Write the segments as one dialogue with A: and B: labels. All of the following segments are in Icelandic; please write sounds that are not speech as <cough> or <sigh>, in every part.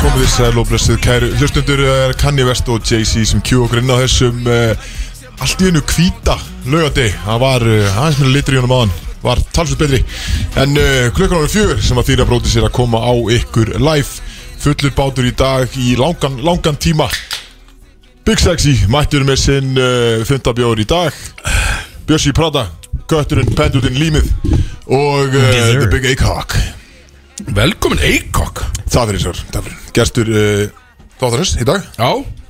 A: komið þér sæl og blessuð kæru Hlustundur er Kanye West og Jay-Z sem kjú okkur inn á þessum uh, Allt í hennu hvíta laugandi Það var uh, aðeins minna litri í honum áðan Var talsveit betri En uh, klukkan árið fjögur sem að þýra bróti sér að koma á ykkur live Fullur bátur í dag í langan, langan tíma Big Sexy mættur með sinn uh, fundabjóður í dag Björsi Prada, Götturinn, Pendurinn, Límið Og uh,
B: Yes, sir.
A: The Big Acock
C: Velkomin Eikok
A: Það fyrir sér, það fyrir Gestur uh, þáttarins í dag
C: Já,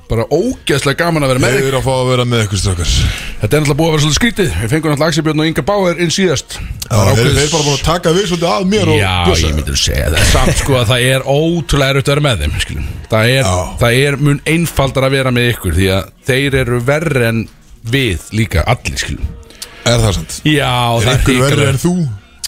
C: bara ógeðslega gaman að vera með
A: Ég
C: þig
A: er að fá að vera með ykkur strakkar
C: Þetta er náttúrulega búið að vera svolítið skrítið Við fengum náttúrulega Axel Björn og Inga Bauer inn síðast Það var
A: Þeir
C: ákveðið-
A: þeir bara búin að taka við svolítið að mér og
C: Já,
A: blessa.
C: ég myndi að segja það Samt sko að það er ótrúlega erut að vera með þeim skilum. það er,
A: Já.
C: það er mun einfaldar að vera með ykkur Því að þeir eru verri en við líka allir skilum.
A: Er það sant?
C: Já,
A: Er ykkur verður en þú?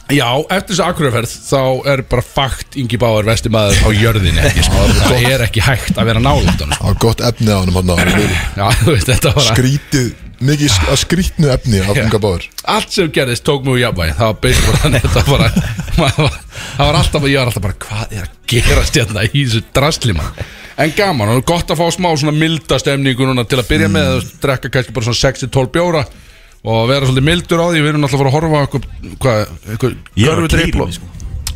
C: Já, eftir þess aðkurverferð Þá er bara fakt Ingi Báar vestimaður á jörðinni ekki, sko. Það er ekki hægt að vera nálægt honum, sko.
A: Það var gott efni á honum hann
C: Já, <laughs> þú veist, þetta var að
A: Skrítið, mikið sk- að skrítnu efni af unga báður
C: Allt sem gerðist tók mjög jafnvæg Það var beitt bara þannig Þetta var bara maður var- Það var alltaf Ég var alltaf bara Hvað er að gerast hérna Í þessu drasli maður En gaman Og gott að fá smá svona milda stemningu Núna til að byrja mm. með að Drekka kannski bara svona 6-12 bjóra Og vera svolítið mildur á því Við erum alltaf að fara að horfa á eitthvað Hvað Eitthvað
B: Ég er að
C: körfudripl
B: kýra
C: og-
B: mig sko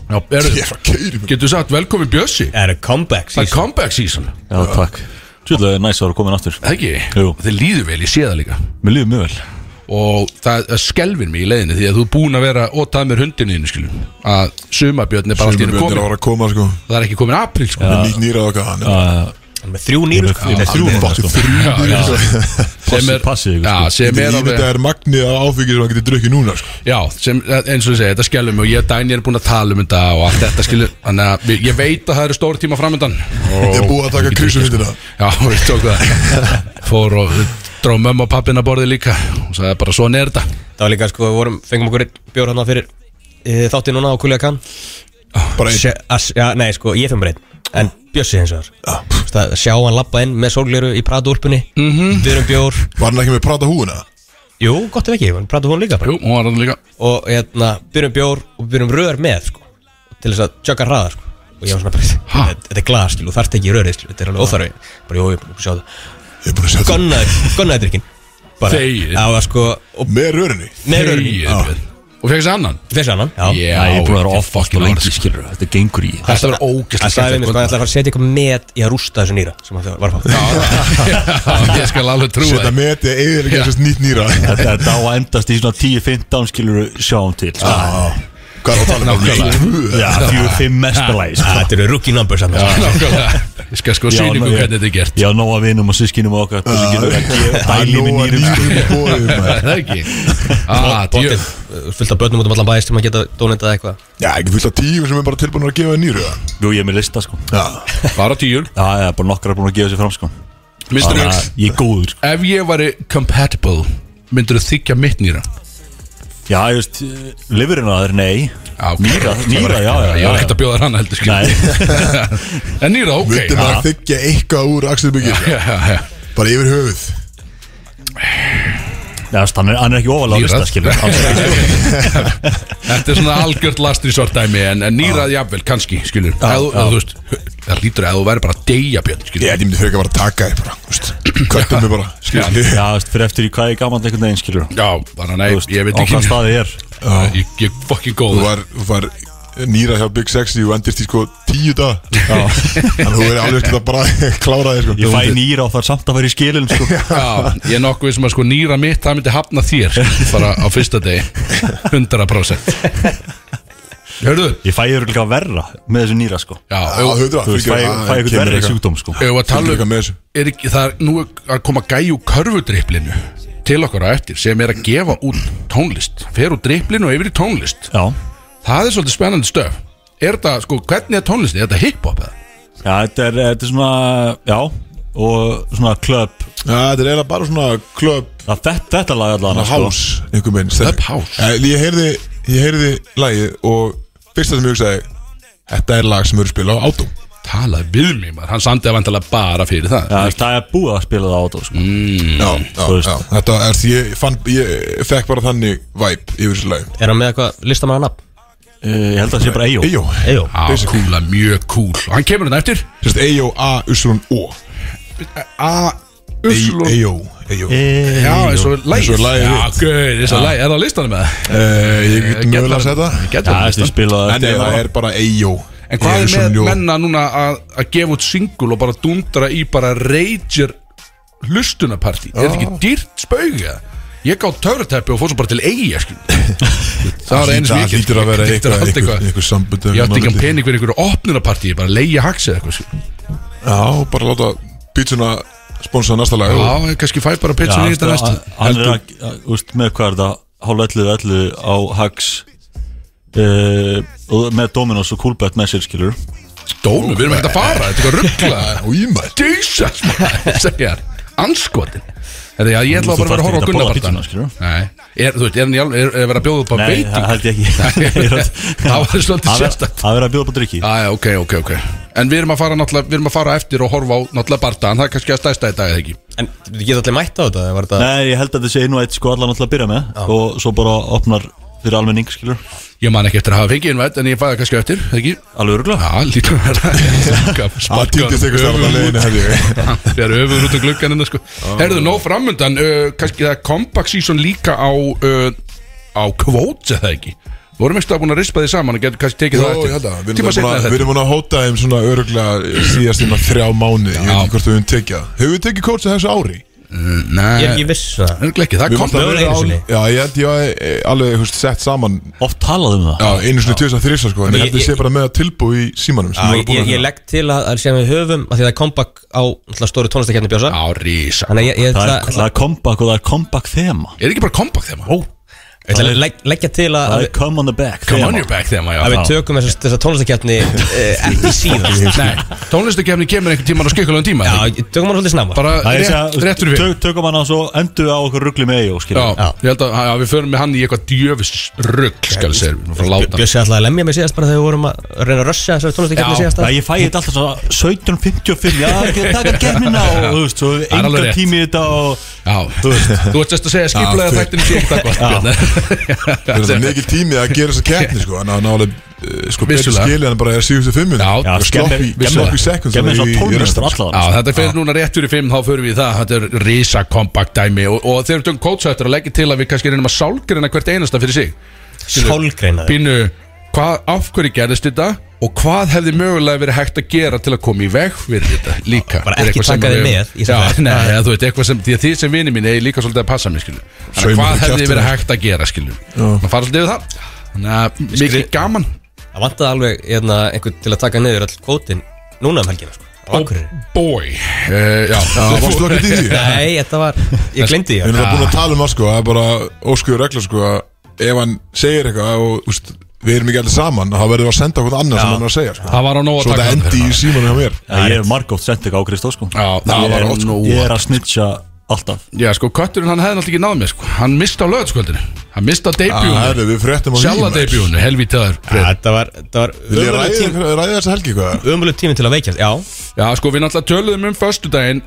C: Já, eru
A: Ég er að keiri mig
C: Getur sagt velkomin Bjössi
B: Það er comeback
C: Það er
B: season
C: comeback season
B: Já, takk Tjóðlega er næs að vera komin aftur
C: Það ekki
B: Jú.
C: Þið líður vel, ég sé það líka
B: Mér líður mjög vel
C: og það, það skelfir mig í leiðinni því að þú er búin að vera og tað mér hundinu þínu skilur að sumabjörn er bara allt í hennu
A: Björn er að
C: komin
A: fara að koma sko
C: það er ekki komin apríl sko
A: Með nýtt nýra og eitthvað hann
B: Hann er Með þrjú nýru Með þrjú
A: Fattu
B: nýru
A: þrjú
C: Já, já. sem er,
B: passið ykkur,
C: já,
B: sko.
C: sko. sem er
A: Þetta
C: alveg,
A: er magnið að áfengið sem hann getur drukkið núna sko
C: já, sem, eins og ég segi, þetta skelfir mig og ég og Dæni er búin að tala um þetta og allt þetta skilur þannig að við- ég veit að það eru stóri tíma framöndan
A: Ég er búið að taka krisumindina
C: um Já, <laughs> við tókum það Fór og dróð mömmu og pappina borði líka og sagði bara svona er þetta
D: Það var líka sko, við vorum, fengum okkur einn bjór hann fyrir e, þátti núna á Kulja Kahn
A: Bara einn
D: Se- as- Já, nei, sko, ég fengi bara einn En Bjössi hins vegar Þú veist að Sjá hann lappa inn með sólgleru í pratúrpunni
C: Mhm.
D: -hmm. Við erum bjór
A: Var hann ekki með að prata húuna?
D: Jú, gott ef ekki, hann pratu hún líka bara
C: Jú, hún var hann líka
D: Og hérna, byrjum bjór og byrjum rör með sko Til þess að tjöka hraðar sko Og ég var svona bara,
C: Ha?
D: þetta- þetta er glas, skilu, þú þarft ekki rörið, skilu, þetta er alveg óþarfi Bara, jú, ég er búin að sjá það
A: Ég er búin að setja
D: Gunnaði, gunnaði drikkin Bara,
C: Þegið.
D: það var sko, og
A: Með rörinni
D: með rörin
C: Hey, Björn. Og fekk þessi annan
D: Fyrst annan, já
C: Já,
B: Það er búin að vera
C: þetta
B: off allt
C: fucking
B: og
C: orð,
B: lengi skilur Þetta gengur í
C: Þetta verður ógæslega
D: Það sagði við mig sko að ég ætla að fara að setja eitthvað met í að rústa þessu nýra sem að það var að fá
B: sko.
C: Já, sko- <laughs> ég skal alveg trúa
A: Setta
C: það
A: metið eða eða ekki þessast nýtt nýra
B: Þetta er þá að endast í svona 10-15 skilur sjáum til sko.
A: Hvað er það að tala um?
C: Nákvæmlega.
A: Tvö, eða?
B: Já, 4-5 mestalæg
D: Ah, Þetta eru rookie numbers hann sko.
C: Nákvæmlega. Ég skal sko
B: sko. Já,
C: sýningu
B: ná-
C: hvernig þetta er gert
B: Já, nóg að vinum og sískinum og okkar Þessi getur að gefa dæli með nýrum sko.
C: Er
A: nýrum
C: Það ekki <laughs> Ah, djö-
D: Bottin, uh, fullt af börnum út um allan bæðist sem að geta donetað eitthvað
A: Já, ekki fullt af tíu sem er bara tilbúin að gefa nýru
B: Jú, ég er með lista sko
A: Já,
C: Bara tíur
B: Já, ég er bara nokkra búin að gefa sér fram sko
C: Mr.
B: Þannig
C: X
B: að Ég er góður sko.
C: Ef ég væri compatible Myndur þú þykja mitt nýra
B: Já, ég veist, eh, lifurinn að þeir, nei
C: Já, ok.
B: Nýra, nýra, já, já,
C: Ég
B: já,
C: var ekkert að bjóða þér hana heldur skil <laughs> En nýra, ok
A: veitum að þykja eitthvað úr Axel Byggir
C: Já, já, já.
A: Bara yfir höfuð
B: Já, veist, hann, er, hann er ekki ofalega á
C: Nýrað.
B: lista, skilur alls ekki.
C: Þetta er svona algjört lastrisort dæmi En, en nýrað jafnvel, kannski, skilur Ef þú- ef þú veist, Það lítur að ef þú væri bara að deyja björn
A: Ég
C: skilur
A: held ég myndi frekar bara að taka þér bara þú veist, Köttum mig bara skilur við.
B: Já, veist, fyrir eftir í hvað ég gaman einhvern veginn, skilur
C: Já, bara nei,
B: Þú veist,
C: ég veit
B: á
C: ekki
B: hvað staði ég er
C: Ég ég er fucking
A: Þú
C: góð
A: var, þú var nýra hjá Big Sexy og endist í sko tíu dag Þannig að þú verður alveg ekkert að bara klára þér sko
B: Ég fæ nýra og þarf samt að fara í skilin, sko
C: Já, ég er nokkuð sem að sko nýra mitt það myndi hafna þér sko, bara á fyrsta degi 100% Hörðu?
B: Ég fæ þér líka verra með þessu nýra, sko
C: Já,
A: Já,
C: ef-
A: hundra
B: Þú veist, fæ, fæ eitthvað verri sjúkdóm, sko
C: ef að tala
A: Fylgir eitthvað
C: um
A: með þessu.
C: er ekki, það er nú að koma gæju körfudriplinu til okkar á eftir sem er að gefa út tónlist fer úr driplinu og yfir í tónlist
B: Já,
C: það er svolítið spennandi stöf er þetta, sko, hvernig er tónlistin? Er þetta hip-hop eða?
B: já, þetta er, þetta er svona, já Og svona klöp
A: Þetta er eiginlega bara svona klöp
B: Þetta, þetta lag allan, sko
A: Hás Einhver minn
C: Club House.
A: Eh, Ég heyrði Ég heyrði lagið og Fyrsta sem ég hugsaði Þetta er lag sem verður spila á átum
C: Talaði við mig maður, hann sandi að vantalega bara fyrir það
B: Já, veist, það er búið að spila það á þetta, sko
A: já, já,
B: þú veist.
A: já. Þetta er því ég fann Ég fekk bara þannig Væp yfir þessu lag
D: Er hann með eitthvað listamanna nafn?
B: uh, Ég held að það sé bara Eyjó
A: Eyjó
D: Eyjó
C: Á, kúla, mjög kúl Og hann kemur hann eftir
A: Sérst Eyjó A, Uslun, O
C: A,
A: Ey-
C: Uslun
A: Eyjó Eyjó
C: Já, eins og lægis
A: Eins og lagið
C: Já,
A: þitt.
C: gauð, eins og lægis Er það á listanum með það?
A: Eh, Ég get mögulega að segja það
C: Getur það
B: Það
C: á
B: er
C: listanum
B: eftir hérna. spilað
A: En ef það er bara Eyjó
C: En hvað
A: Eyjó,
C: er
A: Uslun,
C: með
A: Jó.
C: menna núna að að gefa út singul og bara dundra í bara rager hlustunapartí? Er þetta ekki dýrt spauga? Ég gáð törutæpi og fór svo bara til eiga
A: <laughs>
C: Það var eins
A: Það
C: mikið
A: lítur að vera
C: Þetta er
A: eitthvað
C: allt
A: Eitthvað eitthvað sambund
C: Ég átti ekki pening fyrir einhverju opnunarpartí Ég bara leiði haxið eitthvað sko.
A: Já, bara láta pítsuna sponsa næsta lag
C: Já, ég kannski fæ bara pitchin í þetta næstu
B: sko, Hann er að, að- úst, með hvað er þetta Hálf 11, 11 á Hags uh, og Með Dominos og Coolbet með sér skilur
C: Dómi, við erum ekkert að fara, þetta er eitthvað ruggla
A: Og ímætt
C: Jesus, maður, segja hann Anskotin Þetta, já, ég ætla
B: Þú
C: bara að vera að horfa
B: þarft
C: á
B: ekki að borða pítsuna,
C: Gunnabarta
B: skilur.
C: Nei, er, þú veist, er hann í alveg, er, er verið að bjóða upp á
B: Nei, það
C: beiting?
B: held
C: <laughs>
B: ég ekki
C: Það var svolítið
B: Það er-
C: sérstakt.
B: það er að bjóða upp á drikki
C: Æja, ok, ok, ok En við erum að fara náttúrulega, við erum að fara eftir og horfa á náttúrulega Barta En það er kannski að stæsta í dag eða ekki
D: En þú getur allir mætt á þetta eða Var þetta
B: Nei, ég held að þetta sé einu og eitt sko allan alltaf að byrja með og svo bara opnar fyrir almenning skilur
C: Ég man ekki eftir að hafa fengið innvætt, en ég fæði kannski á eftir, eða ekki?
B: Alveg örgulega
C: Já, lítur að
A: <laughs>
C: vera
A: Það týndist eitthvað starf að leiðinu hef ég
C: <laughs> Það er öfður út á glugganina sko Herðu, nóg framöndan uh, Kannski það er comeback season líka á uh, Á kvót, eða ekki Við vorum ekki búin að rispa því saman og getur kannski tekið
A: Jó, ég
C: það
A: held að
C: eftir
A: Við erum
C: Tíma
A: búin
C: setna
A: að- við
C: þetta
A: erum búin að hóta þeim svona öruglega síðast innan þrjá mánu Ég veit ekki hvort við höfum tekið það Hefur við tekið kótsið þessu ári?
D: Ég er
C: Nei,
D: ekki viss það
C: örugglega ekki, það
A: Við
C: kom
A: mátt að
D: Mögulega
A: vera
D: einu
A: á-
D: sinni.
A: Já, ég held ég að eh, alveg hefst, sett saman
B: Oft talað um það
A: Já, einu sinni tjóðis að þrýsa sko En ég held ég
D: ég-
A: sé bara með að tilbúi í símanum sem
D: Já,
A: við
D: ég,
A: erum búin
D: ég,
A: að-
D: ég legg til að, að sem við höfum að því það er comeback á náttúrulega stóru tónlistakefni Björsa
C: Á, rísa
D: Þannig að ég, ég
B: Það
D: ætla
B: er, það er comeback og það er comeback þema
C: Er ekki bara comeback þema? Ó,
D: ég ætla að legg, leggja til að, að,
B: Það er
D: við-
B: come on the back
C: come
B: þema.
C: on your back þema, já
D: að við
C: Já.
D: tökum þessa, þessa tónlistakefni uh, ekki síðan
C: <laughs>
D: <laughs>
C: Nei, tónlistakefni kemur einhvern tíman á skikkulegum tíma
D: Já,
C: eða ekki?
D: ég- tökum hann svolítið snemma
C: Bara
B: Það er
C: rétt,
B: þess
C: rétt
B: að
C: fyrir við
B: tök- tökum hann á svo endu á okkur ruggli með Eyjó
C: Já,
B: skilur
D: Já.
C: ég held að já, við förum með hann í eitthvað djöfis rugg skal við segja, við fyrir að láta hann.
D: Björsi ætlaði að lemja mig síðast bara þegar við vorum að reyna að rössja þessari tónlistakefni
C: Já,
D: síðast
B: Já, ég fæ þetta alltaf svona 17.55 Já, ekki taka kemina og þú veist, svo
C: er alveg
B: enga
C: rétt.
B: tími í þetta og
C: Já, þú <laughs> ert sérst að segja skiplega
A: Já,
C: þættin sé ekki <laughs> það
A: Það er
C: gott
A: mikil tími að gera þessa keppni sko En það er nálega sko betur
C: Vissulega.
A: skilja en bara er síðustu fimmun
C: Já,
B: Já, skemmir
A: Sloppy seconds
B: Skemmir
A: í-
B: svona
A: í
B: 12
A: restina,
B: minútur
A: sko.
B: allavega
C: Já, þetta fer núna rétt fyrir fimm, þá förum við í það Þetta er risa kompakt dæmi og, og þeir eru tökum kótsættur að leggja til að við kannski reynum að sálgreina hvert einasta fyrir sig
D: Sálgreinaði
C: Pínu, hvað, af hverju gerðist þetta og hvað hefði mögulega verið hægt að gera til að koma í veg fyrir þetta líka
D: Bara
C: Er
D: ekki
C: eitthvað sem
D: taka
C: að
D: þig
C: við-
D: með í
C: Já,
D: þetta.
C: nei, ja, þú veit, eitthvað sem, því að þið sem vini mín er líka svolítið að passa mér, skilju Þannig
A: Saumar
C: að hvað
A: þú
C: hefði
A: kjaftur
C: verið
A: þér.
C: hægt að gera, skilju Maður fara svolítið yfir það Þannig að mikið gaman
D: Það vantaði alveg hérna, einhvern til að taka niður all kvótin núna um helgina sko, á Akureyri
C: boy uh, Já,
A: Já, varstu ekkert í því?
D: Nei, þetta var, ég
A: Við
D: glemdi ég
A: erum það búin að tala um það sko, það er bara óskuður regla sko að ef hann segir eitthvað og úst, við erum ekki allir saman þá verður við að senda okkur annað sem hann er að segja sko.
C: Það var á nóg að
A: Svo
C: taka
A: það
C: þarna
A: endi
C: fyrir
A: í símanum hjá mér
B: Já, Ég hef margótt sendt eitthvað á Kristó sko
C: Já, það
B: Ég
C: var
B: er-
C: oft sko.
B: Ég er að snitja alltaf
C: Já, sko, kötturinn hann hefði náttúrulega ekki náð mér, sko Hann misti á lögðskvöldinu Hann misti á
A: Það er
C: debjúnu
A: Ah, við fréttum á því
C: Sjalla
A: maður.
C: debjúnu, helvitaður
D: Þetta var, þetta var
A: Vil ég
D: ömurlegur
A: ræða, ræða þessa helgi sko. eitthvað?
D: ömuleg tími til að veikjast Já,
C: Já, sko, við náttúrulega töluðum um föstudaginn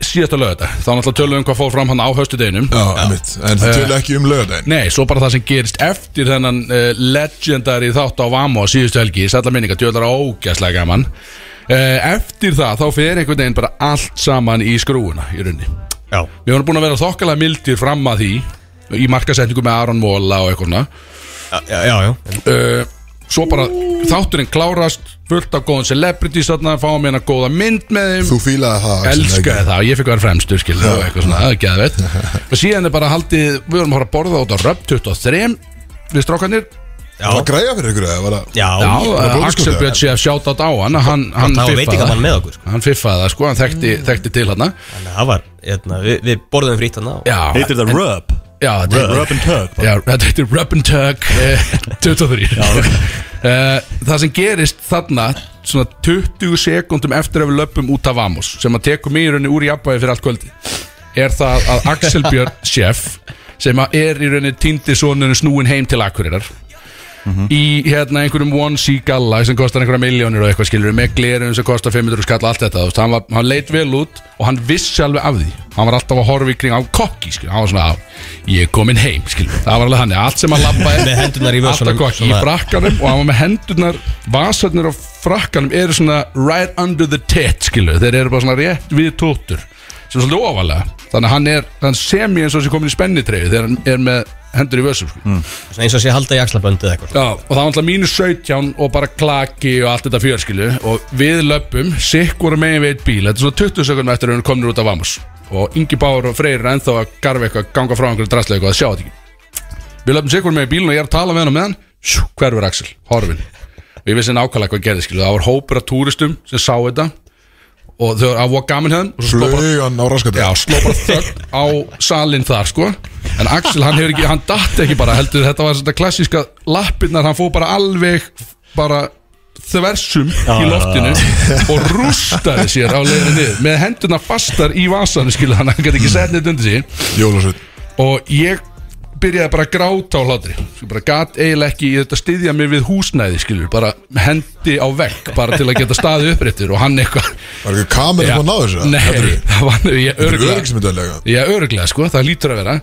C: Síðasta lögða Þá náttúrulega töluðum um hvað fór fram hann á höstudeginum
A: Já, einmitt, en
C: Eh.
A: það tölu ekki um lögadaginn
C: Nei, svo bara það sem gerist eftir þennan uh, legendary þátt á Vamo á síðustu helgi, sætla minninga, djöðlar ógæslega gaman uh, Eftir það, þá fer einhvern veginn bara allt saman í skrúuna í runni
D: já
C: Við vorum búin að vera þokkalega mildir fram að því Í markasetningu með Aron Móla og eitthvað svona
D: Já, já, já.
C: uh, Svo bara þátturinn klárast Fullt af góðan celebrities þarna Fáum hérna góða mynd með þeim
A: Þú fílaði það Axel,
C: Elskaði
A: ekki?
C: það, ég fekk að vera fremstur skilur og eitthvað svona, það er geðveitt Og síðan er bara haldið, við vorum að fara að borða út á Röp 23 við strákanir
A: Það var græja fyrir ykkur eða var það?
D: Já,
C: Já,
D: já
A: bara
C: eh,
A: bónus,
C: Axel
A: sko.
C: Björn sé að sjáta á hann Hann, hann
D: Það var
C: fiffaði
D: veitingamann með okkur, sko.
C: Hann fiffaði það sko, hann þekkti, þekkti til hann
D: Þannig að það var, hérna, við, við borðum frýtt hann á
C: Já,
B: Heitir þetta Rub
C: já, þetta er
B: Rub and Tug bara.
C: Já, þetta heitir Rub and
B: <laughs>
C: Tug eh, 23 Eh, Það sem gerist þarna svona 20 sekundum eftir að við löpum út af Vamos sem að tekum í rauninni úr jafnvægi fyrir allt kvöldi er það að <laughs> Axel Björn chef sem að er í rauninni týndi sonunum snúin heim til Akureyrar í hérna einhverjum One C Galla sem kostar einhverja miljónir og eitthvað skilur með glerun sem kostar 500 skall allt þetta þú veist, hann, var, hann leit vel út og hann vissi alveg af því hann var alltaf að horfa í kring á kokki skilur, hann var svona á, ég er komin heim skilur, það var alveg hann, allt sem hann labbaði
D: Með hendurnar í vösunum,
C: alltaf kokki, í
D: svona-
C: frakkanum og hann var með hendurnar, vasarnir á frakkanum eru svona right under the tit skilur, þeir eru bara svona rétt við tóttur sem er svolítið ofalega þannig að hann er, hann semi eins og sem komin í spennitreyfi þegar hann er með hendur í vössum sko.
D: Svona eins og sé halda í axlaböndið eða eitthvað
C: Já, og það var alltaf mínus 17 og bara klaki og allt þetta fjörskilu og við löpum, sikkur megin við eitt bíl þetta er svona 20 sekundum eftir að hún komnir út af Vamos og Ingi Bár og Freyr er ennþá að garfa eitthvað, ganga frá einhverju drastlega eitthvað að sjá þetta ekki við löpum sikkur megin bílun og ég er að tala með hann og með hann sjú, hverfur Axel, horfin og ég vissi nákvæmlega hvað gerði skilu, það var hópur af túristum sem sá þetta og þau var að voða gaman hefðan og svo sló bara
A: Flugan á raskandi
C: Já, sló bara þögn á salin þar sko En Axel, hann hefur ekki, hann datt ekki bara heldur Þetta var þetta klassíska lappirnar Hann fóð bara alveg bara þversum í loftinu og rústaði sér á leiðinu niður með hendurna fastar í vasanu skilu hann, hann gæti ekki sett neitt undir sig
A: Jólasveit
C: og ég byrjaði bara að gráta á hlátri Ég bara gat eiginlega ekki, ég þetta styðja mig við húsnæði skilur, bara hendi á vegg bara til að geta staði uppréttur og hann eitthvað
A: Var ekki kamera sem að ná þessu?
C: Nei,
A: Þetta
C: það var ég
A: eru
C: örgulega
A: öryggismyndalega
C: Já, öruglega sko, það lítur að vera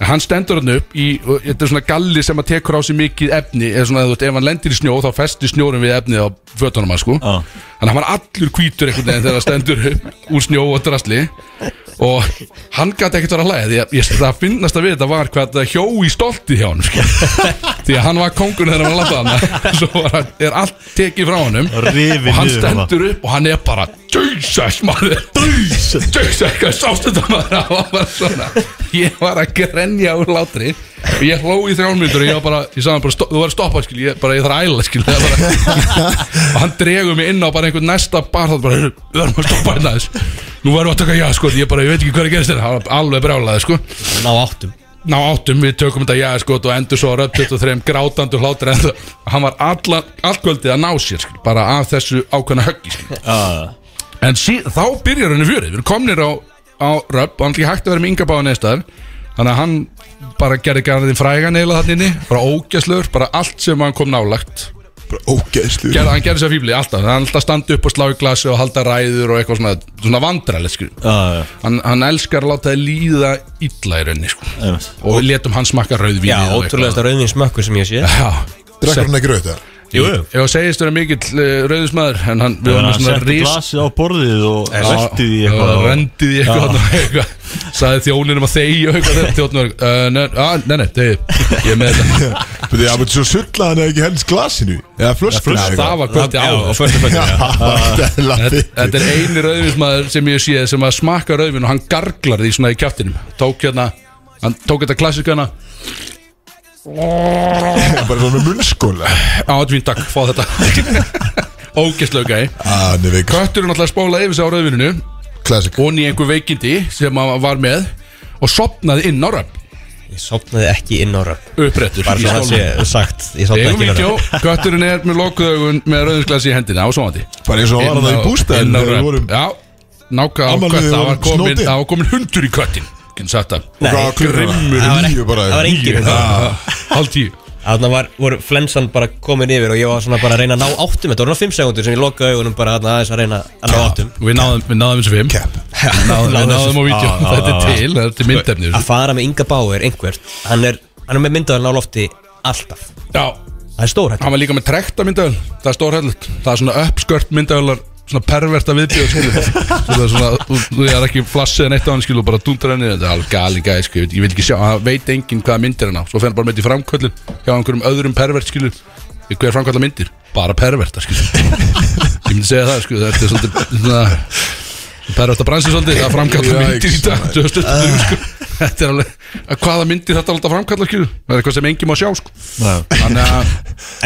C: En hann stendur hann upp í, og þetta er svona galli sem að tekur á sig mikið efni eða svona, þú veist, ef hann lendir í snjó þá festir snjórum við efnið á fötunum hann sko
B: Já.
C: Þannig að hann var allur hvítur einhvern veginn þegar hann stendur upp úr snjó og drasli og hann gæti ekkert vera að hlæða því að ég, það finnast að við þetta var hvað það hjó í stolti hjá hann sko. <laughs> því að hann var kongur þegar hann var að lappa hann <laughs> svo var, hann- er allt tekið frá hann og
B: Rifið
C: hann
B: niður hérna. hana.
C: stendur upp og hann er bara Jesus maður Jesus hvað sást þetta maður <laughs> og hann var svona ég var að grenja úr látri og ég hló í þrjálmyndur og ég var bara ég sagði hann bara "Stopp- þú var að stoppa skil ég bara ég þarf að æla skil Það er bara, <laughs> og hann dregur mig inn á bara einhvern næsta bar þá bara "Heyrðu, við erum að stoppa hérna þess nú verðum við að taka já sko ég bara ég veit ekki hvað er að gerist þér hann var alveg brálaði sko
D: Ná áttum
C: ná áttum við tökum þetta já sko og endur svo röpt 23 grátandi hlátur en það- hann var allan, allt kvöldið að ná sér skil, bara af þessu ákveðna höggi skil. en sí, þá byrjar henni fjörið við erum komnir á, á röpt og hann er ekki hægt að vera með yngabáða neðstæðar þannig að hann bara gerði garðin frægan eila þannig inni, bara ógæslur bara allt sem hann kom nálagt
A: Bara ógeðslu
C: gerði, hann gerði sér fíbli alltaf, hann er alltaf standi upp og slá í glasi og halda ræður og eitthvað svona, svona vandralegt skil
B: Já,
C: hann, hann elskar að láta þið líða illa í rauninni sko
B: já, einmitt.
C: og við letum hann smakka rauðvín
D: Já, ótrúlega þetta rauðvins mökkur sem ég sé
A: Drekkur hann ekki rauð það?
C: Jú, ég segist vera mikill uh, rauðismæður en hann, við
B: Þannig
C: varum með
B: að hann
C: svona
B: setti
C: ris
B: glasið á borðið og
C: Já,
B: veltið í
C: já,
B: eitthvað
C: Rendið í eitthvað, og eitthvað Saði þjóninum að þegja og eitthvað Þjóninum var, uh, nei, á, nei, nei, þegja Ég er með þetta
A: Þú veit, svo sullaði hann ekki helst glasinu Eða flöskunni
C: Það var kvöldi á
D: og fyrstu
C: <laughs>
D: kvöldi
A: Þetta
C: Þetta er eini rauðvinsmaður sem ég sé sem að smakka rauðvin og hann garglar því svona í kjáttinum Tók hérna, hann tók þetta klassikana
A: Bara svona með munnskóla
C: Átvín, takk, fá þetta <laughs> Ógæslega gæi
A: Þannig við
C: Kötturinn alltaf spólaði yfir sig á rauðvininu
A: Classic
C: og í einhver veikindi sem hann var með og sopnaði inn á röfn
D: Ég sopnaði ekki inn á röfn
C: upprættur
D: Bara svo það sé sagt Ég sopnaði
C: Egum
D: ekki inn á
C: vídeo,
D: röfn
C: kötturinn er með lokuðaugun með rauðinsglasi í hendina og svona því
A: Bara eins og hann var hann í bústæðin
C: inn á
A: Þegar við
C: röfn
A: vorum
C: Já, nákvæða á
A: Afmælið
C: kött Það
A: vorum
C: var komin,
A: snótin.
C: það var komin hundur í köttin Kynni sagt það
A: Hvað var klukkan?
D: grimmur Það var ekki-
A: Níu bara.
D: það var engin
A: Níu.
D: hundur.
C: Hald tíu
D: Þannig var, voru flensan bara komin yfir og ég var svona bara að reyna að ná áttum Þetta voru ná 5 sekundur sem ég lokaði augunum bara þarna aðeins að reyna að ná áttum
C: Við náðum, við náðum þessu fimm
A: Cap
C: Við náðum- Við
D: Náðum Ah,
C: náðum á vídeo Þetta er til, þetta er myndefni
D: Að fara með Inga Bauer einhvert Hann er, hann er með myndavælna á lofti alltaf
C: Já,
D: Það er stór hætt
C: hann var líka með trekta myndavöl Það er stórhællult Það er svona uppskört myndavölar Svona perverta viðbjöð skilu Svona, svona, þú- þú er ekki flassið en eitt á hann skilu og bara dundra henni, þetta er alveg gali gæði skilu ég vil ekki sjá, það veit enginn hvaða myndir hann á svo fer hann bara með þetta í framkvöllin hjá einhverjum öðrum pervert skilu hver framkvæmla myndir? Bara perverta skilu <laughs> ég myndi segja það skilu þetta er svolítið svona perverta bransi svolítið það framkvæmla
A: Jæks,
C: myndir í dag
A: maður.
C: 2023, sko. þetta er alveg hvaða myndir þetta er alltaf framkvæmla skilu það er eitthvað sem enginn má sjá sko þannig að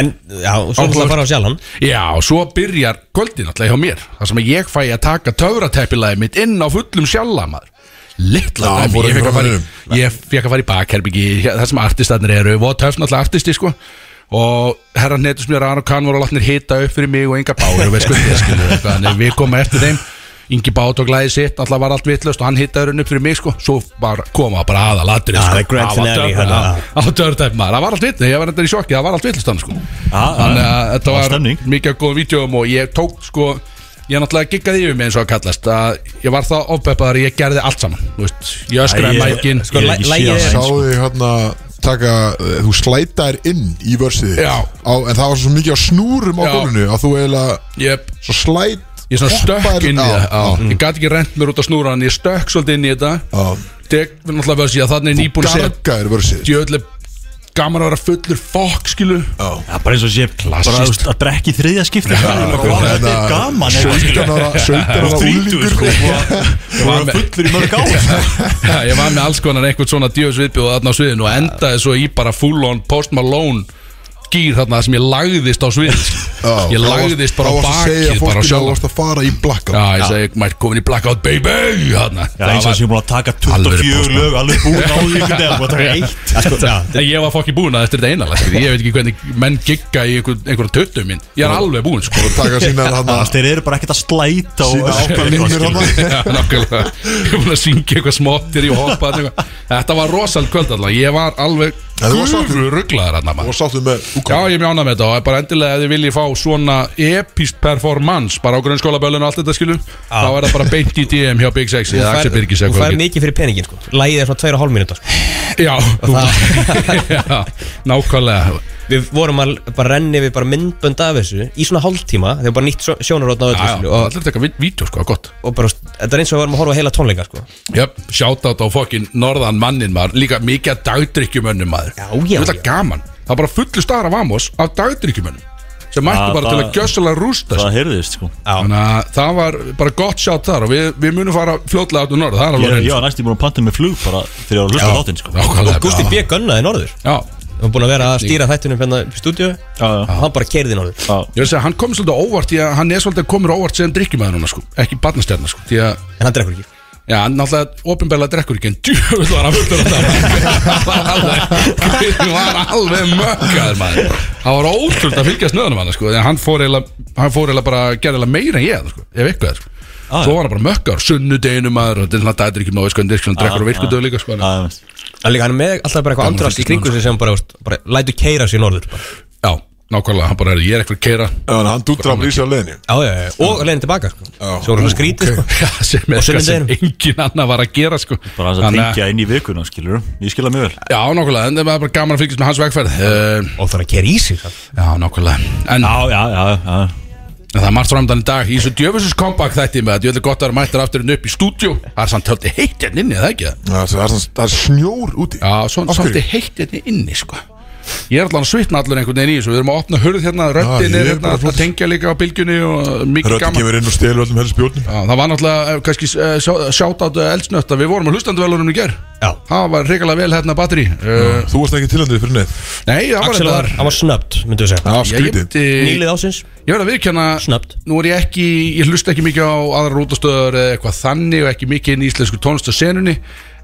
D: En, já, og svo ætla að fara á sjálfan
C: Já, svo byrjar kvöldin alltaf hjá mér þar sem ég fæ að taka töfrateppilæði mitt inn á fullum sjalla maður Littla
A: Já,
C: dæmi,
A: fór
C: ég
A: ekki
C: fekk að
A: fram
C: fara í,
A: með
C: ég fekk að fara í bakherbyggi þar sem artistarnir eru, og töfn alltaf artisti sko og herra sko, netur sem ég rann og kann voru látnir hita upp fyrir mig og enga báir og veist hvað ég skilur eitthvað, en við komum eftir þeim Ingi Bát og glæði sitt, alltaf var allt vittlust og hann hittaði raun upp fyrir mig sko Svo var, koma bara aða latri
D: Já,
C: sko
D: það er grand finale, hérna. hann, já.
C: Það var dörrtæf maður, það var allt vittlust, ég var þetta í sjokki, það var allt vittlust hann sko
B: Já,
C: Þannig
B: já,
C: að þetta
B: það var
C: var
B: stemning.
C: mikið af góðum vídjóum og ég tók sko Ég náttúrulega giggaði yfir mig eins og að kallast að Ég var það ofbeppaðar, ég gerði allt saman þú veist, Ég öskraði
B: Æ, ég-
C: mækin
D: sko,
B: Ég hef ekki séð
D: læ- lægið
B: það.
D: er-
A: Sá þig hérna taka, eh, þú slætaðir inn í vörsið
C: Já.
A: á, En það var svo mikið á snúrum á
C: Já.
A: gólfinu Að þú eiginlega
C: Jöp,
A: svo slæt
C: Ég svona stökk
A: hoppaðir-
C: inn í
A: Já,
C: það já.
B: Mm.
C: Ég gæti ekki rent mér út að snúra en ég stökk svolítið inn í þetta
A: Já,
C: Tek við náttúrulega versi að þannig er
A: já
C: nýbúin að segja
A: Gargaðir vörsið
C: Djöðlega gaman að vera fullur fokk skilu
B: Já, bara eins og sé bara þú veist, að drekka í þriðja skipti Það er bara, vá, þetta er gaman eitthvað,
A: 17
B: skilur.
A: Hérna, ára 17 ára
B: Þú
A: úlingur
B: þrítur sko Þú var fullur í mörg ár
C: <laughs> Ég var með alls konar einhvern svona djöðs viðbjóð þarna á sviðinu og endaði svo í bara full on post Malone gýr þarna sem ég lagðist á svið sko.
A: Já,
C: Ég
A: þá varst-
C: lagðist bara á
A: þá varst að segja
C: bakið bara á
A: fólkinu að þú
C: sjálf
A: varst að fara í blakka
C: Já, ég segi, mætt komin í blackout baby þarna
B: Já, eins og
C: var-
B: sé búin að taka
C: Alvöru
B: 24
C: postman.
B: lög Alveg <laughs> búin á því einhvern veginn Búin að taka eitt
D: Já, sko, já,
C: En ég var fokki búin að eftir þetta einalega skilur. Ég veit ekki hvernig menn gigga í einhver, einhverja töttum minn Ég er alveg búin sko. <laughs>
A: Taka <laughs> sína hann
B: Þannig að þeir eru bara ekkert að slæta og
A: Sína átta línur
B: skilur.
A: þarna.
C: Já, nákvæmlega Ég er búin að syngja eitthvað smottir í hoppa þarna eitthvað. Þetta var rosal kvöld alltaf Ég var alveg
A: Ja, þú varst
C: gufur rugglaðar hann
A: Og sáttu með
C: Já, ég mjána með þetta og bara endilega ef þið viljið fá svona epist performance bara á grunnskólaböllinu og allt þetta skilu þá er það bara beint í DM hjá Big Sexy eða Axel Birgis
D: Þú
C: eða hvað
D: fær
C: það
D: mikið fyrir peningin sko Lægið er svona 2,5 mínútur sko.
C: getur. Já, þú- <laughs> Já, nákvæmlega
D: Við vorum að bara renni við bara myndbönd af þessu Í svona hálftíma Þegar bara nýtt sjónarótna á
C: Já,
D: öllu
C: já, það
D: skilur, og,
C: er þetta vítjó sko, gott
D: og bara, þetta er eins og við vorum að horfa á heila tónleika sko
C: Jöp, shoutout á fokkin norðan mannin maður Líka mikið af dagdrykkjumönnum maður
D: Já, já,
C: Þetta er
D: já.
C: gaman Það var bara fullu stara vamos af dagdrykkjumönnum Sem mættu
B: Já,
C: bara
B: það-
C: til að gjössalega rústa sig.
B: Það heyrðist sko
C: Þannig að það var bara gott sjátt þar Og við, við munum fara fljótlega át úr norða Það er
B: Ég
C: alveg
B: er-
C: reynd
B: ég var næstum búin að panta með flug bara þegar ég var að hlusta á þáttinn sko
D: Og Gusti
C: Nákvæmlega,
D: B. gunnaði norður
C: já.
D: Við erum búin að vera að stýra þættunum hérna í stúdíu
B: Já, já.
D: og hann bara keirði norður
B: Já.
C: Ég vil segja, hann kom svolítið á óvart Því að hann er svolítið komur á óvart sem drykkjumöður núna sko Ekki barnastjarnar sko Því að
D: En hann drekkur ekki
C: Já, hann náttúrulega opinbæla drekkur ekki en djúvel var hann fullur á það var alveg hann var alveg mökkaður maður það var ótrúld að fylgjast nöðanum hann sko. en hann fór eiginlega hann fór eiginlega bara að gera eiginlega meira en ég sko, ef eitthvað sko.
B: já.
C: svo var hann bara mökkaður sunnudeginu maður og þetta er svona dættir ekki náðu sko en þetta er svona drekkur og virkudöð líka sko,
B: Já,
C: hann-
B: ég veist.
D: En líka hann er með alltaf bara eitthvað
C: Gaman að
D: andrast í
C: fylgjast
D: kringu sig sem bara, veist, bara lætur keira sér norður bara.
C: já, nákvæmlega, hann bara er ég er eitthvað að keira
A: Þannig að hann dúttur að blýsa á leiðinni
D: Já, já, já, og leiðin tilbaka sko. Svo voru hann skrítið sko.
C: Já, sem er
D: Og
C: eitthvað sem
D: sunnudeginum.
C: engin annar var að gera sko
B: Bara þess að
C: Þannig
B: tengja inn í vikuna skilur Ég skilja mjög vel
C: Já, nákvæmlega, en það var bara gaman að fylgjast með hans vegferð uh,
D: Og þannig að keira í sig sko.
C: Já, nákvæmlega En
B: Já, já, já, já
C: En Það er margt framdann í dag í þessu djöfusins comeback þætti með að djöfli gott að vera mættir aftur en upp í stúdjó Það er samt tölti heitt hérna inni, er það ekki það?
A: Já, Það er svona- það er snjór úti
C: Já, svona
A: Af hverju?
C: samt heitt hérna inni, sko Ég er allan að svitna allur einhvern veginn í þessu Við erum að opna hurð hérna, röddin
A: ég
C: er
A: er
C: hérna
A: bara
C: að
A: flott.
C: tengja líka á bylgjunni og mikið
A: Rötti
C: gaman Já,
A: kemur inn og stelur öllum helst bjórnum
C: Það var náttúrulega, eh, kannski sjátt át eldsnött að við vorum að hlustanduvelunum í ger
D: Já,
C: Það var regalega vel hérna batteri uh,
A: Þú varst ekki tilhandið fyrir neitt
C: Nei, það var
D: Axel var,
C: þetta
D: hann var snöpt, myndum við segja
A: Já,
C: Ég, ég,
A: skrítið
C: myndi-
D: Nýlið ásins,
C: Ég verð að viðkjanna
D: Snöggt.
C: Nú er ég ekki, ég hlusta ekki mikið á aðra rútastöður eða eitthvað þannig og ekki mikið inn í íslensku tónlistasenunni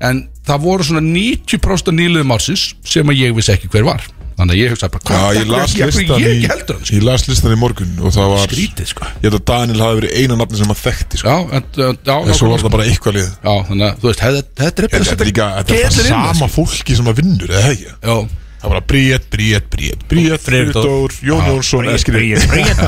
C: en það voru svona 90% nýliðum ársins sem að ég vissi ekki hver var þannig að ég hugsaði bara,
A: Já,
C: hvað
A: ég las
C: ég, ég,
A: listan
C: ég
A: í
C: ekki heldur hann sko.
A: Ég las listan í morgun og það var
C: Skrítið sko
A: Ég held að Daniel hafi verið eina nafni sem hann þekkti sko.
C: Já, en, já,
A: En svo var
C: nákvæmlega, sko.
A: það bara eitthvað lið
C: já þannig að þú veist, hef, þetta sko. er
A: En Þetta er líka, þetta er bara sama fólki sem að vinnur, eða ekki?
C: Já,
A: Það var bara Bríett, Bríett, Bríett Bríett,
D: Friðdór.
A: Friðdór, Jón Jónsson, Eskri
C: ég hef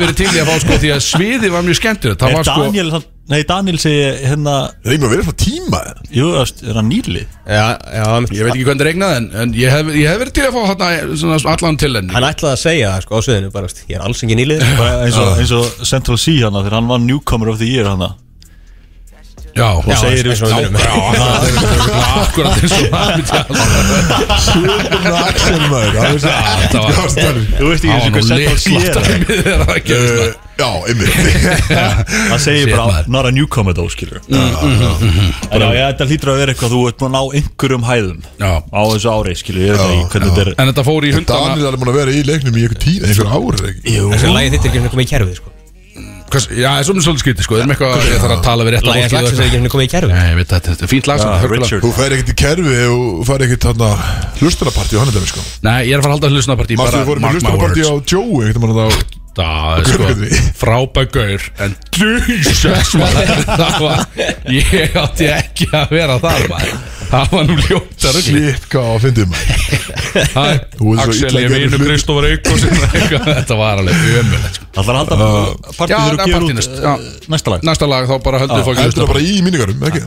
C: verið til í að fá sko því að sviði var mjög skemmtilegt Það
B: Er
C: var sko,
B: Daniel, hann- nei Daniel segi hérna
A: Það er mér að vera frá tíma
B: Jú, þú veist, er hann nýlið?
D: já, já,
C: ég veit ekki hvernig það regnaði en, en ég, hef, ég hef verið til í að fá hana, svona, allan til henni
D: hann ætlaði að segja það sko á sviðinu bara, veist, ég er alls engin nýlið
B: Bara eins og, eins og Central C hana þegar hann var newcomer of the year hana
C: Já,
B: og segir
D: eins og við erum.
C: Akkurat eins og það myndi ég alveg.
A: Sjöndum að Axel maður Það er þess að
C: Þetta var-
B: Þú veist
C: Það
B: ekki
C: var
B: eins
C: nú
B: og Central C
C: litlátt
B: er
C: dæmi þegar það gerist það.
A: Eh, Já,
C: <laughs>
A: einmitt
B: hann segir
C: Shit,
B: bara
C: maður. Mm,
B: not a newcomer though skilur En já, já, þetta hlýtur að vera eitthvað þú ert búin að ná einhverjum hæðum
C: Já.
B: á þessu ári skilur, ég veit ekki hvernig þetta er
C: En þetta fór í hundana
A: Daniel er búin að vera í leiknum í einhver tíma, einhver ár eða ekki?
B: Jú,
D: Þessi lægið þitt er ekki einhvern veginn komið í kerfið sko
C: Hvers, Já, það er svona svolítið skrítið sko Ég er með eitthvað Ég þarf að tala við rétt
D: Lægið þitt er ekki einhvern veginn komið í kerfið
C: Nei, ég veit þetta Þetta er fínt lag
B: Já,
C: samt, hörgulega.
B: Richard.
A: Þú færi ekkert í kerfi og færi ekkert hérna hlustunapartí á hann þetta sko
C: Nei, ég er að fara að halda hlustunapartí
A: Mástu við fórum með hlustunapartí á Joe einhvern veginn á
C: Það er sko
A: Guðmundur.
C: frábægaur En Jesus maður <laughs> Það var Ég átti ekki að vera þar maður Það var nú ljóta rugli
A: Shit, hvað á að fyndið maður
C: Hæ,
A: Þú ert svo
C: Axel
A: illa
C: ég
A: gerður
C: vinu
A: hluti.
C: Kristófur Eikos
A: <laughs>
C: Þetta var alveg ömulegt sko.
B: Það er alltaf
C: Já,
B: partýr
C: það
B: og
C: er
B: gefur
C: partýnist
B: út eh, næsta lag
C: Næsta lag þá bara höldum við
A: Heldur
C: fólki hlusta
A: það
C: bara
A: bara í míningarum, ekki?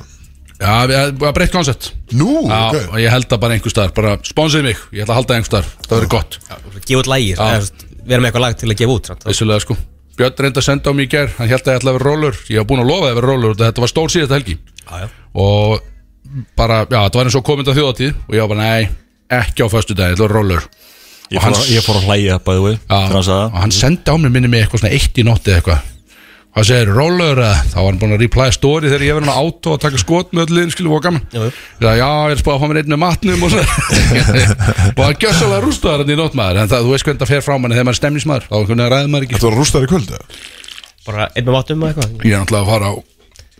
C: Já, við við að breytt koncept
A: Nú,
C: Já,
A: ok
C: og ég held það bara einhver staðar Bara sponsið mig, ég ætla að halda það einhver staðar Það verður gott,
D: Gefa út lægir
C: Já.
D: Verða með eitthvað lag til að gefa út samt.
C: vissulega sko Björn reyndi að senda á mig í gær, hann held að ég ætla að vera rólur Ég var búin að lofa að vera rólur, þetta var stór síðasta helgi
D: Já, já.
C: og bara, já, þetta var eins og komind að þjóðatíð og ég var bara, nei, ekki á föstu dag, þetta var rollur
B: Ég fór, að- ég fór að hlæja by the way Þannig að
C: og hann sendi á mig minni mig eitthvað svona eitt í nótti eða eitthvað og hann segir, rollur, eða?" þá var hann búin að replya story þegar ég verið hann á átó að taka skot með öllu liðin, skilu, og gaman
D: Jú, jú.
C: ég sagði, já, ég er spáð að fá mér einnig matnum og, svona. <laughs> og hann gjössalega rústaðar hann í nótt maður, en það, þú veist hvernig það fer frá manni þegar maður er stemnismar, þá einhvern veginn ræði maður ekki sko.
A: Þetta var rústar í kvöld, eða?
D: Bara einn með vatum og eitthvað
C: ég er náttúrulega að fara á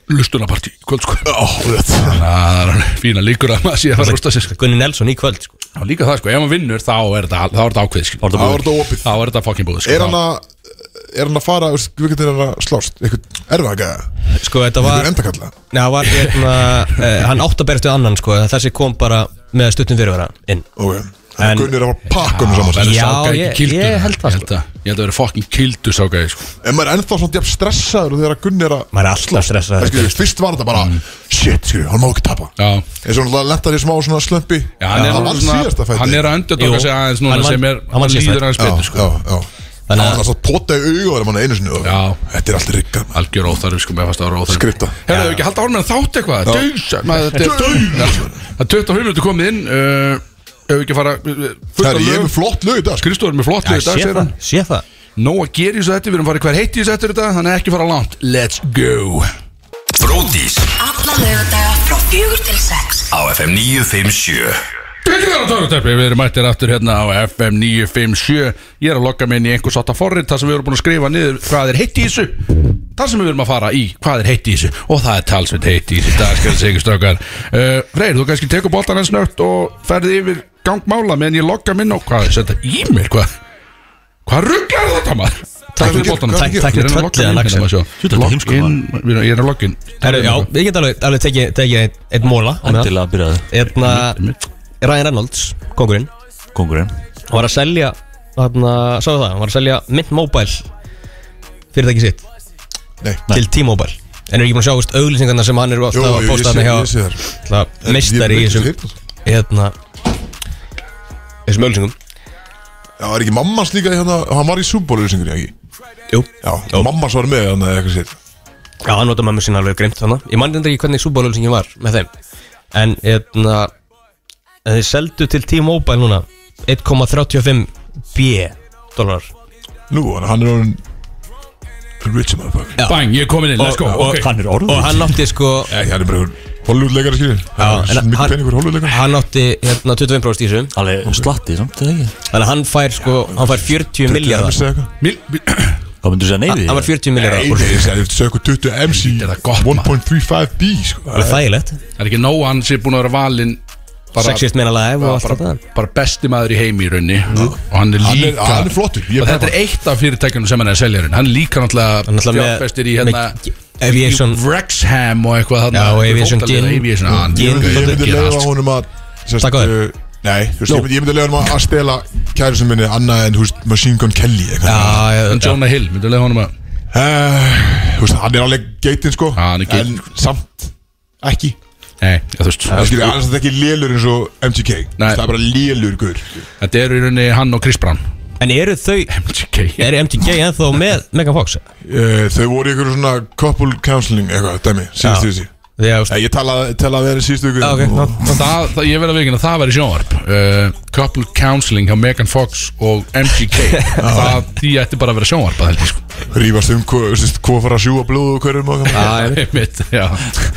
C: lustunapartí í kvöld, sko
A: Ó, þetta
C: Ah, það er alveg fína líkur að maður sé að fara að rústa sér, sko.
D: Gunni Nelson í kvöld sko.
C: Já, líka það sko, ef maður vinnur þá er þetta, þá er þetta ákveð skil.
A: Það var þetta opið
C: Þá er þetta fucking búið sko.
A: Er hann að Er hann að fara, veist, við getum hann að slást Eitthvað erfaka
D: Sko þetta
A: Eitthvað
D: var
A: endakalla
D: Nei, það var hérna uh, Hann átt að berjast við annan sko Þessi kom bara með stuttum fyrirvara inn
A: Ok Hann
D: En-
A: Gunnir að fara pakkunum saman
C: verður
D: Já,
C: ságæði
D: ég-
C: kildur,
D: ég held það, sko.
C: Ég held að, ég held að verður fucking kildur ságæði sko.
A: En maður er ennþá svona jafn stressaður Þegar að Gunnir að
D: Maður er alltaf stressað
A: Það skilur, fyrst var þetta bara Shit, skilur, hann má ekki tapa
C: Mm. Já,
A: En svo hann lettar í smá svona slömpi
C: já hann, er
A: Það var síðasta
C: svona,
A: fæti
C: hann er að öndjötóka
D: Jú.
C: sig aðeins
D: Hann
C: núna
D: vann-
C: sem er,
D: hann vann síðasta
C: líður aðeins
A: Já,
C: betur sko.
A: já, já Það
D: Þannig
A: var
D: að-
A: alltaf pota í augu var mann einu sinni og-
C: Já.
A: Þetta er alltaf rikkað maður.
C: Algjör óþarfi sko, mér fannst það var óþarfi
A: Skrifta.
C: Herðu, ekki halda hálf með þátt eitthvað Daus maður, þetta er- Já, Það er 25 minútur komið inn uh, Ef við ekki að fara uh,
A: Herri, ég
C: fullt af
A: er
C: lögum
A: með flott lög í dag sko.
C: Kristóður er með flott
D: Já,
C: í dag,
D: sé
C: segir
D: það,
C: hann
D: sé það
C: Nó að gera í þessu þetta, við erum farið hver heitt í þessu þetta Þannig að ekki fara langt Let's go
E: Bródís
F: Alla lögadaga frá fjögur til sex
E: á FM 957
C: Byrjar á törutæpi, við erum mættir aftur hérna á FM 957 Ég er að logga mig inn í einhvers átta forrið þar sem við erum búin að skrifa niður hvað er heitt í þessu þar sem við erum að fara í hvað er heitt í þessu Og það er talsveit heitt í þessu í dag, skal það segja stökkar uh, Freyr, þú kannski tekur boltan hans nögt og ferði yfir gangmála meðan ég logga mig inn á hvað er þetta í mér, hvað Hvað rugglar þetta maður? Takk fyrir boltanum
A: Takk-
D: takk
C: Ég
D: fyrir
C: er að logga
D: tröllið,
C: mig inn hérna,
D: Axel.
C: maður, sjá.
B: Þú, þetta er heimskur,
C: Login, við erum- Ég er að logga inn
D: Herru, já, ég get alveg, alveg tekið teki einn ein móla á meðan.
B: Endilega að byrja það
D: Hérna, Ryan Reynolds, kongurinn
B: Kongurinn
D: hann var að selja þarna, sagði það, hann var að selja Mint Mobile fyrirtæki sitt
A: Nei,
D: til T-Mobile en er ekki búin að sjá veist, auglýsingarna sem hann er
A: jú,
D: alltaf að
A: ég sé-
D: posta þarna
A: ég sé
D: hjá
A: þar
D: alltaf meistari í þessum
A: Já,
D: hérna þessum auglýsingum
A: er ekki mammas líka í hérna Hann var í súbólausingur, ekki?
D: Jú.
A: Já, mammas var með hann eða eitthvað sér
D: já, hann nota mamma sín alveg grimt þannig ég mann þetta ekki hvernig súbálauglýsingin var með þeim en hérna þeir seldu til T-Mobile núna 1,35 B dólar
A: Nú, hann- hann er hann Rich motherfucker
C: Bang, ég er komin inn, let's go
B: Og-
C: ok.
B: Og hann er orðið
D: og hann átti
A: <laughs>
D: sko
A: Ekki, hann er bara Hollywood-leikari, skilur
D: en
A: Hann er
D: hann-
A: mikið peningur Hollywood-leikari
D: hann átti hérna 25% í þessu
B: Alveg slatti samt eða ekki
D: Þannig að hann fær sko, hann fær 40 miljardar
A: Nei,
C: Mil- mil-
B: Hvað myndur þú segja neyði?
D: Hann fær 40 miljardar
A: nei, ég segi, þetta sögur 20 MC
C: Þetta er það gott, maður.
A: 1.35B, sko
D: Það er þægilegt
C: Það er ekki nóg að hann sé búin að vera valinn bara,
D: Sexist meina live og allt
C: bara,
D: þetta
C: bara besti maður í heimi í raunni og hann er
A: Hann er-
C: líka
A: hann er flottur, ég
C: og
A: bara-
C: þetta er eitt af fyrirtækjunum sem hann er að selja í raun hann er líka
D: Hann er
C: náttúrulega
D: náttúrulega með-
C: fjárfestir í hérna
D: með- Aviation-
C: í Wrexham og eitthvað þarna
D: Já, og Aviation
C: fótboltaliða,
D: Gin.
C: Aviation, Ah, hann
D: Gin.
A: Ég myndi, ég myndi
C: gerir
A: leiða
C: allt.
A: honum að sest,
D: Taka þér.
A: uh, Nei, þú veist, ég myndi, ég myndi leiða honum að- að stela kæri sem minni annað en, þú veist, Machine Gun Kelly eitthvað.
D: Ah, Já, já,
C: En Jonah Hill, myndu leiða honum að
A: Eh, Þú veist, hann er alveg geitin, sko
C: Já, hann er geit.
A: En samt ekki
C: Nei, já, þú veist
A: Það skilur, hann er samt ekki lélur eins og MGK Þú
C: Nei.
A: veist, Það er bara lélur, guður
C: Þetta eru í rauninni hann og Chris Brown <laughs>
D: En eru þau,
C: MGK
D: eru MTG ennþá með Megan Fox?
A: uh, Þau voru í einhverju svona couple counseling eitthvað, dæmi, síðustu þessi Eh,
D: Já, þú veist-
A: Ég talaði tala við henni síðustu ykkur
C: Ah,
D: Já, ok, ná.
C: Það, það, ég verð að veikina, það væri sjónvarp uh, Couple Counseling hjá Megan Fox og
A: <laughs>
C: MGK það, Því ætti bara að vera sjónvarp að helgi sko <laughs>
A: Rífast um hvað, þú veist, hvað fara að sjúga blóð og hverjum og eitthvað.
C: Einmitt, já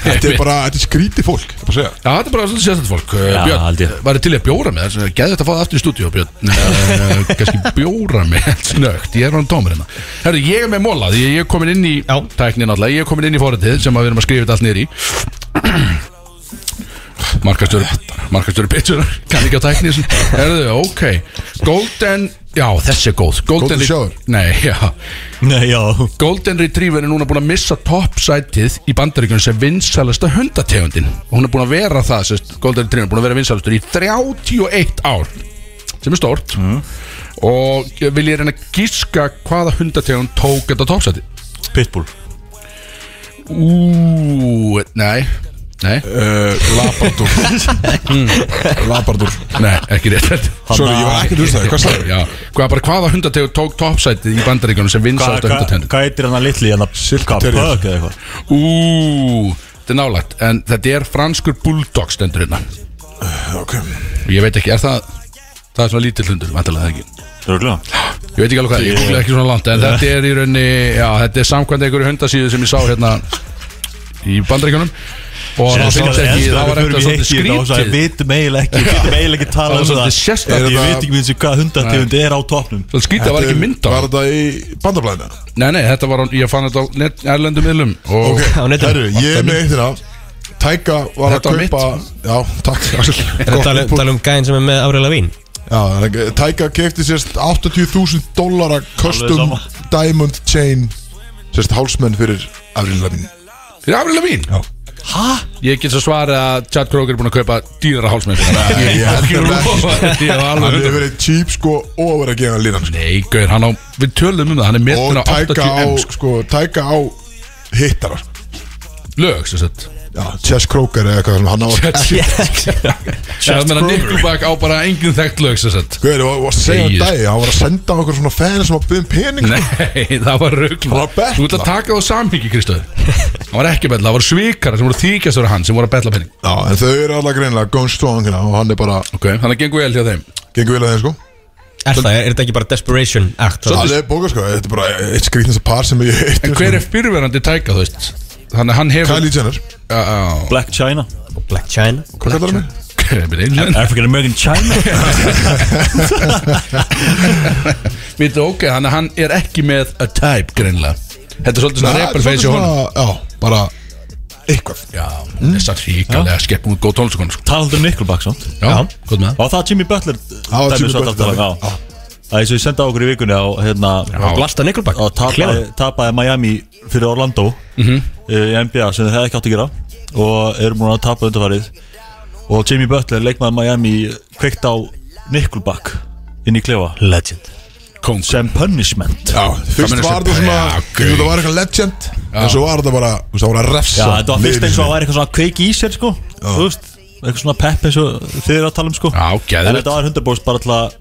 A: Þetta er bara, þetta er skrítið fólk, ég bara segja
C: Já, þetta er bara svolítið sérstætt fólk Uh,
B: Já, held
C: Björn,
B: ég.
C: var til í að bjóra með þess Geðu þetta að fá það aftur í stúdíu, Björn Uh,
B: <laughs>
C: Kannski bjóra með Snögt, ég er hann tómur hérna Herru, ég er með móla Því ég er komin inn í
D: Já.
C: <clears throat> tæknin alltaf Ég er komin inn í fóritið sem að við erum að skrifa þetta allt niður í markastjóri markastjóri pitchunar, kann ekki á tækni erðu, ok, Golden já, þessi er góð,
A: Golden
C: Re-
A: Shower.
C: nei, já,
B: Nei, já
C: Golden Retriever er núna búin að missa toppsætið í bandaríkjunum sem vinsælasta hundategundin og hún er búin að vera það sérst, Golden Retriever er búin að vera vinsælastur í 31 ár sem er stórt
A: Mm.
C: og vil ég reyna að gíska hvaða hundategund tók þetta toppsætið
B: <laughs> Pitbull
C: Ú, nei Nei,
A: uh, Labrador Labrador
C: nei, ekki rétt
A: Sorry, ég var ekki að hlusta það, hvað sagði
C: Já, hvað, bara hvaða hundategund tók toppsætið í bandaríkjunum sem
B: Hvað
C: vinsælasta
B: hva,
C: hundategundin
B: hva heitir hann að litli hérna? hann að Silka
A: Terrier.
B: Pögg eða eitthvað
C: Ú, þetta er nálægt en þetta er franskur bulldog stendur hérna
A: Ok
C: Og Ég veit ekki, er það Það er svona lítill hundur, vantilega það ekki
B: Örgulega
C: Ég veit ekki alveg hvað, ég googlaði ekki svona langt En þetta er í raunni, já, þetta er samkvæmt einhverju hundasíðu sem ég sá hérna Í bandaríkjunum Og það finnst ekki, það var eitthvað svolítið
B: Við
C: skrítið
B: vitum eiginlega ekki Við vitum eiginlega ekki
C: Það
B: tala
C: var
B: um
C: svolítið
B: það
C: sérstakt.
B: Ég
A: Er
B: veit
A: það-
B: ekki minnst hvað hundategundi er á topnum
C: Svolítið skrítið, það var ekki mynd á
A: Var þetta í bandablæðina?
C: Nei, nei, þetta var, á- ég fann þetta á net- erlendum miðlum Og
A: Ok,
D: á netinu.
A: herru, ég er með eitt hérna Tæka var
C: Þetta
A: að
C: var
A: kaupa Já, takk, Axel
D: Er
A: Gott
D: það tala,
A: input.
D: tala um gæðin sem er með Avril Lavín?
A: Já, þannig að Tæka kefti sérst 80.000 dólara custom
B: sama.
A: diamond chain sérst hálsmenn fyrir Avril Lavigne
C: Fyrir afrilega mín
A: Já.
C: Ég get svo svarið að Chad Kroger er búin að kaupa dýrara hálsmenn Ég
A: ég held
C: ég-
A: það
C: ég- ég-
A: Hann
C: alveg-
A: hefur verið cheap sko og verið að gefa hann línan sko.
C: Nei, gaur, hann á, við tölum um það, hann er
A: og
C: metin á
A: Tæka á
C: 80 sko.
A: sko, Tæka á hittarar
C: lög, sem sagt
A: Já, Chess Kroger eða eitthvað sem hann á ekki
C: Það meina Nickelback á bara engin þekkt lög sem sagt <laughs>
A: Guður, og að segja um
C: Segir.
A: dagi, hann var að senda okkur svona fæðina sem að byggja um pening sko.
C: Nei, það var rögl
A: Það var að betla.
C: Þú ert að taka það á samhengi, Kristof Það var ekki að betla, það var svikara sem voru þýkjast fyrir hann sem voru að betla penning
A: Já, en þau eru allar greinlega gone strong hérna og hann er bara,
C: Ok, þannig að gengur vel hjá þeim
A: gengur vel að þeim sko
D: Er það, er, er þetta ekki bara Desperation Act?
A: Það er bóka sko, þetta er bara eitt skrýtnasta par sem ég heitt
C: En hver er fyrirverandi tæka, þú veist? Þannig að hann hefur <laughs>
A: Kylie Jenner,
C: Já, já.
B: Black China
D: Black China
A: hvað kallar hann mig?
C: Hver er minn einu?
B: African American
C: <laughs>
B: China
C: Vittu, ok, þannig að hann er ekki með a type, greinlega Þetta er svolítið svona
A: Nei,
C: rebel
A: svolítið
C: face hjá honum
A: svona- Já, bara eitthvað
C: Já, þessar hríkalega skeppum góð tónlistakonu sko.
B: Talandur um Nickelback samt
C: Já, góð með það
B: Var það Jimmy Butler
A: var
B: dæmi
A: Jimmy
B: sem
A: Butler,
B: þetta var-
A: já.
B: já. Það er svo ég senda okkur í vikunni á hérna
D: Og Glasta Nickelback
B: og tapaði, tapaði Miami fyrir Orlando
C: Mhm.
B: uh, í NBA sem það ekki átt að gera og eru múin að tapa undarfarið og Jimmy Butler, leikmaður Miami kveikt á Nickelback inn í klefa Legend
C: Kóngur.
B: sem punishment
A: Já, fyrst
C: meina
A: var
C: sem-
A: það svona,
C: Já,
A: þú veist, það var eitthvað legend En svo var það bara, þú veist, það var að refsa
B: Já, þetta var fyrst
A: liðinu
B: eins og
A: sínu.
B: það væri eitthvað svona kveik í sér sko Þú veist, eitthvað svona pepp eins og þið eru að tala um sko
C: Já,
B: En
C: geðvegt
B: þetta var hundarbóst bara til að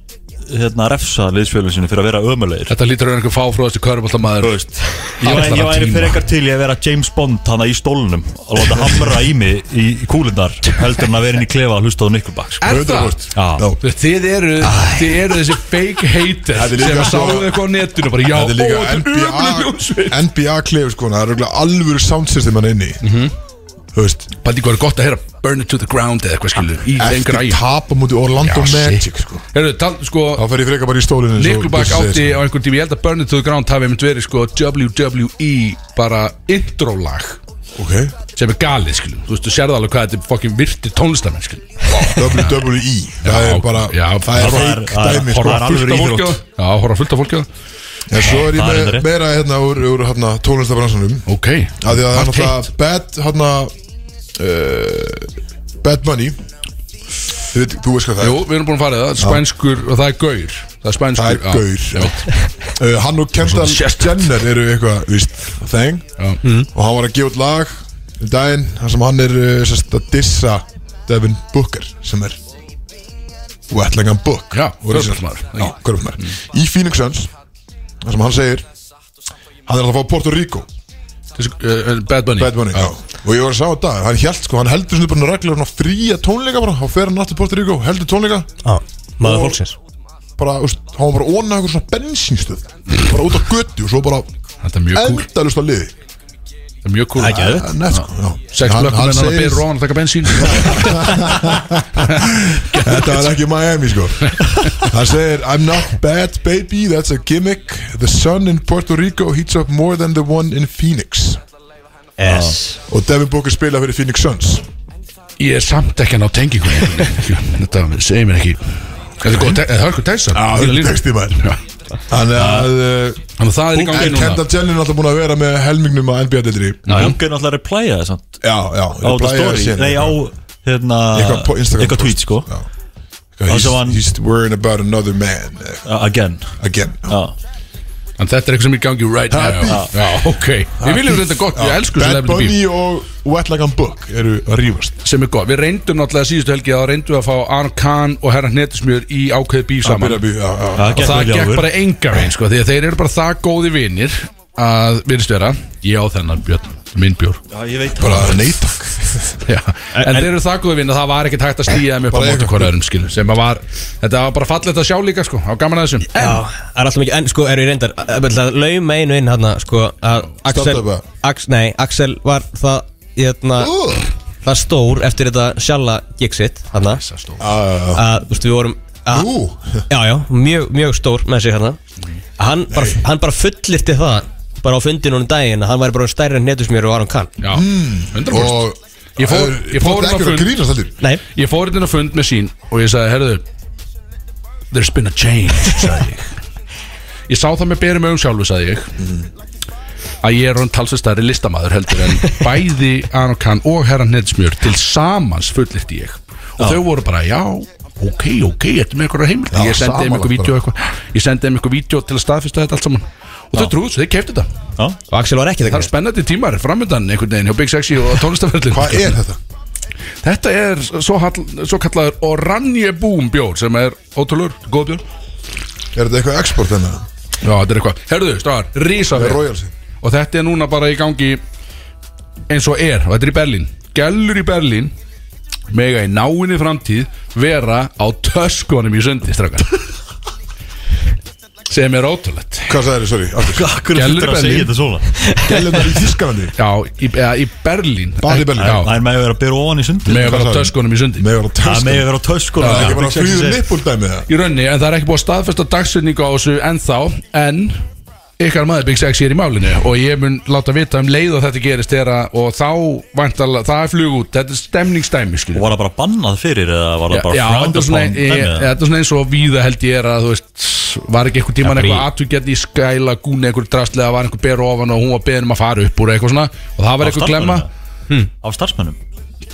B: hérna, refsa liðsfjölum sinni fyrir að vera ömulegir
C: Þetta lítur að vera einhver fáfróðasti
B: Þú
C: körbáltamaður
B: veist, ég, væri- ég
C: Allra
B: væri
C: tíma.
B: fyrir ekkert til ég að vera James Bond hana í stólnum og láta hamra í mig í, í kúlindar heldur hann að vera inn í klefa að hlusta á Nickelback sko.
C: Er það?
A: 100%.
B: Já.
A: Já.
C: Þú veist, Þið eru, þið eru þessi fake haters
A: Þetta er líka
C: sem
A: svo-
C: sáu eitthvað á netinu bara, já,
A: Þetta er líka
C: ó, þetta er ömuleg
A: NBA
C: hljómsveit
A: NBA klefur sko, það er örugglega alvöru soundsystem hann inni
C: Mhm.
A: Þú veist,
C: Paldi, hvað er gott að heyra Burn it to the ground eða eitthvað skilur í þeim
A: eftir
C: græja
A: tapa múti Orlando Magic sko
C: Herru, tal, sko,
A: Þá fer ég freka bara í stólinu eins og
C: Nickelback
A: Bjössi segir,
C: átti
A: sko.
C: á einhvern tíma ég held að Burn it to the ground hafi einmitt verið sko WWE bara intro lag
A: Ok,
C: sem er galið skilur Þú veist, þú sérðu alveg hvað þetta er fokkin virti tónlistamenn skilur
A: WWE E. Það
C: Já,
A: er bara,
C: já,
A: það er
C: það
B: er-
A: fake
B: það er-
A: dæmi
B: horfa
A: sko
B: Það er alveg
C: Fullt af fólki á
B: íþrótt.
C: Já, horfa fullt af fólki á
A: En svo er ég
B: Það er
A: með
B: reyndar.
A: meira hérna úr, úr hérna, tónlistabransanum
C: Ok
A: Af því að það er
C: Margt heitt.
A: náttúrulega bad hérna uh, Bad Bunny Þú veit, þú veist hvað það
C: Jú,
A: er
C: við erum búin að fara í það, spænskur og það er gaur Það er spænskur
A: Það er
C: já.
A: gaur já. uh, Hann og Kendall Jenner eru eitthvað, víst, þeng Mm.
C: Já.
A: Og hann var að gefa út lag um daginn þar sem hann er uh, sérst að dissa Devin Booker sem er Wetlangan Book
C: Já,
A: Og er sérst-
C: körfuboltamaður. Mm.
A: Já, körfuboltamaður. Í Phoenix Suns þar sem hann segir Hann er alltaf að fá Porto Rico
C: Þessi, uh, uh, Bad Bunny
A: Bad Bunny, já. Og ég var að sá þetta, hann held sko, hann heldur svona bara regla svona fría tónleika bara, þá fer hann aftur Porto Rico, heldur tónleika,
D: Já, maður fólksins
A: bara, úst, hann var bara ónað eitthvað svona bensínstöð, bara út á götu og svo bara
C: Þetta er mjög kúl
A: endalust að liði.
C: Þetta er mjög kúl
D: Ekki auðvitað.
A: En, sko, já.
C: Sex
A: Hann-
C: blökkum
A: hann
C: en hann að
A: segir-
C: byrja róan að taka bensín
A: <laughs> Þetta var ekki Miami
C: <laughs>
A: sko Hann segir I'm not bad baby, that's a gimmick The sun in Puerto Rico heats up more than the one in Phoenix
D: Yes
A: Og Devin Booker spila fyrir Phoenix Suns
C: Ég er samt ekki að ná tengingu
A: <laughs>
C: Þetta segir mér ekki Þetta er góð, það er hörku tæsa
A: Já, það er textið maður Þannig að uh,
C: Þannig að það er í gangi
A: En
C: núna
A: Kendall Jenner er alltaf búin að vera með helmingnum að NBA-dildri Já,
B: Hún er náttúrulega að replæja það samt
A: já
B: Á þetta Oh, story Nei, á hérna
A: Eitthvað po- Instagram
B: Eitthvað tweet
A: post.
B: sko
A: Já. Eitthvað,
B: Og svo hann-
A: He's, he's worrying about another man eh,
B: Again
A: Again
B: Já
C: En þetta er eitthvað sem er í gangi right now
A: Happy.
C: Já, ok Við viljum reynda gott, ég elsku
A: Bad
C: celebrity beef
A: Bunny og Wet Like a Book eru að rífast
C: sem er gott Við reyndum náttúrulega síðustu helgi að reyndum við að fá Arn Kahn og herra Hnetusmjör í ákveði bíf
A: Það
C: saman
A: byrja að byrja já, já.
B: Það
C: og
B: gekk
C: það
B: vel hjá
C: gekk
B: okkur.
C: bara enga veginn sko, því að þeir eru bara það góði vinir að virðist vera ég á þennan björn, minn bjór <laughs>
B: Já, ég veit
A: Bara neytak
C: Já, en,
B: En-
C: þeir eru það góði vinir að það var ekkert hægt að stíða þeim upp á
A: Bara
C: móti
A: eitthvað.
C: hverjarum skilu sem að var, þetta var bara fallegt að sjá líka sko, á gaman að þessum
D: Já, það er alltaf mikið, en sko eru ég reyndar að- að lauma einu inn hérna, sko að Axel,
A: Stoppa það.
D: Ax, nei, Axel var það, hérna, það stór eftir þetta sjalla gigsitt, hérna
B: Ah.
A: Já,
D: að, þú veist, við vorum að,
A: Nú?
D: Já, já, mjög, mjög stór með sig hérna Að hann, bara, hann bara fullirti það bara á fundinu um daginn að hann væri bara stærri en netusmjör og Aron Kahn
C: Já,
A: já.
C: 100%
A: Og
C: Ég fór- ég
A: Það er
C: fór inn á
A: ekki að
C: fund.
A: grínast allir
D: Nei,
C: Ég fór hérna inn á fund með sín og ég sagði, herðu There's been a change, sagði ég Ég sá það með berum augum sjálfu, sagði ég að ég er hann talsvistari listamaður heldur en bæði Aron Kahn og Herran Nedsmjör til samans fullirt ég og þau voru bara, já, ok, ok þetta er með einhverja heimild
A: Já,
C: ég sendi þeim
A: samanlagt
C: eitthvað vídeo eitthvað ég sendi þeim eitthvað vídeo til að staðfesta þetta allt saman og þau trúðu svo, þau kefti þetta
B: Já
D: og Axel var ekki það
C: það er
D: gert
C: spennandi tímar framöndan einhvern veginn hjá Big Sexy og tónlistaferðlin
A: Hvað er þetta?
C: Þetta er svo, hall, svo kallaður Oranje Boom bjór sem er ótrúlur, góð bjór
A: Er þetta eitthvað export hérna? þennan?
C: Já, þetta er eitthvað, herðu, stafar, rísa
A: Það er royalsinn
C: Og þetta er núna bara í gangi eins og er, og þetta er í Berlín Gellur í Berlín mega í náinni framtíð vera á töskunum í
A: <laughs>
C: sundi, strákar sem er ótrúlegt
A: Hvað sagði þér, sorry? aftur.
B: Akkur
C: Gellur
B: þetta að segja
C: Berlín.
B: þetta svona
A: Gælunar í Þískalandi
C: Já, í, eða, í Berlín
A: Bara í Berlín.
B: Það
C: Já,
B: er með að vera að byrja ofan í sundi
C: mega
A: Hvað
C: vera á
A: sagði?
C: töskunum í sundi
A: Megar á
B: Það
A: töskan
B: með að vera á töskun
A: Það er ekki bara fríður nippundæmi það
C: í raunni en það er ekki búið að staðfesta dagsetningu á þessu ennþá en ykkar maður Big Sexy er í málinu og ég mun láta vita um leið og þetta gerist þeirra og þá vantalega, það er flug út þetta er stemningsdæmi
B: Og
C: skilur
B: var það bara bannað fyrir eða var það
C: Já, já,
B: bara
C: þetta er svona
B: frowned upon
C: e- e-
B: dæmi, eða?
C: þetta er svona eins og víða held ég er að þú veist, var ekki einhver tíman
B: Já,
C: eitthvað
B: bara í-
C: aðtugjandi í skæla gún einhver drastlega, var einhver beru ofan og hún var beðin um að fara upp úr eitthvað svona og það var
B: Af
C: einhver Hmm. glemma
B: starfsmönnum, eða? Af starfsmönnum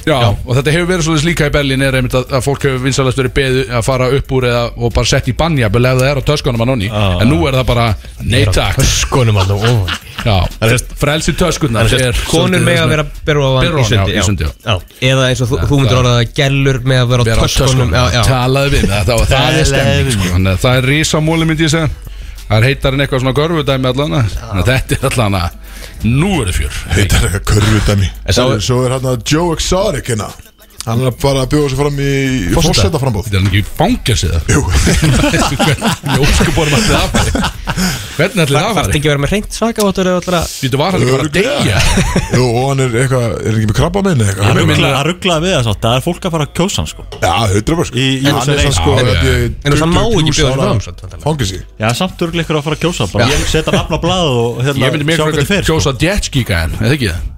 C: Já, og þetta hefur verið svolítið líka í Berlín er einmitt að, að fólk hefur vinsalast verið beðið að fara upp úr eða, og bara sett í bannjabel ef það er á töskunum að nonni
B: Já,
C: en nú er það bara neytak
D: Skonum hann og ofan
C: Já, frelsi töskunar
D: Þannig að konur með að vera berra
C: Beru
D: ofan í
C: ofan, já,
D: sundi,
C: í sundi, já.
D: Eða eins og þú, þú myndir
C: það-
D: orða að gellur með að vera á töskunum Já, já,
C: talaði við með þetta og það er stemning sko. Þannig að það er risamóli myndi ég segja það er heitar en eitthvað svona görfudæmi allan að- þannig að þetta er allan að nú er það fjör
A: Þetta er eitthvað körfudæmi
D: sá-
A: Svo er hérna Joe Exotic hérna Hann er bara að bjóða sig fram í Fossetta frambóð
C: Þetta er hann ekki fangelsið það <laughs>
A: Jú,
C: Hvernig óskuborum allir það fari? Hvernig allir það
D: það þarf
C: fari?
D: ekki að vera með hreint svakavottur eða allra
C: Þetta var hann ekki bara að deyja
A: Jú, og hann er eitthvað, er ekki með krabba minni
B: Það
A: eitthvað
B: rugglaði- það rugglaði við það Það er fólk að fara að kjósa hann sko
A: Já, hundra bara
B: Í- í-
A: Hann er
B: í-
A: sann sko
C: Já, já.
D: En það má ekki bjóða fram,
A: fram Fangis ég
B: Já, samt örgli ykkur að fara að kjósa bara Setja nafn á blað og hérna
C: Ég myndi mér
B: sjá
C: fyrir
B: hvernig
C: að
B: fer, sko.
C: kjósa jetskíka en eða ekki það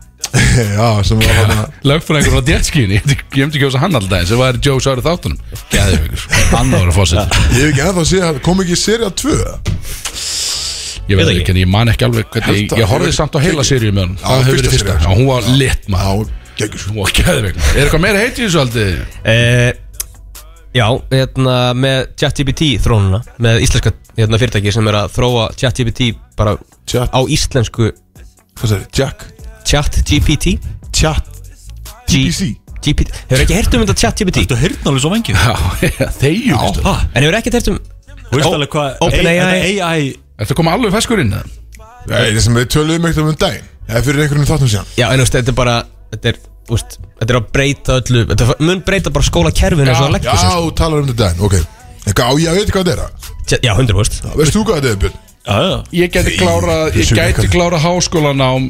A: <laughs> Já, sem var hann
C: lögfræðingur á djertskíðinni ég myndi kjósa hann alltaf eins það var Joe Sári þáttunum Geðveikur, sko. hann var að fósið
A: Ég hef ekki ennþá að segja, kom ekki í seria 2
C: ég veit ekki, en ég man ekki alveg hvernig ég, ég horfið samt á heila seríu með hann það hefur verið fyrsta, já, hún var lit
A: Já,
C: maður
A: geggjur
C: hún var geðveikur, er eitthvað meira heitið þessu aldrei
D: Eh, Já, hérna með ChatGPT þrónuna með íslenska hérna, fyrirtæki sem er að þróa ChatGPT bara
A: Chat-
D: á íslensku
A: Hvað sagði, Jack?
D: ChatGPT
A: Chat
D: G-
A: TPC
D: GPT Hefur ekki hert um þetta ChatGPT
B: Þetta er hirtnáli svo vengi
C: <laughs> þegju, veistu.
D: En hefur ekki hert um
B: Þú veist alveg hvað
D: Open
B: AI
D: AI.
B: Þetta AI
C: ertu að koma alveg feskur inn eða?
A: Nei, það sem við töluðum ekkert um um daginn Eða fyrir einhvern þáttum síðan
D: Já, en þú veist, þetta er bara þetta er, úst, þetta er að breyta öllu Þetta mun breyta bara skólakerfinu eins og það
A: Já,
D: leggur sig,
A: þú talar um þetta daginn, ok Eitthvað, á, ég veit hvað þetta er
D: sko. Já, 100%
A: Veist þú hvað þetta er, Björn?
B: Já, já
C: ég gæti
A: Þegið,
C: klára ég
A: þessu
C: gæti
A: leikari.
C: klára háskólanám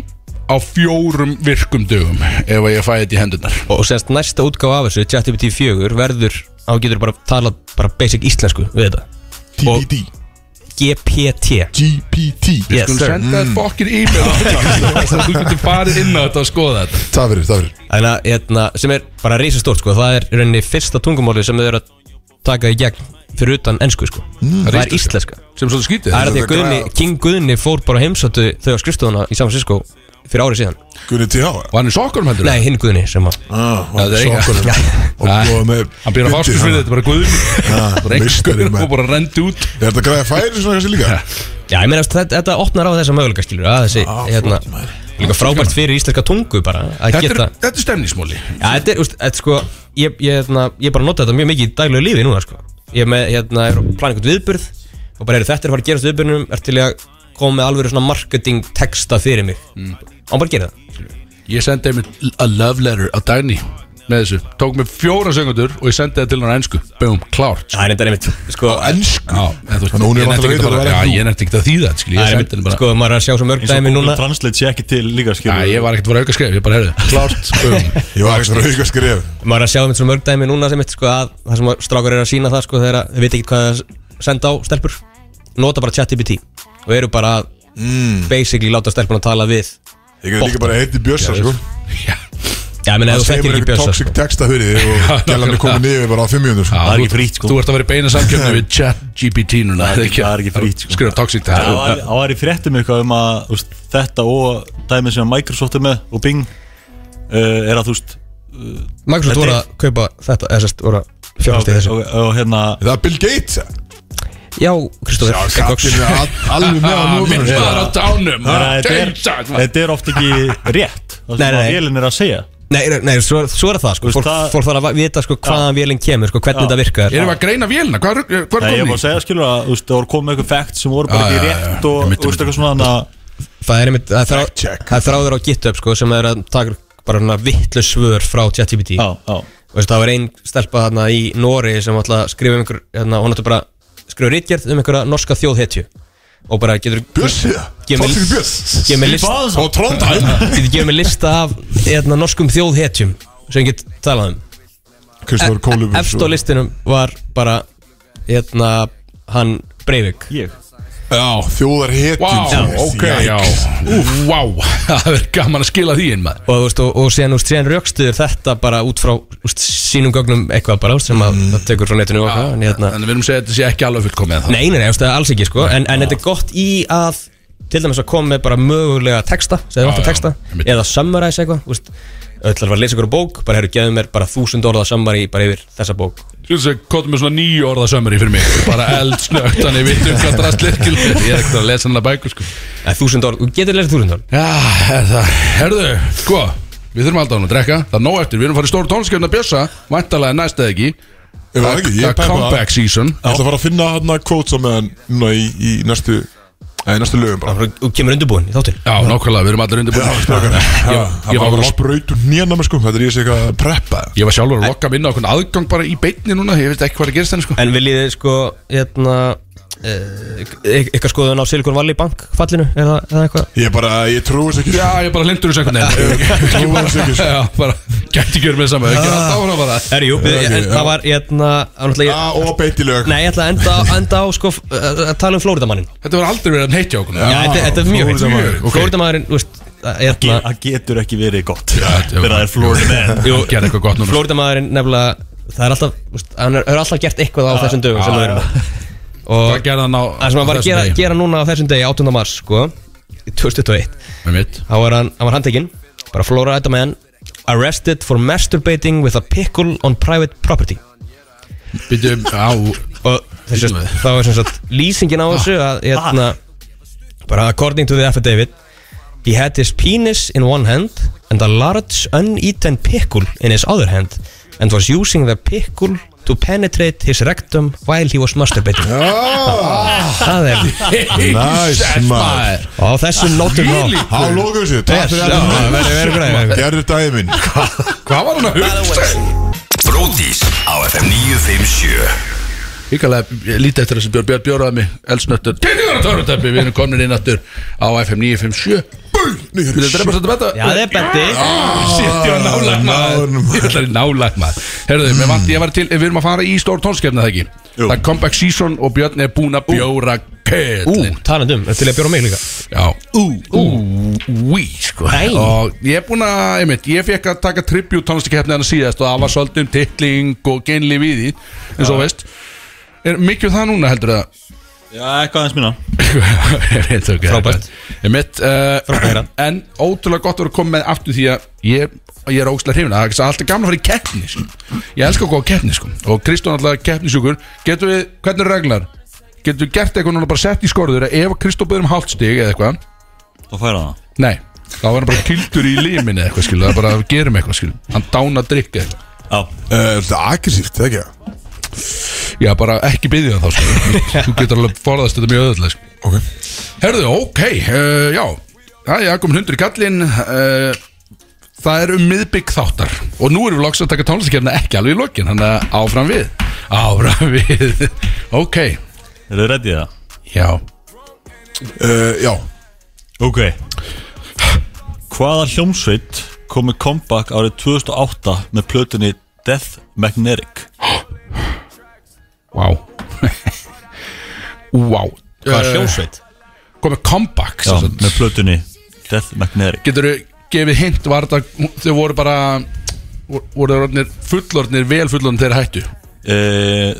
C: á fjórum virkum dögum ef að ég fæði þetta í hendunar
D: Og, og sérst næsta útgáfa af þessu, ChatGPT 4 verður, þá getur bara talað bara basic íslensku við þetta
A: TPD
D: GPT
A: GPT
D: Yes.
C: Skulum
D: sir.
C: senda þér fokkin e-mail á þetta, svo Þú getur farið inn á þetta og skoða þetta
A: Það fyrir, það fyrir
D: Þannig að, hérna, sem er bara risastórt sko, það er í rauninni fyrsta tungumáli sem þau eru að taka í gegn fyrir utan ennsku sko. það er íslenska
C: Sem svolítið skýtið
D: Það er að því
A: þetta
D: að
A: er
D: Guðni,
A: græða.
D: King Guðni fór bara heimsóttu þau á skrifstofuna í San Francisco fyrir árið síðan
A: Gunni T.H.
C: Og hann er sokkurum heldur
D: Nei, hinn Guðni sem að
A: Ah,
C: það er
A: og
C: eiga.
A: sokkunum.
C: <laughs>
A: Og
C: Nei,
A: búið með
C: Hann býr að
A: bindi
C: fástu fyrir
A: hana.
C: þetta, Ah, bara <laughs> Guðni Bara
A: meistari,
C: einhverjum
A: maður.
C: og bara rendi út
A: Er þetta græða færi svona kannski líka?
D: Já, ég meina þetta, þetta opnar á þessa möguleika skilur að þessi, hérna, líka frábært fyrir íslenska tungu bara að
C: Þetta er,
D: geta
C: þetta er stemnismóli
D: Já, þetta er, úst, þetta sko ég, ég, hérna, ég bara nota þetta mjög mikið í daglegu lífi núna sko. Ég er með, hérna, er að plana einhvern viðburð og bara eru þetta er að fara að gerast í viðburðinum er til í að koma með alveg svona marketing texta fyrir mig og hann bara gerir það
C: Ég sendi einmitt a love letter á Dagný Með þessu, tók mér fjóra segundur Og ég sendi það til hann á ensku Bum, klárt
D: Það er neitt einmitt sko,
A: Ensku?
C: Já, en þú veist,
A: Þannig að hún er
C: ég nefndi
A: vantala
C: ekki
A: veit
C: að
A: að það
C: fara- Já,
A: er þú.
C: ég nefndi ekki að þýða þetta, skil,
D: Það
C: ég
D: er
C: sendi
D: einmitt,
C: henni bara
D: sko, maður er að sjá svo mörg
B: eins og
D: dæmi
B: Google
D: núna
B: Translate sé ekki til líka
C: Já,
B: skilur
C: ég var ekkert að fara auka skref, ég bara heyrði Klárt, bum
A: <laughs> Ég var ekki svona auka skref
D: maður er að sjá einmitt svo mörg dæmi núna sem eitt, sko, að það sem að strákar eru að sína það sko, þegar að þau veit ekki hvað að senda á stelpur nota bara ChatGPT og eru bara að basically láta stelpuna tala við
A: Ég geti líka bara heiti Björsa sko
D: Já, ég meina, ef
A: Það
D: þú
A: segir
D: þekkir
A: mér
D: ekki sko.
A: eitthvað
D: bjösa
A: toxic texta fyrir þig og gælan er komin niður bara á 500 sko
B: Það er
C: þú-
B: ekki frítt, sko.
C: Þú ert að vera í beina samkjöfni við chat GPT núna
B: Það er ekki- það er ekki frítt, sko.
C: Skrifa toxic
B: Það
C: tag
B: var- það var í fréttum eitthvað um að þú veist, þetta og dæmið sem Microsoft er með og Bing uh, er að þú veist
D: Microsoft voru að kaupa þetta eða sérst voru að fjárhast í
B: og,
D: þessu
B: og, og hérna
A: Það er Bill Gates
D: Já, Kristóður
A: Kattin er al- alveg
C: <laughs>
A: með á sko.
C: Minn
A: núna
C: maður á dánum
B: þannig að þetta er-
C: James, maður.
B: þetta er oft ekki rétt það
D: Nei,
B: sem að
D: nei.
B: vélinn er að segja
D: <laughs> Nei, nei, nei svo, svo er það
B: Þú
D: sko
B: veist,
D: Fólk
B: það-
D: fólk þarf að vita sko hvaðan vélinn kemur sko hvernig
B: Já.
D: þetta virkar
C: Erum við að greina vélina? Hvað er hvað
B: Nei,
C: er
B: ég var
C: komin
B: að
C: í?
B: segja skilur að þú veist, það voru komið eitthvað facts sem voru bara
C: Já,
B: ekki
C: já, já,
B: rétt
C: já.
B: og
C: Ég
B: þú
C: mitt,
B: veist
C: mitt,
B: eitthvað svona þannig að
D: Það er einmitt, það er þrá-
A: check.
D: það er þráður á GitHub sko sem er að taka bara svona vittlu svör frá ChatGPT
B: já, já,
D: Þú veist, það var ein stelpa þarna í Nóri sem ætla að skrifa um einhver hérna, hún ætla bara að skrifa rítgerð um einhverja norska þjóðhetju og bara getur
A: Björsi
D: Ég vil-
A: Toxic Björs
D: getur með list
A: Og Trondheim
D: getur gefið mér lista af hérna, norskum þjóðhetjum sem ég get talað um
A: Kristofur Kólum
D: Efst á listinum var bara hérna hann Breivik
B: ég
A: Já sko. Þjóðar hetjum
C: Vá, ok, já Úf, vá, <laughs> það verður gaman að skila því inn maður
D: og, þú veist, og, og síðan, þú veist, síðan rökstuður þetta bara út frá úst, sínum gögnum eitthvað bara þú veist, sem að það tekur frá netinu og eitthvað en hérna,
C: En við erum að segja að þetta sé ekki alveg fullkomið
D: Nei, nei, nei, þú veist, það er alls ekki sko en, en þetta er gott í að til dæmis að koma með bara mögulega texta sem þið
C: Já,
D: vantar
C: já,
D: texta
C: einmitt.
D: eða summarize eitthvað þú veist, ætlar að lesa ykkur bók bara hefur gefið mér bara þúsund orða summary bara yfir þessa bók
C: Skilur þess að kóta með svona nýju orða sömri fyrir mig Bara eldsnögt, þannig við vitum hvað drastlir Ég er ekkert að lesa hana bækur sko
D: eða þúsund orð, þú getur lesið þúsund orð
C: Já, er það Herðu, sko, við þurfum alltaf að drekka Það er nóg eftir, við erum að fara í stóru tónskefna Bjössa Væntalega næst eða ekki
A: Ég var ekki
C: Það
A: Ég
C: er
A: pæpa
C: comeback season
A: Ég ætla að fara að finna hann að kvótsa með hann Núna í, í næstu Nei, í næstu lögum bara
D: Bara, þú kemur undirbúin í þáttin
C: Já, nákvæmlega, við erum
A: Já,
C: allir undirbúin
A: strákar Já,
C: ég
A: Það
C: var
A: var að
C: lok-
A: sprautu nýjana með sko Þetta er ég sé eitthvað að preppa
C: Ég var sjálfur að lokka minna okkur aðgang bara í beinni núna Ég veit ekki hvað er að gerast henni sko
D: En viljið þið sko hérna, eh, y- ykkar skoðun á Silicon Valley Bank fallinu eða, eða eitthvað
A: Ég bara, ég trúi þess ekki sko.
C: Já, ég bara lindur þessu einhvern veginn
A: Ég trúi þess ekki sko.
C: Já, bara, gæti ekki verið með saman Ekki alltaf ára bara
D: Erjú,
A: ok,
D: okay,
A: já.
D: eh, það var hérna, náttúrulega
A: Já,
D: ég-
A: Ah, og beint í lög
D: Nei, ég ætla að enda, enda á sko, f- að að tala um Flóridamannin
C: Þetta var aldrei verið að heitja okkur
D: Já, þetta, þetta er mjög
A: Flórídamaðurinn,
D: heitt
A: ok.
D: Flóridamannin, þú veist, hérna
B: það getur ekki verið gott
C: þetta
B: þegar það er Florida man
C: Jú, gerði eitthvað gott núna
D: Flóridamannin nefnilega, það er alltaf, þú veist, hann er- hefur alltaf gert eitthvað á þessum dögum sem
C: já,
D: það
C: já.
D: eru
C: Hvað
D: Og
C: gerði hann á
D: það sem hann var að
C: þessum
D: gera,
C: degi?
D: gera núna á þessum degi, 18. mars, sko, 2021
C: Einmitt.
D: þá var hann, hann var handtekinn bara Flora Edaman arrested for masturbating with a pickle on private property
C: Býtu, á
D: og þessi,
C: Bílum við.
D: þá er sem sagt lýsingin
C: Ah.
D: á þessu að hérna, bara according to the affidavit he had his penis in one hand and a large uneaten pickle in his other hand and was using the pickle to penetrate his rectum while he was masturbating
C: Ah.
A: Ah,
D: það er
A: Nice, maður.
C: maður
D: og á þessum nótum þá
A: Há, lókum þessu Takk fyrir
D: Já,
A: þetta
D: verður- verður græðið.
A: Gerður daginn minn
C: Hvað var hann að hugsa?
E: Bróðís á FM 957
C: Íkvæðlega lítið eftir þessi Björn Björn bjóraði mig Elsnöttur Tilgjörn törnutæpi Við erum komin inn aftur á FM 957 Búl Við erum drefast þetta betta
D: já það er betti
C: Ah. Sitt, ég var Mm. nálægt maður Ég ætla að nálægt maður Herðu, mér vant ég var til Við erum að fara í stór tónskefna það ekki
B: Jú.
C: Það er comeback season og Björn er búinn að bjóra
D: Ú,
C: kettlin
D: talandum, er til að bjóra mig líka
C: Já, ú, ú, úi, sko
D: Æ.
C: Og ég er búinn að, einmitt, ég fekk að taka tribut tónlistakefni hann síðast og það var svolítið um titling og genlíf í því eins og veist Er mikið um það núna heldur það? <laughs>
B: Já, eitthvað aðeins minna
C: Ég veit það ekki.
D: Frábært.
C: Einmitt, uh,
D: Frábæra.
C: En ótrúlega gott að vera að koma með aftur því að ég, ég er ógstlega hrifin Það er alltaf gamla að fara í keppni sko. Ég elska að góða keppni sko. Og Kristón alltaf keppnisjúkur Getum við, hvernig eru reglar? Getum við gert eitthvað núna bara sett í skorður að Ef Kristó byrðum hálfstig eða eitthvað
B: Þá færa það
C: Nei, þá var hann bara kildur í liminni eða eitthvað skilu Það er bara að gerum eitthvað skilu Hann dána að drikka eitthvað
B: Já,
A: er Eh, þetta aggressíft, eða ekki?
C: Já, bara ekki byggðið hann þá skilu Þú getur alveg forðast þetta mjög öðvöldlega skilu
A: Ok
C: Herðu, ok, uh, já Það er komin hundur í kallinn uh, Það er um miðbygg þáttar Og nú erum við loks að taka tónlistakefna ekki alveg í lokin Þannig að áfram við Áfram <laughs> við Ok,
B: eru þið reddið það?
C: já
A: uh, Já,
B: Ok Hvaða hljómsveit kom með comeback árið 2008 með plötunni Death Magnetic?
C: Vá <laughs> Vá Eh,
D: Hvað er hljómsveit?
C: Komið comeback
B: Já,
C: sem sagt.
B: með plötunni Death Magnetic
C: Getur þú gefið hint var þetta, Þau voru bara voru- voru orðnir fullorðnir, vel fullorðnir þegar þeir hættu
B: e,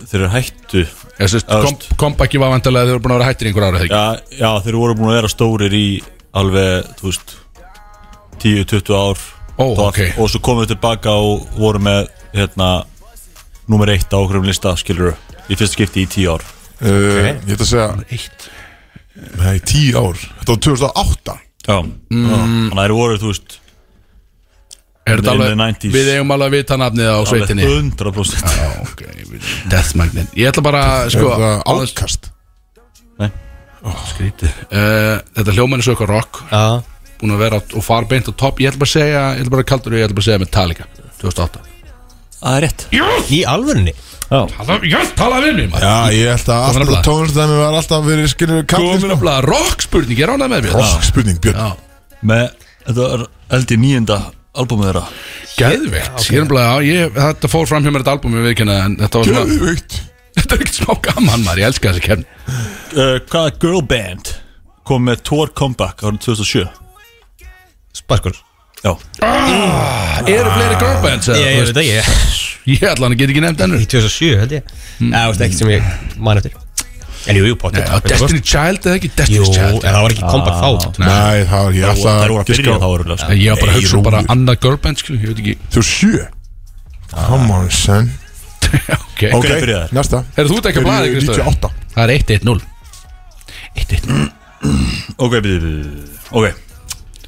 B: Þeir eru hættu
C: Ég sést,
B: Já,
C: kom, kompakki var vantarlega þeir voru búin að vera hættir í einhver ára þegar
B: já, já, þeir voru búin að vera stórir í alveg, þú veist 10-20 ár
C: Ó,
B: Þá-
C: ok.
B: Og svo komum við tilbaka og voru með hérna, Númer eitt á okkur um lista Skilur í fyrsta skipti í 10 ár
A: uh, ég ætla að segja
C: Eitt
A: Nei, tíu ár, þetta var 2008
B: Já, mm. þannig að þeir voru, þú veist
C: Er þetta
B: In the
C: alveg,
B: 90s.
C: við eigum alveg að vita nafnið á
B: alveg
C: sveitinni
B: 100%
C: Já, ok, við- Death Magnet Ég ætla bara, sko
A: Er það
C: aðeins-
A: ákast?
C: Eh, Þetta hljómenni svo eitthvað rock
D: Já,
C: Búin að vera á- og fara beint á topp Ég ætla bara að segja, ég ætla bara að kaldur Ég ætla bara að segja Metallica 2008
B: Það er rétt
D: í alvörunni
C: Tala- Ég talaði við mér
A: Já, ég held að
C: Komin að
A: alltaf
C: blað.
A: tónlistæmi var alltaf verið skilur
C: Komin
A: kallið
C: að blaða rock spurning, ég ránaði með mér
A: Rokk spurning, Björn
C: Já.
B: með, þetta er held í nýjenda albúmið þeirra
C: Geðveikt Ég er umlega, já, ég, þetta fór fram hjá mér þetta albumi viðkynna En þetta var svona,
A: Geðveikt
C: <laughs> þetta er ekkert smá gaman maður Ég elska þessi kemni
B: uh, hvaða girl band kom með tour comeback árið 2007
D: Sparkur
B: já,
C: Eru fleiri girlbands? eða, þú
D: Ég, ég
C: veist?
D: veit ekki,
C: Ég ætla hann að geta ekki nefnt ennur
D: í 2007 held ég Já, þú veist ekki sem ég man eftir En jú, jú, potið
C: Já, Destiny Child eða ekki
D: Jú,
C: Destiny's
D: en
C: Child
D: það var ekki comeback þá
A: Nei, það var ég alltaf
B: það voru að byrja þá sko. Eh, eru
C: En Ég var bara að
A: Nei,
C: hugsa um
A: Rúlu.
C: bara annað girlband skilur, Ég veit ekki <laughs>
A: Þú sjö Come on, son
C: Ok
B: Ok, byrjaðir.
A: næsta
C: Herra, þú ert ekki að blaði, Kristofur.
A: 98
C: Það er 1-1-0 1-1-0
B: Eh, ok, byrju, byrju, ok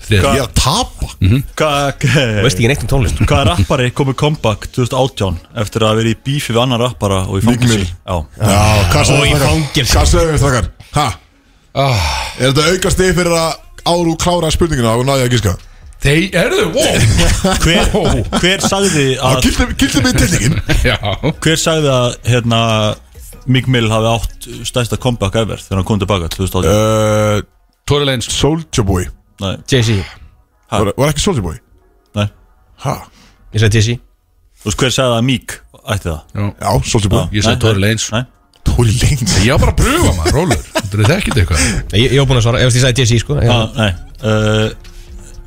C: Þriðja.
A: Ég er að tapa
D: Þú veist
B: hvaða
D: ekki neitt um tónlist
B: hvaða rappari kom með comeback 2018 eftir að hafa verið í bífi við annan rappara og í
A: Nick
B: fangelsi
A: Mill.
B: já,
A: Já, hvað
D: Og í
A: sagði
D: fangelsi.
A: Hvað sagði við þakkar? Ha?
C: Ah.
A: Er þetta auka stið fyrir að áru klára spurningina og náði að gíska?
C: Þeir eru þau, <laughs> wow
B: <laughs> hver, hver sagði
A: Það
B: að
A: gildi- gildi mig tilningin
C: <laughs> Já
B: hver sagði að hérna Mick Mill hafi átt stærsta comeback ever þegar hann kom tilbaka 2018
A: Uh,
C: Tori Lanes
A: Soulja Boy
B: nei,
D: Jay-Z,
A: Var var ekki Soulja Boy?
B: nei
A: Ha?
D: ég sagði Jay-Z
B: þú veist hver sagði að Meek ætti það
A: Já, Soulja Boy
C: Ég sagði
B: Nei,
C: Tory
B: nei,
C: Lanez.
B: nei.
A: Tóri Lengs
C: Ég var bara að pröfa maður, rólur Þetta er þekkit eitthvað
D: Nei, Ég, ég var búinn að svara, ef þú veist, ég sagði Jay-Z sko Já,
B: Ah, nei uh,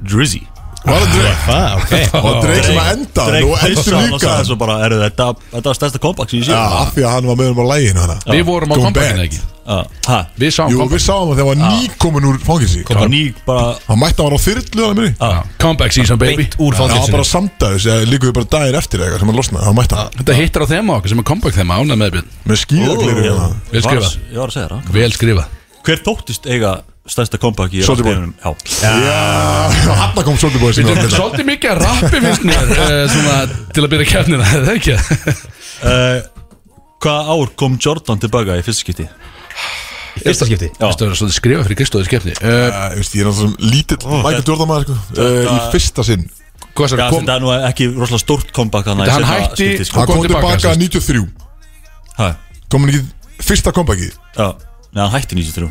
B: Drizzy
A: Var það Drake?
D: ah, ok
A: Og Drake sem að enda Nú endur
B: pissaði á
A: líka
B: og sagði svo bara, "Heyrðu, Þetta þetta var stærsta kompakt sem ég sé
A: Já, af því að hann var með um á læginu hana
C: Við vorum á
A: Go
C: kompakinu
A: back.
C: ekki
B: Ah, ha,
C: Við sáum
A: Jú, við
C: comeback
A: sáum að þegar hann var nýkomin úr fangilsi
B: Það var ný bara
A: Hann mætti að hann á þyrlu að minni
C: Já, Comeback season baby
D: Beint
A: Já,
D: úr fangilsinu
A: bara samdæðis eða líka við bara dagir eftir eða eitthvað sem hann losnaði Hann mætti hann
C: Þetta hittar á þema okkar sem er comeback þema ánað með björn
A: Með skýðakleru
B: Ég
A: og
B: var
A: það
C: Vel
B: að-
C: skrifað.
B: Ég var að segja það
C: Vel skrifa
B: Hver þóttist eiga stærsta kompakt í
A: Soulja Boy.
B: rafdeginum? Já
A: Já, hann kom svolítið búið sem
C: Þetta
A: hann
C: er
A: vilja
C: svolítið mikið að rappi finnst mér eh, Svona til að byrja kefnina Er Það ekki
B: Eh, Hvaða ár kom Jordan tilbaka í fyrsta skipti?
D: Í fyrsta skipti
B: Já.
C: Þetta er svolítið skrifa fyrir Kristóðis kefni Eh,
A: Ég veist, ég er náttúrulega sem lítill Michael Jordan maður sko, eh, í fyrsta sinn
C: Hvað
B: Já,
C: sér kom
B: þetta er nú ekki rosalega stórt kompakt Hann
C: Þetta hann hætti-
B: sko.
A: Hann
C: kom sko.
A: kom
C: tilbaka,
A: tilbaka
C: sérst.
A: 93
B: Hæ,
A: Kom hann ekki fyrsta kompaki
B: já Nei, hann hætti 93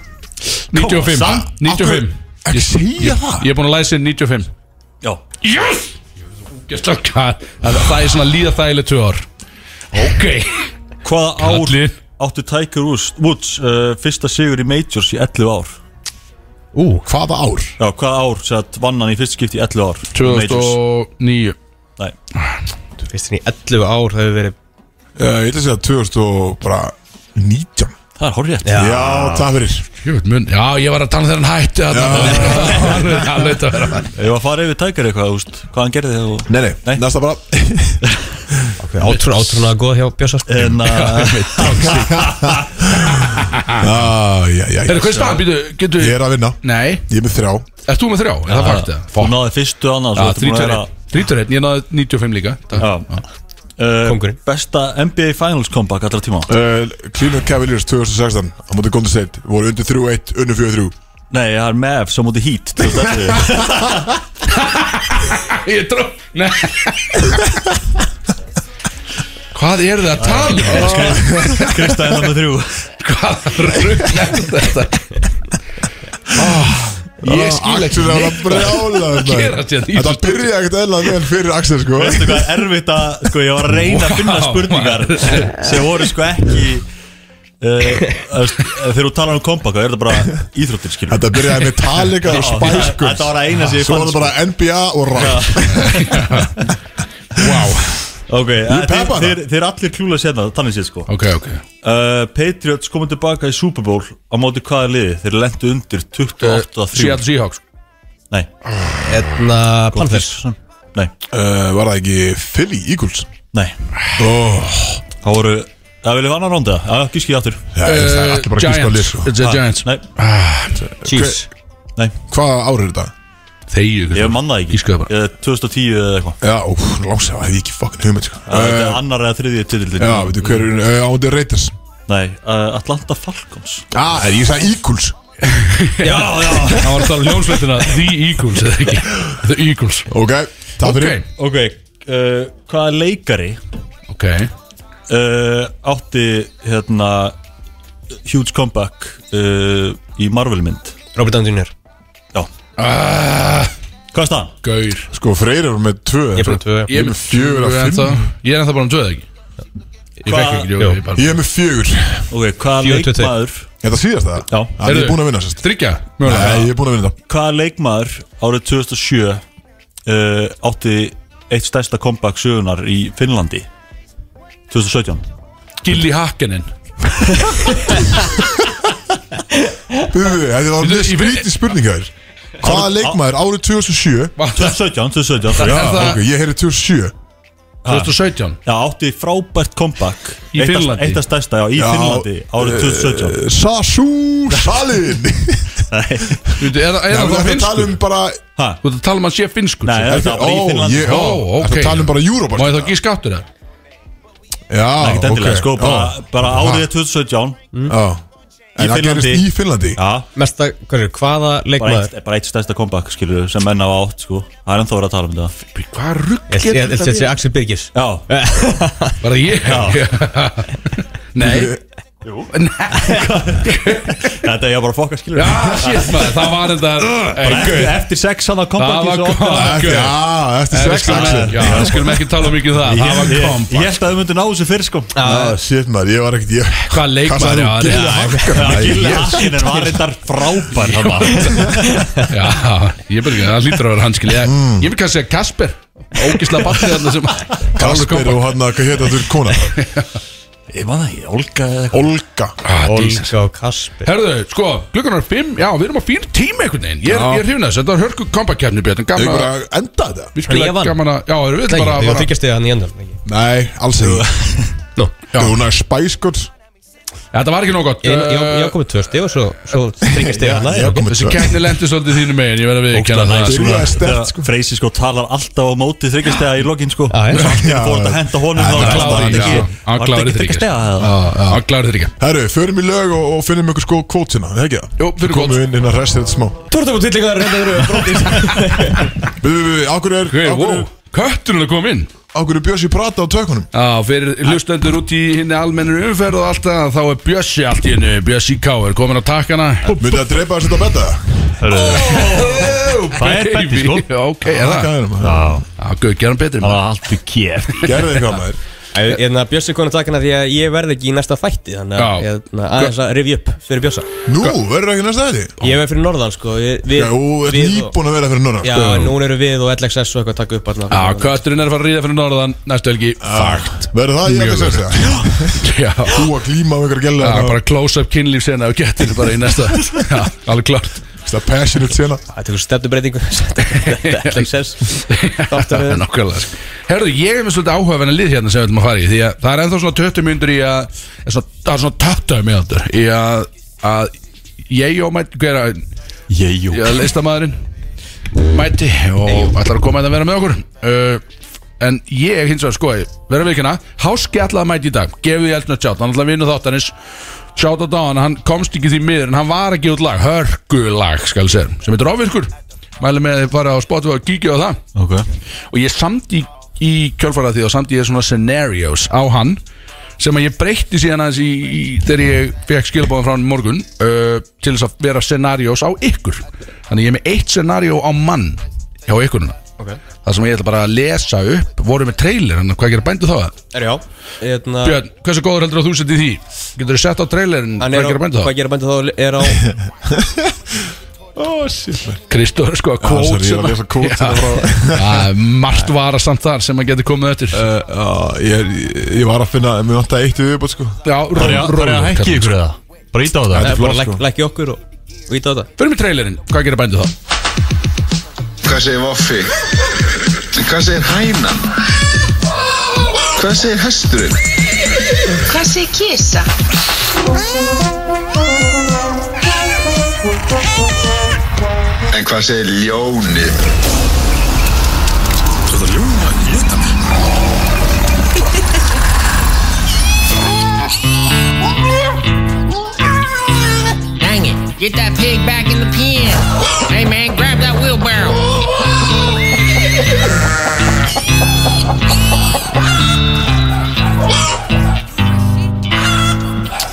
C: 95
A: Samt-
C: 95
A: Ekki segja það
C: Ég er búin að læsa inn 95
B: Já
C: Yes Ógeðslega hvað- Það það er svona líða þægileg tvö ár Ok
B: Hvaða ár
C: Kallinn.
B: áttu Tiger Woods, Woods uh, fyrsta sigur í Majors í 11 ár
A: Ú, hvaða ár?
B: Já, hvaða ár sett vann hann í fyrst skipti í 11 ár í Majors?
C: 2009
B: Nei,
D: Fyrst inn í 11 ár það hefur verið
A: Uh, ég ætla að segja 2019
B: það er horrið
A: Já, það fyrir
C: Ég veit mun, já ég var að tala um þegar hann hætti <laughs> þarna. Það hlaut að vera
B: Ég var að fara yfir Tiger eitthvað, þú veist, hvað hann gerði þegar þú
A: Nei, nei,
B: Nei.
A: næsta bara
D: átrú, átrúna góð hjá Björsa sko.
B: En að,
A: <laughs> ah, já, já,
C: Herru, hvað er staðan, býtu, getur
A: Ég er að vinna
C: Nei,
A: Ég er með þrjá
C: ert þú með þrjá? Er það fakt eða?
B: þú náði fyrstu annars
C: Já, 31, 31, ég náði 95 líka Takk.
B: Kongurinn
D: Kóngurinn.
B: Uh, Besta NBA Finals comeback allra tíma
A: uh, Cleveland Cavaliers 2016 Á móti Golden State Voru undir 3-1, undir 4-3
B: Nei, það er Mavs á móti Heat
A: <laughs>
B: 2011.
C: Ég tró Nei <laughs> Hvað er það að tala? um?
B: Krista enda með þrjú
C: Hvað rugg er þetta? Oh, ég skil ekki
A: Axel er
C: neitt
A: að brjála
C: að gerast hérna í
A: Þetta
C: þessu
A: byrja ekkert eðla vel fyrir Axel sko
B: Veistu hvað er erfitt að sko, Ég var að reyna að finna
C: Vá,
B: spurningar
C: maður.
B: sem voru sko ekki uh, Þegar þú talar um comeback þá er þetta bara íþróttir skilur
A: Þetta byrjaði með Metallica og Spice Girls
B: Þetta var að eina sem ég
A: Svo var
B: fann
A: það bara NBA og rap
C: Wow
B: Ok, eh,
A: peppa
B: þeir,
A: hana.
B: þeir, þeir allir klúla sérna Þannig séð sko
C: Ok, ok
B: uh, Patriots komum tilbaka í Super Bowl á móti hvaða liði þeir lendu undir 28 að 3
C: Eh, Seattle Seahawks
B: Nei,
D: Edna Panthers
B: nei,
A: uh, Var það ekki Philly Eagles?
B: nei
A: Oh,
B: Það voru, það viljum við annan ránda Já, gískið aftur Ah,
A: ja, ég, það er allir bara að gíska á lið
C: Eh, Giants
A: sko.
C: It's a Giants
B: Nei,
D: Chiefs
A: Hvað ár er þetta?
C: Þegju
B: ég manna það ekki
C: Gískaðu bara.
B: Eh, 2010 eða eitthvað
A: Já, ó, langsef, það hef ég ekki fucking hugmynd sko.
B: Það er
A: uh,
B: annar eða þriðið titildin
A: Já, veitu hver er uh, Ándi Reiters
B: Nei, uh, Atlanta Falcons
A: Já, ah, ég sagði Eagles
B: Já, já
C: Það var að tala um hljómsveitina The Eagles eða ekki The Eagles
A: Ok, það
C: Ok,
A: fyrir
B: <laughs> Ok, uh, hvaða leikari
C: ok
B: uh, átti hérna huge comeback uh, í Marvel mynd
D: Robert Downey Jr.
B: Já,
C: Ah,
B: hvað er staðan?
C: Gaur
A: Sko, Freyr er með tvö
D: Ég fyrir tvö
A: Ég er með fjögur af
C: ennþá-
A: fimm.
C: Ég er ennþá bara um tvöð ekki Ég fekk ekki jú,
D: Jú.
C: ég bara-
A: Ég er með fjögur Er
B: Ok, hvaða
D: Fjögur, tvö, tvö.
B: leikmaður
A: þetta síðast það?
B: Já.
A: Það er
C: Heyrðu.
A: búin að vinna sérst
C: Þryggja
A: Nei,
C: Mögulega
A: ég er búin að vinna þetta
B: Hvaða leikmaður árið 2007 uh, átti eitt stærsta comeback sögunar í Finnlandi 2017
C: Gilli Hakkanen
A: Bíðu, bíðu, eh, Þetta var mjög
C: Ég-
A: skrítið spurningar Hvaða leikmaður árið 2007
B: 2017, 2017
A: Já,
B: Já,
C: það-
A: ok, ég heyri 2007
C: 2017
B: já átti frábært comeback
C: Í
B: Eitt af-
C: Finnlandi?
B: Eitt af stærsta, já, í
A: Já,
B: Finnlandi árið 2017
A: Eh, Sasu Salin
C: Þú veit,
A: Já,
C: Er er
A: <laughs> við
C: það
A: erum að tala
C: finskur?
A: um bara
B: Hæ?
C: Þú veit að tala um að hann sé finskur
B: Nei,
C: sé.
B: það var bara í
A: Ó,
B: Finnlandi
A: ég, ó,
C: Ó,
B: sko.
A: ertu
C: ok.
A: að tala um bara Europa
C: Má ég þá gíska aftur það?
A: Já,
B: Ekkert endilega,
A: ok
B: sko, bara, bara árið 2017
A: Já. En það
B: Finnlandi.
A: gerist í Finnlandi
B: Já,
D: Mesta, hvað er, hvaða
B: bara
D: leikmaður
B: eitt, bara eitt stærsta comeback, skilur sem menn hafa átt, sko Það er ennþá verið að tala um þetta
C: Bí, Hvað rugg
D: Ég
C: getur
D: held að
C: þetta
D: sé
C: verið?
D: Axel Birgis
B: Já,
C: Var það ég? <laughs> Nei <laughs>
B: þetta er ég bara að fokka, skilur
C: Já, shit maður, það var þetta Ey,
B: Bara eftir,
C: gaur,
B: eftir sex hann að
C: Það var
B: comeback
A: Já,
C: gott
A: eftir-
C: gaur.
A: Já, eftir
C: Nei, við
A: sex
C: skulum-
A: Axel
C: Já, við skulum ekki tala mikið um það Það var
B: Ég-
C: kom
B: Ég held að þau myndu ná þessu fyrr sko
A: Já, Shit maður, ég var ekkert ég-
C: Hvað
A: Kastaði
C: leikmaður
A: nú
C: já,
A: Gylfi
C: já,
A: Hakkanen,
B: Það
A: maður,
B: gildi
A: ég-
B: haskin en var reyndar frábær þarna.
C: Já, ég byrja ekki, það lítur að vera hans skil Ég ég vil kannski segja Kasper Ógisla batnið þarna sem
A: Kasper og hann að hvað hétt að þú er kona
B: Ég man það ekki, Olga eða eitthvað
A: Olga
C: Ah,
D: Olga og Kasper
C: Herðu, sko, klukkanar 5 Já, við erum á fín tíma einhvern veginn Ég
A: Já.
C: er, ég er hrifnað þessu, þetta var hörku kompakefni Björn Gaman
A: Ykkur
C: að,
A: að enda þetta?
D: Ég
C: virkilega
D: vann.
C: gaman að Já, erum við
D: Nei,
C: bara,
D: ég var
C: bara
D: þykjast eða hann í endan ekki.
A: Nei, alls ekki
D: Nú,
A: Þú er Spice Girls
C: Já, Þetta var ekki nóg gott
D: ég ég-
C: Eh,
D: ég var komið tvö stig og svo, svo þykjast eða
C: hérna
D: hann
A: Ég hef komið
C: Uh, Þessi
A: tvö.
C: keppni lendi svolítið þínu megin Ég verð að við kenna
B: Ógeðslega
C: það
B: næs,
A: sko.
B: svona,
A: Byrjaði sterkt,
B: þegar Freysi sko talar alltaf á móti þryggjastega í lokin sko
D: Já, já.
B: Svartir
A: Já.
B: fór að henda honum
A: Já,
B: þá
A: hann
B: var
A: klárar
B: þetta
A: í,
B: ekki-
A: já.
C: Hann
B: var þetta
C: klárar í
B: ekki þryggjastega
C: Hann kláður þetta ekki
A: Herru, förum í lög og, og finnum ykkur sko kótsina, það ekki það?
C: Jú, fyrir
A: Komum
C: gott.
A: við inn inn að resta þetta smá
D: Tortum og tillingar, þetta eru bróttis
A: <laughs> Við, við, við, ákvörðu er,
C: Hver,
A: ákvörðu
C: wow,
A: er,
C: Kötturinn er að koma inn
A: ákvörðu bjössi prata á tökunum
C: Já, fyrir hlustendur út í hinni almennir umferð og allt það, þá er Bjössi allt í hennu, Bjössi K. er komin á takkana
A: Myndi það dreipa þessi þetta betta?
B: Það er
C: <laughs>
B: betti sko
C: Ok, er það?
A: Hvað er það?
C: Já, gauð, gera hann betri
B: Það
C: maður
B: var allt í kjef
A: Gerði eitthvað maður
D: Hérna, Bjössi konar takkana því að ég verð ekki í næsta þætti Þannig að
C: Já.
D: hérna, aðeins að rifja upp fyrir Bjössa
A: Nú, verður ekki næsta þetta?
D: Ég er fyrir norðan sko ég, við,
A: Já, þú ert
D: við og-
A: nýbúin að vera fyrir núna
D: Já, en núna eru við og LXS og eitthvað að taka upp allan
C: Já, kötturinn er að fara að ríða fyrir norðan næstu helgi Fakt <laughs>
A: Verður það í
C: Mjög
A: ekki að segja það?
C: Já,
A: Þú að glíma um einhverja gæla
C: já bara close up kynlíf sena og getur bara í næsta <laughs> Já, alveg klart
A: Það passionate sena
D: Þetta er eitthvað <laughs> stefnubreitingu LXS Þáttur við
C: <laughs> Nákvæmlega sko. Herðu, ég er með svolítið áhugaverðan lið hérna sem við ætlum að fara í Því að það er ennþá svona 20 myndur í að er svona, Það er svona 20 myndur í að, að Ég og mætti Hver að
B: Ég, jú
C: ég er listamæðurinn Mætti og ætlar að koma hérna að vera með okkur uh, En ég hins vegar sko Verðum við ekki hana Háski ætlaði að mæti í dag Gefið ég eldnöð sjátt Hann ætlaði að vinna þáttanins Sjátt á dagann Hann komst ekki því miður En hann var ekki út lag Hörgu lag skal ég segja Sem heitir ofvirkur Mæli með að þið fara á Spotify og kíkja á það
B: Ok
C: og ég samt í, í kjölfara því og samt ég svona scenarios á hann sem að ég breytti síðan aðeins í, í þegar ég fekk skilabóðan frá hann í morgun uh, til þess að vera scenarios á ykkur þannig ég er með eitt scenario á mann hjá ykkur núna okay. það sem ég ætla bara að lesa upp voru með trailer, hann hvað gerir bændu þá að
D: Er já hérna,
C: Björn, hversu góður heldur að þú setið í því? Getur þú sett á trailerin,
D: hann
C: hvað
D: er á-
C: gerir bændu
D: Hvað
C: þá?
D: gera bændu þá er á
C: <laughs>
A: Ó, shit man.
C: Kristóður sko að
A: Ah, sorry,
C: kót
A: ég var að lesa quote hérna frá-
C: að margt vara samt þar sem að getur komið eftir
A: Uh, já, Ég er- ég var að finna Mér vant að eitt við upp sko.
C: Já, ró-
B: Það er að
C: rólegur
B: hækki ykkur eða Bara íta á það
A: Þetta er flott
D: Bara
A: sko
D: læk- lækki okkur og og íta á þetta
C: Fyrir með trailerinn, hvað gerir bændu þá?
G: Hvað segir Voffi? Hvað segir Hænan? Hvað segir Hesturinn?
H: Hvað segir kisa?
G: En hvað segir Ljónið?
H: Dang it, get that pig back in the pen Hey man, grab that wheelbarrow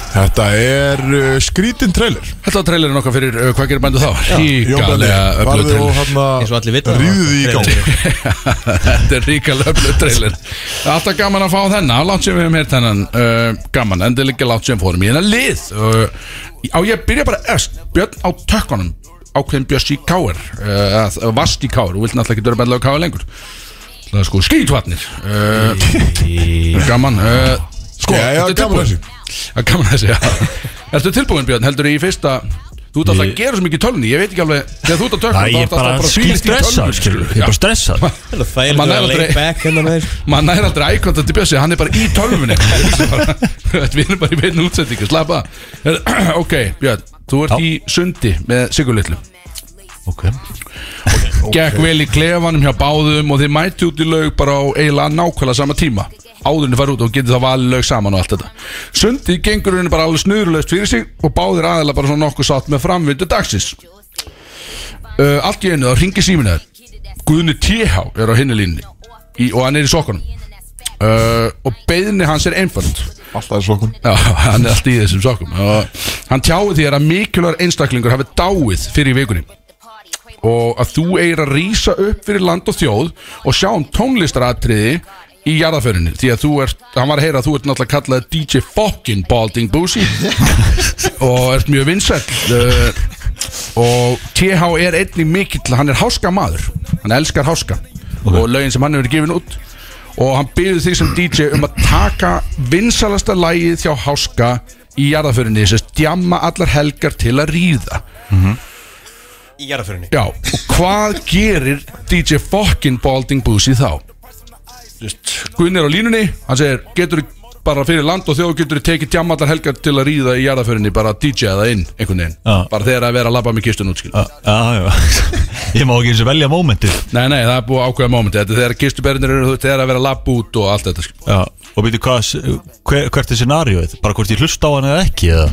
A: Þetta er uh, skrítin trailer
C: Þetta var trailerinn okkar fyrir uh, Hvað gerir bændu þá? Ríkalega öflug
A: Varðu og hérna
C: trailer
A: hann
D: Eins og allir vita það.
A: Rýðu því í gang
C: Þetta er ríkalega öflug trailer Alltaf gaman að fá þennan Látt sem við hefum heyrt þennan uh, Gaman, endilega ekki látt sem fórum í hennar lið uh, Á ég byrja bara efst Björn á tökkunum Ákveðin Björns í Káir uh, Vast í Káir, þú vilt náttúrulega ekki dörra bændu á Káir lengur Það er sko skýtvarnir
B: <laughs>
C: uh, Gaman uh, Sko,
A: Já, já,
C: þetta er
A: gaman
C: tilbúið.
A: þessu.
C: Já, gaman þessi, já Ertu tilbúin Björn, heldur í fyrsta Þú ert alltaf að
B: Ég-
C: gera svo mikið í tölunni, ég veit ekki alveg Þegar þú ert að tökna,
B: Nei, ég er bara skil stressað skilur Ég er bara stressað
D: <laughs> Það er þægilegt
C: Man
D: að
C: er
D: vera
C: aldrei-
D: laid back hérna með þér
C: Man er aldrei ækvæmt til Bjössi, hann er bara í
B: <laughs>
C: tölvunni Ég hugsa bara, þú veist, Við erum bara í beinu útsendingu, slappa af. Herðu, <clears throat> Ok, Björn, þú ert
B: Já.
C: í sundi með Sigurlitlu
B: Ok
C: Gekk vel í klefanum hjá báðum og þið mætti út í laug bara á eiginlega nákvæmlega sama tíma áðurinn fara út og getið það valið laug saman og allt þetta Sundið gengur henni bara alveg snurulaust fyrir sig og báðir aðeila bara svona nokkuð sátt með framvindu dagsins uh, Allt í einu þá ringi síminu þær Guðni TH er á hinni línni í, og hann er í sokkunum uh, og beðinni hans er einföld
A: Alltaf er svokun
C: Já, hann er alltaf í þessum sokkum og hann tjáði þér að mikilvægur einstaklingur hafi dáið fyrir í vikunni og að þú eigir að rýsa upp fyrir land og þjóð og sjá um tónlistaratriði í jarðaförunni því að þú ert, hann var að heyra að þú ert náttúrulega kallað DJ fucking Balding Boosie og ert mjög vinsæll uh, og TH er einnig mikill, hann er háska maður hann elskar háska og lögin sem hann hefur gefin út og hann byrði þig sem DJ um að taka vinsalasta lægið hjá háska í jarðaförunni sem stjamma allar helgar til að ríða
D: Í jarðaförinni
C: Já, og hvað gerir DJ fucking Balding Boosie þá? Gunn er á línunni, hann segir getur bara fyrir land og þjóð getur tekið tjamallar helgar til að ríða í jarðaförinni bara DJ það inn einhvern veginn
B: Já.
C: bara þegar að vera að labba með kistun útskil
B: Já, já <laughs> Ég má ekki eins og velja mómentið
C: Nei, nei, það er búið að ákveða mómenti þetta er þegar kistuberinir eru þú veist, þegar að vera að labba út og allt þetta sko. skil.
B: Já Og veitu hvað hver, Hvert er scenarióið? Bara hvort ég hlusta á hann eða ekki eða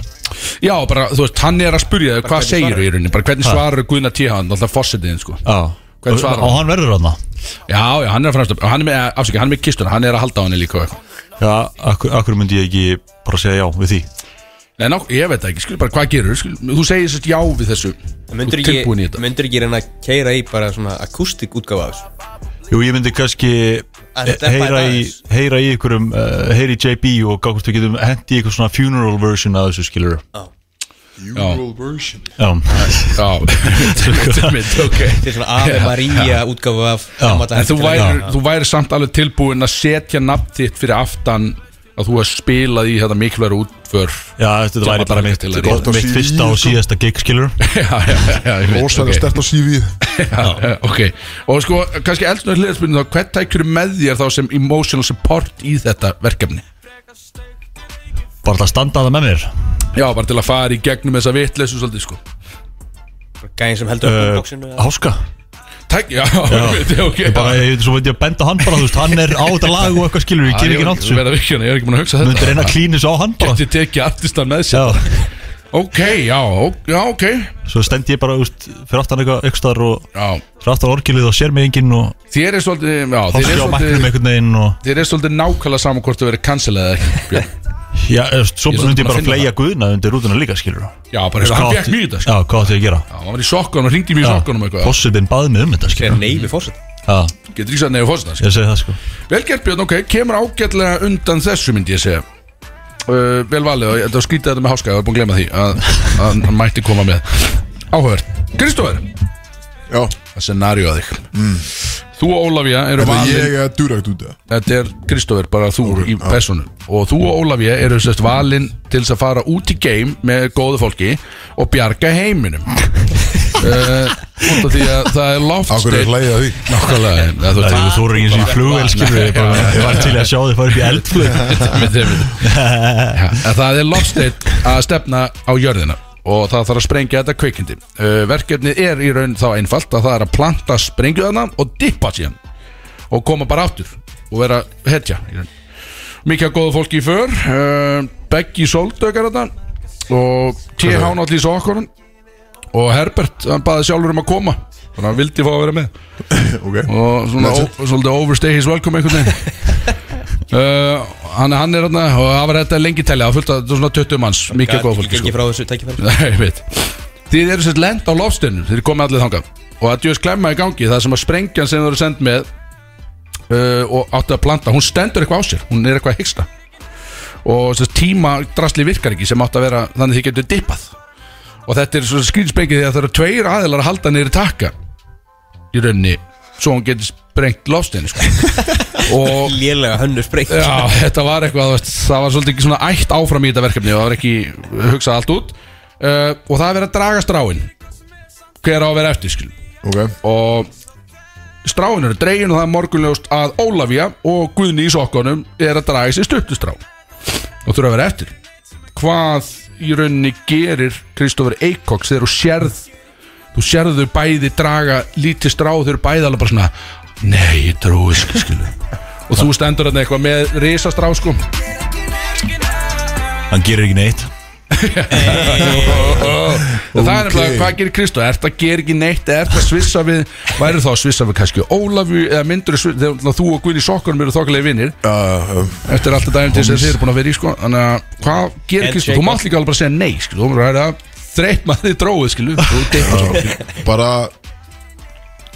C: Já, bara, þú veist, hann er að spurja þig hvað segir í rauninni, bara hvernig
B: Ha.
C: svarar Gunn að tíha hann, alltaf fórsetiðin sko
B: Já
C: Hvernig svarar
B: Og hann verður hann
C: Já, já, hann er að fremst, hann er með, afsækja, hann er með kistuna hann er að halda á henni líka og eitthvað
B: Já, akkur, akkur myndi ég ekki bara segja já við því
C: Nei, ná, ég veit það ekki, skil bara hvað gerur skil, Þú segir sérst já við þessu Þú
D: Myndur
C: ert tilbúin í
D: ekki,
C: þetta
D: myndur ekki reyna að keira í bara svona akústik útgáfa af þessu
B: Jú, ég myndi kannski
D: En þetta er
B: heyra
D: bara
B: í,
D: aðeins.
B: heyra í ykkurum uh, heyra í JB og gá hvort við getum hendi í eitthvað svona funeral version að þessu skilur
A: Usual version
B: Já,
C: Já, þetta er mitt, ok
D: Þetta er svona Ave Maria útgáfu af gamalla
C: En þú
D: helgina.
C: væri,
D: Já.
C: þú væri samt alveg tilbúin að setja nafn þitt fyrir aftan að þú hefði spilað í þetta mikilvægur útför
B: já þetta væri bara mitt,
C: Gott
A: á
B: mitt
A: CV,
B: fyrsta og
A: sko.
B: síðasta gig skilur
C: <laughs> Já, já, já, ég veit,
A: Ósæða
C: ok.
A: okay. stert á CV-ið
C: Já, eh, ok Og sko, kannski eldsnöð hliðarspilin þá Hvert tækjur með þér þá sem emotional support í þetta verkefni?
B: bara til að standa að það með mér
C: Já, bara til að fara í gegnum þessa vitleysu svolítið sko
D: Gæðin sem heldur upp bóksinu
B: uh, Háska
C: Tæk, já, já. ok
B: Ég bara, ég, svo veit ég að benda á hann bara, þú veist, hann er á þetta lag og eitthvað skilur, ég ger ekki nátt
C: Ég
B: svo
C: verða vikjana, ég er ekki búin sko. að hugsa
B: Möndur reyna að
C: þetta
B: klínis á hann bara
C: Geti tekið artistan með sér
B: Já,
C: Ok, já, ok, já, ok
B: svo stend ég bara, þú veist, fyrir aftan eitthvað aukstar og
C: Já,
B: fyrir aftan orkilið og sér mig enginn og
C: þér er svolítið Já, þér er
B: háskja á maknum
C: svolítið
B: einhvern veginn og
C: Þér er svolítið nákvæmlega saman hvort þú verið cancelað eða ekki Björn.
B: Já, þú veist, svo
C: Ég er svolítið
B: myndi ég bara
C: búin að
B: fleia guðna undir rútuna líka, skilur
C: Já, bara hefur hann fekk mjög í þetta sko.
B: Já, hvað átti ég að gera?
C: Já, hann var í sokkunum, hringdi mér í sokkunum eitthvað
B: Fossibinn baði mig um þetta, skilur
D: Nei, við fórset
B: Já,
C: Getur ekki sætt nefnir fórstans
B: ég segi það, sko
C: Vel gert Björn, ok, kemur ágætlega undan þessu myndi ég segja uh, Vel valið og ég ætla að skrýta þetta með háska Ég var búin að glema því að, að hann mætti koma með Áhörð Kristófer,
A: Já,
C: það scenario að þig Þú og Ólafía eru
A: Mm. þetta
C: valin
A: ég er duragt út það
C: Þetta er Kristófer, bara þú í personu Og þú og Ólafía eru sérst valin til þess að fara út í game með góðu fólki og bjarga
A: <laughs>
C: heiminum uh, út af Því að það er
A: Akkur er
C: loftsteinn
A: hlæðið að því
C: Nákvæmlega, eða þú
B: Þú
C: veist
B: þú eru ekki eins og í flugvél, skilur Ég bara- ég var til í að sjá þið fara upp í eldflug
C: Með þeim Já, en Það er lofsteitt að stefna á jörðina og það þarf að sprengja þetta kveikindi uh, Verkefnið er í raun þá einfalt að það er að planta sprengjuðana og dippa síðan og koma bara aftur og vera hetja í raun. Mikið af góðu fólki í för uh, Beggi Soldökar þetta og TH náttúrulega í sokkunum og Herbert, hann baði sjálfur um að koma þannig að hann vildi fá að vera með
A: Ok
C: og svona
A: That's
C: ó, svolítið overstay his welcome einhvern veginn uh, hann, er- hann er hérna og það var þetta lengi telja, það fullt að svona 20 manns mikið góð fólki
D: Gengi
C: sko.
D: frá þessu
C: <laughs>
D: tækifæri
C: Nei, ég veit. þið eru sérst lent á lofstinu þið eru komið allir þangað og að djöðs klemma í gangi það sem að sprengjan sem þau eru send með uh, og áttu að planta hún stendur eitthvað á sér, hún er eitthvað að hyggsta og sérst tíma drasli virkar ekki sem áttu að vera þannig að þið getur dippað og þetta er svona skrýnsprengið því að það eru tveir aðilar að halda niður takka í rauninni svo hún getur sprengt lofstinu sko. og
D: Lélega hönnu sprengt
C: Já, þetta var eitthvað, þú veist, það var svolítið ekki svona ætt áfram í þetta verkefni og það var ekki hugsað allt út uh, og það er verið að draga stráin hver á að vera eftir, skil
A: Ok
C: og stráin eru dregin og það er morgunljóst að Ólafía og Guðni í sokkunum er að draga sér stuttustrá og þurfa að vera eftir hvað í rauninni gerir Kristófur Eikoks þegar þú sérð þú sérðu þau bæði draga lítið strá og þau eru bæði alveg bara svona nei, ég trúi skilu, skilu. og þú stendur þarna eitthvað með risastrá sko
B: Hann gerir ekki neitt
C: okay. það er nefnilega hvað gerir Kristó er þetta gerir ekki neitt, er þetta svissa við væri þá að svissa við kannski Ólafu eða myndur þegar þú og Guðni í sokkunum eru þokkalega vinnir
A: Uh, um,
C: eftir allt þetta æfintýr sem þið eru búin að vera í sko þannig að hvað gerir
D: And
C: Kristó,
D: shake
C: þú mátt líka alveg bara segja nei skilu, þú verður að þreytt maður þið dróið skilu þú deypa
A: sko.
C: svo
A: Bara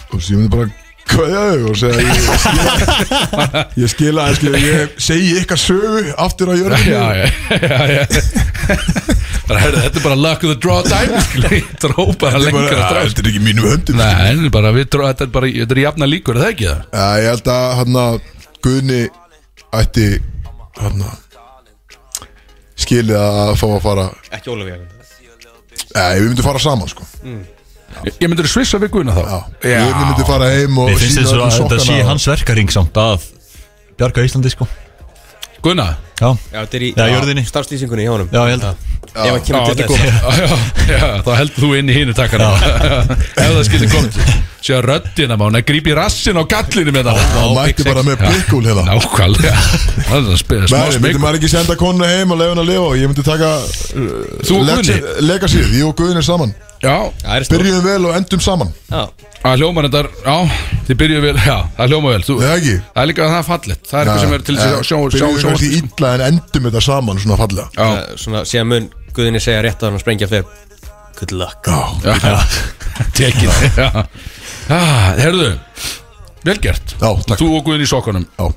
A: Þú veist, ég myndi bara Kvæða þau og segja Ég skila Ég skila Ég, skila, ég segi ykkar sögu Aftur á jörðinu
C: já, já, já, já. bara herðu, þetta er bara luck of the draw time skilu,
A: Ég
C: drópa það
A: bara,
C: lengra
A: "Ah,
C: drá
A: Þetta er ekki í mínum höndum
C: Nei, þetta er bara, við dró, þetta er bara, þetta er jafna líkur, er það ekki það?
A: Já, ég held að hann að Guðni ætti hann að skilið að fá að fara
D: Ekki Ólafía
A: Nei, við myndum fara saman sko Já,
C: Ég, ég myndir svissa við Guðna þá
A: Guðni myndi fara heim og
B: Ég finnst
A: sýna
B: þessu
A: öllum
B: að þetta sé
A: sokkana.
B: hans verkaring samt að bjarga Íslandi, sko
C: Guðna?
B: Já,
D: Já, þetta er í
B: Já, jörðinni.
D: Starfslýsingunni hjá honum
B: já, ég held að
D: Ef hann
C: Já, þetta
D: kemur til
C: er
D: þess
C: komið Já, já, já, þá heldur þú inn í hinu takkana <laughs> Ef það skildir komið Sér röddina mána, grípi rassin á gallinu með það
A: Hann mætti bara með blikkúl hérna
C: Nákvæmlega Það er svona spil- smá
A: Nei, myndi
C: smik
A: maður ekki senda konu heim og leiða henn að lifa og ég myndi taka
C: Þú og Guðni?
A: Legacyð, ég og Guðni saman
C: Já,
D: Það er stór
A: Byrjuðum vel og endum saman
D: Já,
C: að hljóma reyndar Já, þið byrjuðu vel Já, það hljóma vel Þú,
A: Nei, ekki
C: Það er líka að það er fallett Það er eitthvað sem er til þess að sjá, sjá,
A: Byrjuðum
C: sjá,
A: kannski illa en endum þetta saman svona fallega
C: Já,
D: Eh, Svona, síðan mun Guðinni segja rétt að hann að sprengja fyrir Good luck
A: Já,
C: <laughs> já Tekið Já, Ah, herðu vel gert
A: Já, takk.
C: Þú og Guðin í sokkunum
A: Já.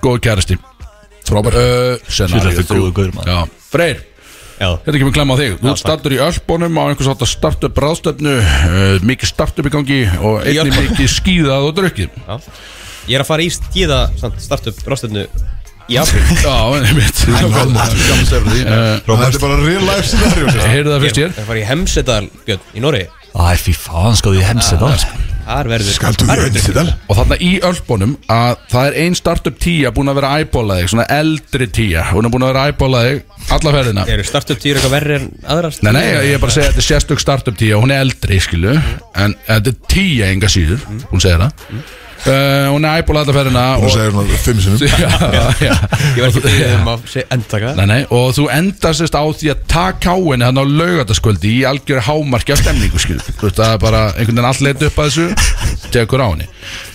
C: Góð kærasti
A: Frábær
C: uh,
B: Sjöld
C: Scenario
B: eftir góðu
C: þrjú.
B: guður maður
C: Já, Freyr
D: Já.
C: Þetta kemur klemma á þig Þú startur í Ölbónum á einhvers átt að startup ráðstöfnu uh, Mikið startup í gangi Og einnig mikið skíðað og drukkið
D: Ég er að fara í stíða samt, startup rostinnu í apríl
A: <laughs>
C: Já, einmitt Heyrðu
A: Þetta er bara real life scenario sér.
C: það <laughs>
D: Ég
C: fyrst
D: er
C: hér
D: að fara í Hemsedal Björn í Nóri
B: Æ, fí fann sko því hemsið það
D: Þar verður
C: Sko.
A: Galdu
D: þar
A: við
D: verður-
A: einsital
C: Og þarna í Ölbónum að það er ein startup tíja búin að vera æbólað þig Svona eldri tíja Hún er búin að vera æbólað þig alla ferðina
D: Eru startup týr eitthvað verri en aðrar
C: Nei, nei, ég er bara að segja að þetta er sérstök startup tíja Hún er eldri, skilu En eh, þetta er tíja enga síður, hún segir það uh, Hún er æbólað alla ferðina
A: Hún
C: og-
A: segir svona fimm sinnum
C: <laughs> já, já.
D: Ég var ekki fyrir
C: <laughs>
D: um að segja endtaka
C: Nei, nei, og þú endar sérst á því að taka á henni hann á laugataskvöldi í algjör hámarki af stemningu skil þú veist það er bara einhvern veginn all leit upp að þessu tekur á henni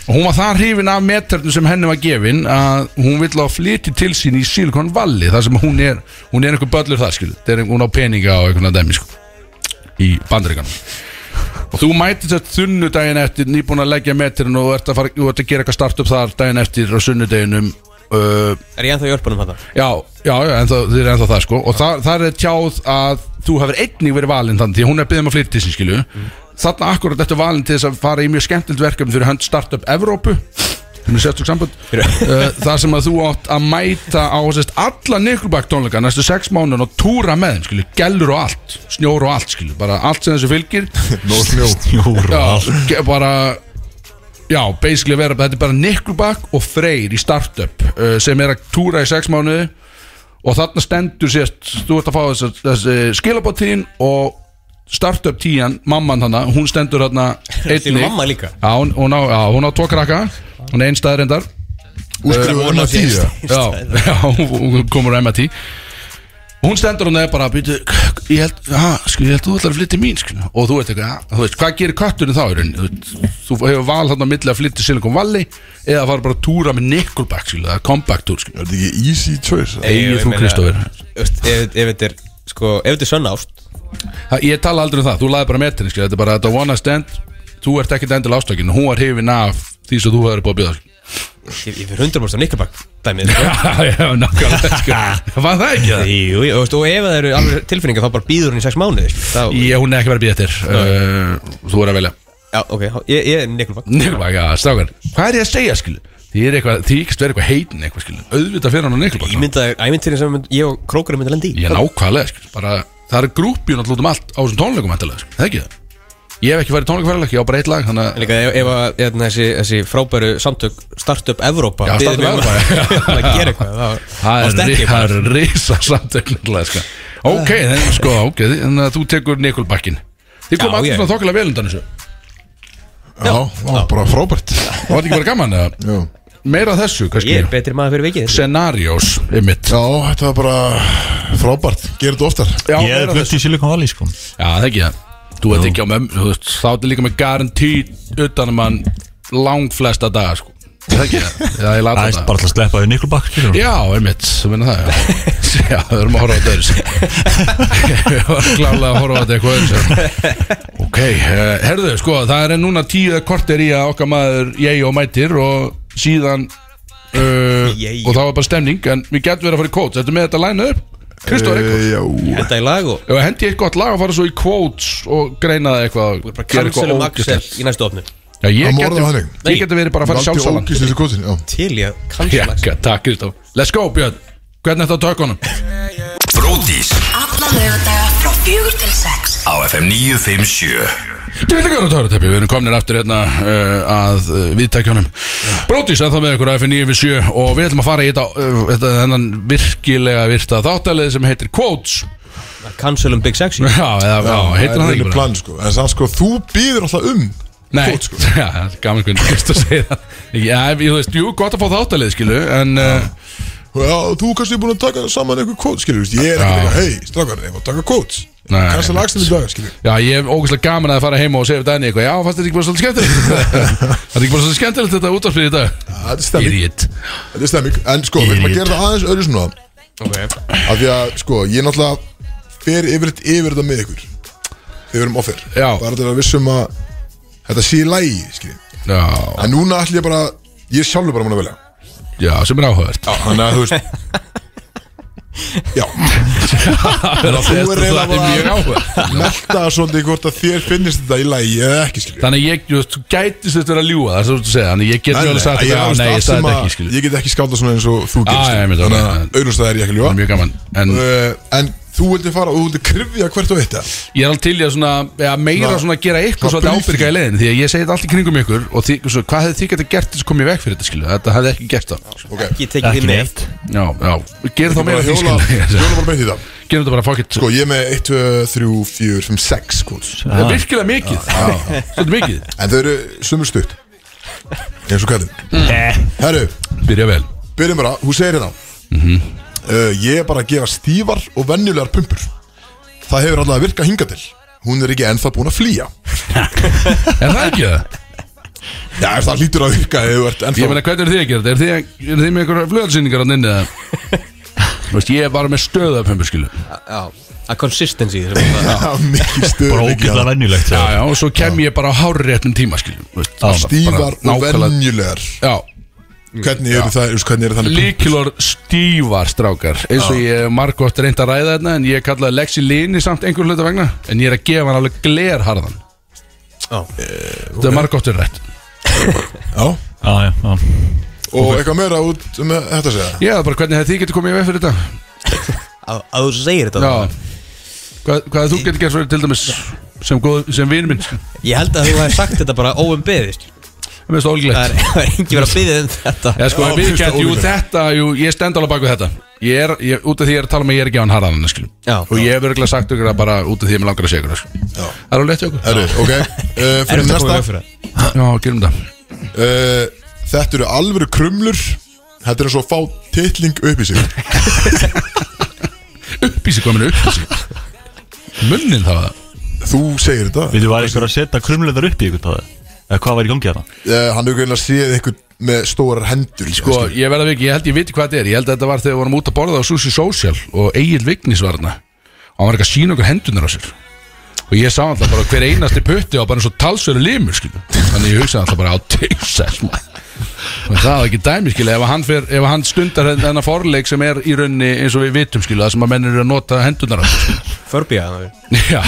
C: og hún var það hrifin af metrarnu sem henni var gefin að hún vill að flytja til sín í Silicon Valley þar sem hún er hún er einhver böllur þar skil er, hún á peninga og einhvern veginn dæmi sko í bandaríkanum og þú mætir þetta þunnu daginn eftir nýbúin að leggja metrin og ert að, fara, þú ert að gera eitthvað startup þar daginn eftir á sunnudeginum uh,
D: Er ég ennþá í örpunum þetta?
C: Já, já, já, en það, þið er ennþá það sko Og þar, þar er tjáð að þú hefur einnig verið valinn þannig Því að hún er að byggðið um að flytta til sín skilju Þarna akkurat eftir valinn til þess að fara í mjög skemmtild verkefni Fyrir hönd Startup Evrópu sem er sérstök samband, <laughs> uh, þar sem að þú átt að mæta á sérst, alla Nickelback tónleika næstu sex mánuðin og túra með þeim, skilju, gellur og allt snjór og allt, skilju, bara allt sem þessu fylgir
A: Nó snjó
B: Júr
C: já, ge- bara já, basically vera, þetta er bara Nickelback og Freyr í startup uh, sem er að túra í sex mánuði og þarna stendur sérst þú ert að fá þessi, þessi skilabóttíðin og startup tíjan, mamman hana hún stendur
D: <laughs>
C: hana
D: Til
C: einnig
D: mamma líka
C: já, hún, hún, á, já, hún á tvo krakka hún er einstæður endar Eh,
A: Úrskrifu hann að tíu
C: <laughs> já,
D: <laughs>
C: já, hún- hún komur á MIT hún stendur hún eða bara býtu, ég held, ha, sku, ég held þú ætlar að flytja mín sku, og þú veit eitthvað, þú veist, hvað gerir köttunni þá í rauninni, þú veist, þú hefur val hann að milli að flytja Silicon Valley eða fara bara að túra með Nickelback, skilju, það er comeback túr skilju,
A: Er þetta ekki easy choice?
D: Ey,
C: Egil
D: ég
C: þú
D: meina,
C: Kristófur.
D: þú veist, Ef ef þetta er Sko, ef þetta er sönn ást
C: Það- ég tala aldrei um það, þú laði bara metinni skilju, þetta er bara þetta one night stand, þú ert ekkit endil ástökin, hún var hefin af því sem þú hefur búið að bjóða, skilju.
D: Ég ég fyrir 100% af Nickelback Dæmið sko.
C: <laughs> Já, já, nákvæmlega, sko. skilju. <laughs> Var það ekki það?
D: Jú, jú, þú veist, og ef það eru alveg tilfinningar þá bara býður hún í sex mánuði sko. Þá-
C: Ég, hún er ekki verið að býða eftir, uh, þú er að velja.
D: Já, ok, þá- ég ég er Nickelback
C: Nikkelbakk, já, strákar Hvað er ég að segja, skilu? Þið er eitthvað, þið ekki verið eitthvað heitin eitthvað, skilu Auðvitað fyrir hann á Nikkelbakk
D: Ég mynda æmyntirinn sem mynd- ég og Krókur myndi lendi í
C: Ég nákvæmlega, skilu, bara Það er grúpjun alltaf um allt á þessum tónleikum endalega, skilu, það er ekki það Ég hef ekki farið í tónleikaferðalega, ég á bara eitt lag, þannig
D: En
C: að
D: líka ef, ef að, hérna, þessi, þessi frábæru samtök Startup Evrópa
C: Já,
D: biður
C: Startup
D: mig um
C: Evrópa,
D: að-
C: já.
D: <laughs> að gera eitthvað þá-
C: Það
D: þá
C: er
D: stekk
C: ri-
D: ég bara.
C: það er risa samtöknilega, sko Ok, þannig að sko, ok, þannig að þú tekur Nikkelbakkin Þið kom
D: Já,
C: allir
D: ég-
C: svona þokkilega vel undan þessu
A: Já, það var bara frábært
C: Það var þetta ekki bara gaman, eða?
A: Já,
C: Meira af þessu,
D: Ég er
C: kannski
D: betri maður fyrir vikið
C: Scenarios, einmitt
A: Já, þetta var bara frábært Gerðu þetta oftar
C: Já,
B: Ég
C: meira
B: er
C: af þessu.
B: flutt í Silicon Valley sko
C: Já, það ekki það Þú ert ekki á mömmu, þú veist, þá ertu líka með garantí utanum hann langflesta daga, sko Það ekki það, það er
B: Það
C: lata
B: er
C: það
B: bara til að sleppa því Nickelback skilur
C: Já, einmitt, þú minna það, já
D: <laughs>
C: Já, við erum að horfa á þetta öðru Við varum klálega að horfa á þetta eitthvað öðru Ok, eh, herðu, sko, það er núna tíu eða kortir í að okkar maður ég og mætir og síðan uh,
D: Yeo.
C: og þá er bara stemning en við getum verið að fara í kóts, þetta með þetta lænað upp Kristóð, eitthvað
A: Eh, Já,
D: Þetta í lag og
C: Ef að hendi ég eitt gott lag að fara svo í quotes og greina það eitthvað
D: bara
C: gera eitthvað
D: cancelum Axel
C: ógeðslegt.
D: í næstu opnu
C: Já,
A: Það
C: ég
A: má orða það
C: geti,
A: þannig.
C: ég geti verið bara að fara í sjálfsalan
A: ógist þessu kótsin Já,
D: Til ég að
C: Já,
D: cancel Axel
C: takk Kristof Let's go Björn, hvernig er þetta á tökunum?
E: Bródís
F: Alla laugardaga frá fjögur til sex
E: á FM 957
C: Ég vil ekki vera töruteppi, við erum komnir aftur hérna uh, að uh, viðtækjunum Brótis er það með ykkur á FN 9 7 og við ætlum að fara í þetta, uh, þetta þennan virkilega virta þáttalið sem heitir quotes
D: Cancelum um Big Sexy
C: Já, eða, já, heitir
A: það
C: hann
A: er
C: ekki
A: ekki
C: bara
A: plan sko En samt sko, þú býður alltaf um
C: Nei,
A: Quotes, sko.
C: <laughs> já, það er gaman hvernig Kristof segir það Já, ég þú veist, jú, gott að fá þáttalið, skilu En uh,
A: Já, þú kannski er búin að taka saman einhver kóts, skilur veist, Ég er ekki
C: Já.
A: eitthvað, hei, strafgar, ég má taka kóts
C: Nei.
A: Kannski lagst þetta í dag, skilur
C: Já, ég hef ógæslega gaman að fara heim og segja við Dani eitthvað Já, fannst þetta ekki bara svolítið
A: <laughs>
C: skemmtilegt Það er ekki bara svolítið skemmtilegt þetta útvarpið í dag
A: Þetta er stemming,
C: Idiot
A: þetta er stemming En sko, við erum að gera það aðeins öðru svona Af því að, sko, ég náttúrulega fer yfir, yfir þetta með ykkur Þegar við erum offer
C: Já.
A: Bara þetta er að vissum að Þetta sé í lægi, skilur
C: Já,
A: En núna ætlum ég bara Ég er sjálfur bara múin að velja
C: já, sem er áhugavert
A: Þannig að þú veist <laughs> Já, þú er eiginlega
C: Það er mjög
A: bara-
C: áhugavert
A: melda svolítið hvort að þér finnist þetta í lagi eða ekki skilju
C: Þannig að ég, þú veist, þú gætist þetta verið að ljúga það, svo þú segja, þannig að ég get
A: Nei,
C: mjög alveg sagt
A: nei,
C: þetta,
A: ég-
C: já, nei, ég
A: allt
C: sagði
A: sem
C: þetta
A: að-
C: ekki, skilur.
A: Ég get ekki skálda svona eins og þú
C: Ah,
A: gerist
C: já, ég
A: skilur.
C: myndi,
A: Þannig
C: ok,
A: að
C: já.
A: auðvitað er ég ekki að
C: Það er
A: ljúa
C: mjög gaman. En
A: Uh, En þú vildi fara og þú vildi krifja hvert og eitt eða?
C: ég er alveg til í að svona, ja, meira
A: Svona-
C: svona gera ykkur
A: svona
C: svolítið
A: briefing.
C: ábyrga í leiðin, því að ég segi þetta allt í kringum ykkur og því, svo, hvað hefði þið getið gert þess að komið veg fyrir þetta, skilur, þetta hefði ekki gert það.
A: Ok,
D: Ég tekið
B: Ekki
D: þið neitt
C: Já, já, gerum þá meira
A: bara
C: af því,
A: hjóla
C: <laughs> skilur.
A: Hjóla bara beint í það
C: Gerum þetta bara fuck it.
A: Sko, ég er með 1, 2, 3, 4, 5, 6 kvots
C: Það er virkilega mikið, svolítið mikið.
A: En þau eru sumur stutt Eins og kallinn Eh. Herru,
C: Byrja vel.
A: byrjum bara, hún segir hérna
C: Mhm.
A: uh, Ég er bara að gefa stífar og venjulegar pumpur Það hefur alltaf virkað hinga til Hún er ekki ennþá búin að flýja
C: Er það ekki það?
A: Já, ef það lítur að virka ef þú ert ennþá
C: Ég meina, hvernig eru þið að gera þetta? Er þið, er þið með einhverja flöðsynningar hann <laughs> inni? eða? Þú veist, ég er bara með stöðapömbu, skilu.
D: Já, að consistency sem er það.
A: Já, mikið hérna. stöð
B: Bara
A: mikið
B: ógæðlega
A: annað.
B: venjulegt
C: Já, já, og svo kem ég bara á hárréttum tíma, skilu. Þú veist, bara-
A: Stífar
C: bara
A: og
C: nákvæmlega-
A: venjulegar
C: Já,
A: Hvernig eru það, þú veist, hvernig eru þannig pumpur?
C: Líkilor stífar strákar eins og ég margótt reynd að ræða þarna en ég kallaði Lexi Lini samt einhver hluta vegna en ég er að gefa hann alveg glerharðan Þetta er margóttur rétt
A: Já,
B: Já, já, já
A: og eitthvað meira út með þetta að segja
C: Já, bara hvernig hefði þið getur komið í veg fyrir þetta
D: Að að þú segir
C: Já
D: þetta
C: Hvað, hvað hefði þú getur gert fyrir til dæmis sem, góð, sem vinn minn Það
D: Ég held að þú hefði sagt þetta bara óum beðist
C: er mest
D: Það
C: ólíklegt
D: er- <laughs> það er engin verið að byggja um þetta
C: Já,
A: Já,
C: sko, ég viðkjönd,
A: fyrsta
C: jú,
A: ólíklegt.
C: þetta, jú, ég stend alveg baku þetta Ég er, ég, út af því ég er að tala með ég er ekki á hann harðan, skilum
D: Já.
C: Og ég hef örgulega sagt ykkur að bara út af því ég er með langar að segja ykkur, skilum
A: Já.
C: Það er alveg létt hjá okkur
A: Herru, ok, uh,
D: Er
A: fyrir
D: þetta komið
A: næsta
D: upp fyrir það?
C: Já, gerum það
A: uh, Þetta eru alvöru krumlur Þetta er eins og að fá titling upp í sig
C: uppísi komin uppísi munnin það var það
A: Þú segir þetta
B: Við þú var eitthvað að setja krumleðar upp í ykkur það Eða hvað var í gangi þarna?
A: uh, Hann hefur greinlega séð eitthvað með stórar hendur
C: sko ég verða ekki, ég held ég viti hvað þetta er ég held að þetta var þegar við vorum út að borða á Sushi Social og Egil Vignis var hana og hann var ekki að sína okkur hendunar á sér og ég sá alltaf bara hver einasti putti á bara eins og talsveru limur skilu þannig ég hugsaði alltaf bara á tegsess og það er ekki dæmi skilu ef hann, fer, ef hann stundar þenn- þennan forleik sem er í rauninni eins og við vitum skilu það sem að mennir eru að nota hendunar á sér skilu.
D: Förbíða það
C: <laughs> Já,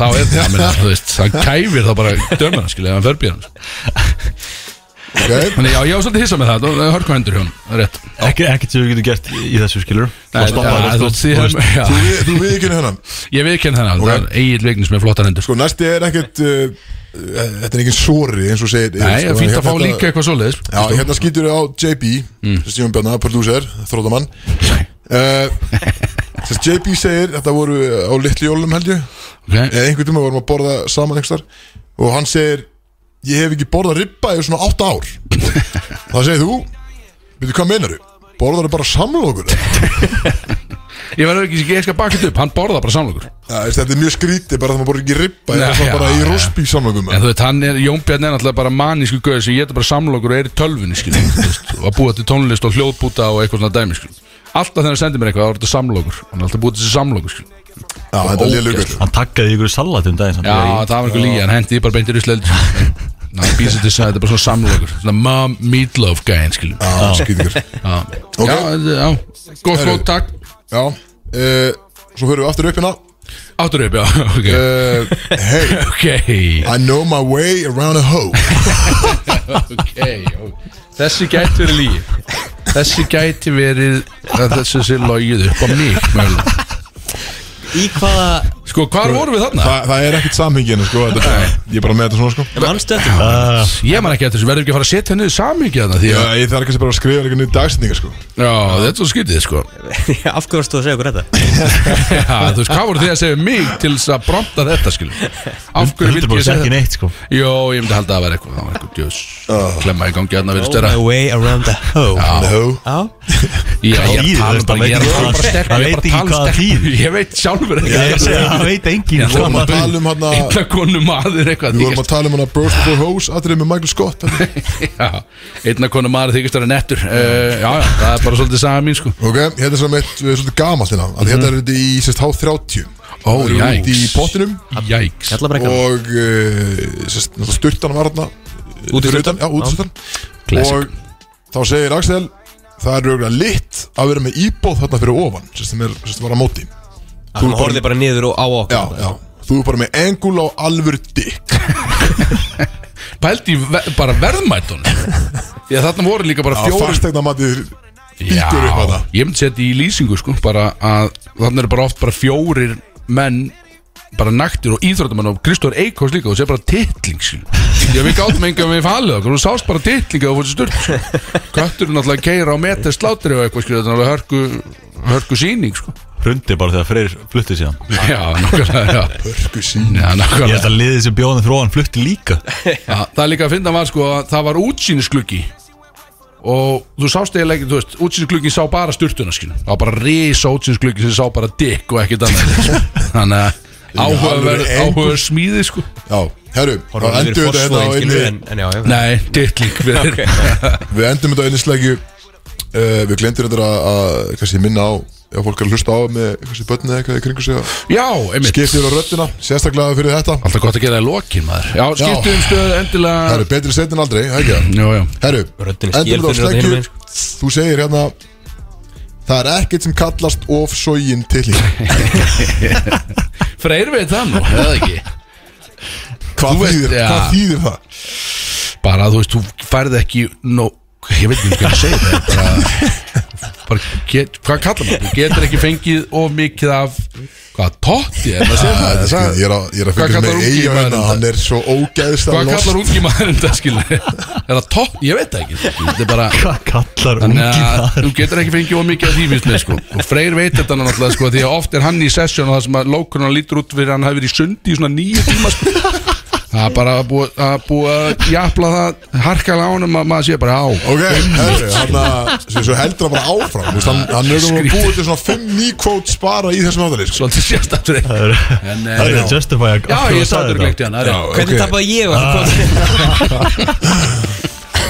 C: þá er það, menn, þú veist, hann kæfir þá bara dömur hann skilu, ef hann förbýr hann
A: okay.
C: Þannig já, ég var svolítið hissa með það, það er hörku hendur hjá hún, það er rétt
B: Ekki, ekkert sem við getum gert í, í þessu skilur
C: Nei, já,
B: sko.
C: þú veist, ég hef- já,
A: Þú, við- þú við ekki hennan
C: Ég viðkenn þennan, það er eigin vegnis með flottar hendur
A: Sko næsti er ekkert uh, uh, Þetta er engin sori eins og segir sko,
C: Nei, það er fínt að
A: hérna-
C: fá líka Mm. eitthvað svoleiðis
A: Já, hérna skýtur á JB Stjón Bjarnar, prodúser, þrótamann uh, sérst, JB segir, þetta voru á litlu jólum held ég
C: Ok,
A: eða einhvern tíma vorum að borða saman einhverstar og hann segir ég hef ekki borðað ribba í svona 8
C: <laughs>
A: ár þá segir þú veitu hvað meinaru, borðar bara samlokur ja,
C: Ég verður ekki, ég skal baka þetta upp, hann borða bara samlokur
A: veist, þetta er mjög skrítið bara það maður borðar ekki ribba
C: Nei,
A: eða það
C: já,
A: bara í
C: já.
A: rospi samlokum
C: En þú veist, hann er, Jón Bjarni er náttúrulega bara manísku gauð sem geta bara samlokur og er í tölvunni, skil og að búa til tónlist og hljóðbúta og eitthvað svona dæmi, skil Alltaf þegar hann sendir mér eitthvað, þá er þetta samlokur Hann er alltaf búið til þessi samlokur, skil
A: já, þetta er lélugur
B: Hann takkaði ykkur salatum um daginn samt
C: Já, það var einhver líka, hann hendi því bara beintir í slöld Ná, býsið til þess að þetta er bara svona samlokur Svona mom meatloaf gæðin, skil Já,
A: skrítið Ok.
C: þetta- já, gott,
A: Herru.
C: gott, takk
A: já, uh, svo höfum við aftur upp hérna
C: Áttur upp, já, <laughs> ok
A: uh, hey,
C: Ok,
A: I know my way around a hoe
C: ok Þessi gæti verið lígi Þessi gæti verið að þessi sé logið upp á mig mögulega.
D: Í hvaða
C: Sko, hvar vorum við þarna?
A: Þa, það er ekkert samhenginu sko, þetta er bara, ég er bara með þetta svona sko
D: mannstu eftir?
B: ah.
C: Ég man ekki eftir þessu, verðum ekki að fara að setja niður samhengi þarna því
A: Já,
C: að
A: ég þarf kannski bara að skrifa eitthvað niður dagsetningar sko
C: Já, þetta er svo skytið, sko
D: <laughs> Af hverju varstu að segja okkur þetta?
C: Já, þú veist, hvað voru þið að segja við mig til þess að bronta þetta, skilur Af hverju vildi ég
B: Hundurbúrs
C: segja
B: ekki
C: þetta?
B: neitt sko
C: Jó, ég myndi halda að það vera eitthvað Það var eitthvað djöðs Klemma í gangi þarna verið
D: Oh
C: störa
D: my way around
B: <laughs>
D: the hoe
A: The hoe.
D: Já
C: Já, ég er að tala um bara- ég er að tala um bara stelpu, ég er bara að tala um stelpu Ég veit sjálfur ekki
B: Þýðir þetta, veit ekki hvað- það veit ekki hvað það þýðir. Ég segi, það veit enginn sko.
A: Við vorum að
B: hvað maður-
A: tala um hérna
C: Illa konu maður eitthvað
A: Við vorum að
C: þykist
A: tala um hana Bros Before Hoes aðrið með Michael Scott atriði.
C: Já, einna konu maður þykist að vera nettur uh, Já, já, það er bara svolítið saga mín sko
A: Ok, hérna er svona eitt eh, svolítið gamalt hérna mm. Hérna er þetta í sérst H30
C: Ó,
A: Það eru
C: jæks.
A: hérna út Í pottinum
C: Jæks
D: Kalla brekkan
A: og uh, sérst, náttúrulega sturtan var hérna
D: Út í
A: fyrir
D: sundan?
A: utan, já, út í
D: Já.
A: sundan.
D: Classic.
A: Og þá segir Axel Það er auðvitað litt að vera með íbóð þarna fyrir ofan Sérst sem er, sérst var á móti
D: Hún horfði bara niður og á okkur
A: Já, já Þú er bara með engul á alvöru dikk
C: Pældi í ve bara verðmætun Já, þarna voru líka bara
A: Á
C: fjóri
A: fastegna matið Bítur upp á það
C: ég myndi setja í lýsingu sko bara að þannig eru bara oft bara fjórir menn bara naktir og íþróttamenn og Kristóður Eikós líka og sé bara titling skil. já við gáttum enga við falið okkur og þú sást bara titling og fórstu sturt sko. köttur er náttúrulega að keira á metið slátri og eitthvað skil þetta er náttúrulega hörku hörku síning sko
B: Hrundi bara þegar Freyr flutti síðan
C: já nákvæmlega já.
A: Hörku sín
C: Já,
B: Ég
C: nákvæmlega.
B: held að liðið sem bjóðan fyrir ofan flutti
C: <laughs>
B: líka
C: Já, það er líka að finna var sko að það var útsýnisgluggi og þú sást eða ekki, þú veist, útsýnisgluggi sá bara styrtuna skilur, það var bara risa útsýnisgluggi sem sá bara dikk og ekkert annað sko. <laughs> þannig að áhugaverð
A: alvöru engu.
C: áhugaverð smíði sko
A: Já, herru, þá
D: Horfði
A: endum
D: niður
A: við þetta hérna á
D: Fossvoginn, skilur,
A: einni
D: en- En já, já
C: nei, dittling við <laughs>
A: Við endum þetta á einni slægju Uh, við glemdur þetta að, að kannski, minna á ef fólk er að hlusta á með kannski, börn eða eitthvað í kringu sig að
C: já, einmitt,
A: skipta yfir á röddina sérstaklega fyrir þetta
C: alltaf gott að gera það í lokin maður já, skiptu um stöð endilega
A: Herru, betri setin aldrei, það ekki það
C: já, já,
A: Herru,
D: Röddin er
A: endur þetta á
C: hérna
D: skélfin röddin hinum
A: sleggju
D: megin,
C: sko.
A: Þú segir hérna Það er ekkert sem kallast of sógin
C: <laughs>
A: tilling
C: freyr veit það nú, eða <laughs> ekki
A: Hvað
C: Þú veist,
A: þýðir,
C: ja.
A: hvað þýðir það?
C: bara þú veist, þú færði ekki no, ég veit ekki hvað að segja það bara, bara get, hvað kallar maður, þú getur ekki fengið of mikið af, hvað, totti er maður að segja
A: Ah,
C: það,
A: þetta
C: það,
A: er- Ég er að, ég er að
C: Hvað
A: fylgjast
C: kallar
A: með eiga
C: ungi maðurinn
A: hérna
C: þetta?
A: Hann er svo ógeðslega
C: hvað kallar
A: lost
C: ungi maður þetta skilur, er það totti, ég veit það ekki þetta er bara,
B: Hvað kallar ungi
C: þannig að
B: maður?
C: þú getur ekki fengið of mikið af því finnst með, sko, og Freyr veit þetta náttúrulega, sko, því að oft er hann í session og það sem að lókunan lítur út fyrir að hann hafi verið í sundi í svona nýju tíma, sko Það er bara að búa- að búa að jafla það harkalega ánum að maður sé bara á
A: Ok, herru, hann að Svo svo heldur hann bara áfram þú veist, Hann, hann er nú búið til svona 5 ný kvót spara í þessum sko. áðalist
C: Svolítið sérstættur
B: Það er- það er að justify að
C: Já,
B: að
C: ég
B: þú sagðir
C: sáður
B: þetta.
C: glengt í hann það er rétt.
D: Hvernig tapaði ég á þessu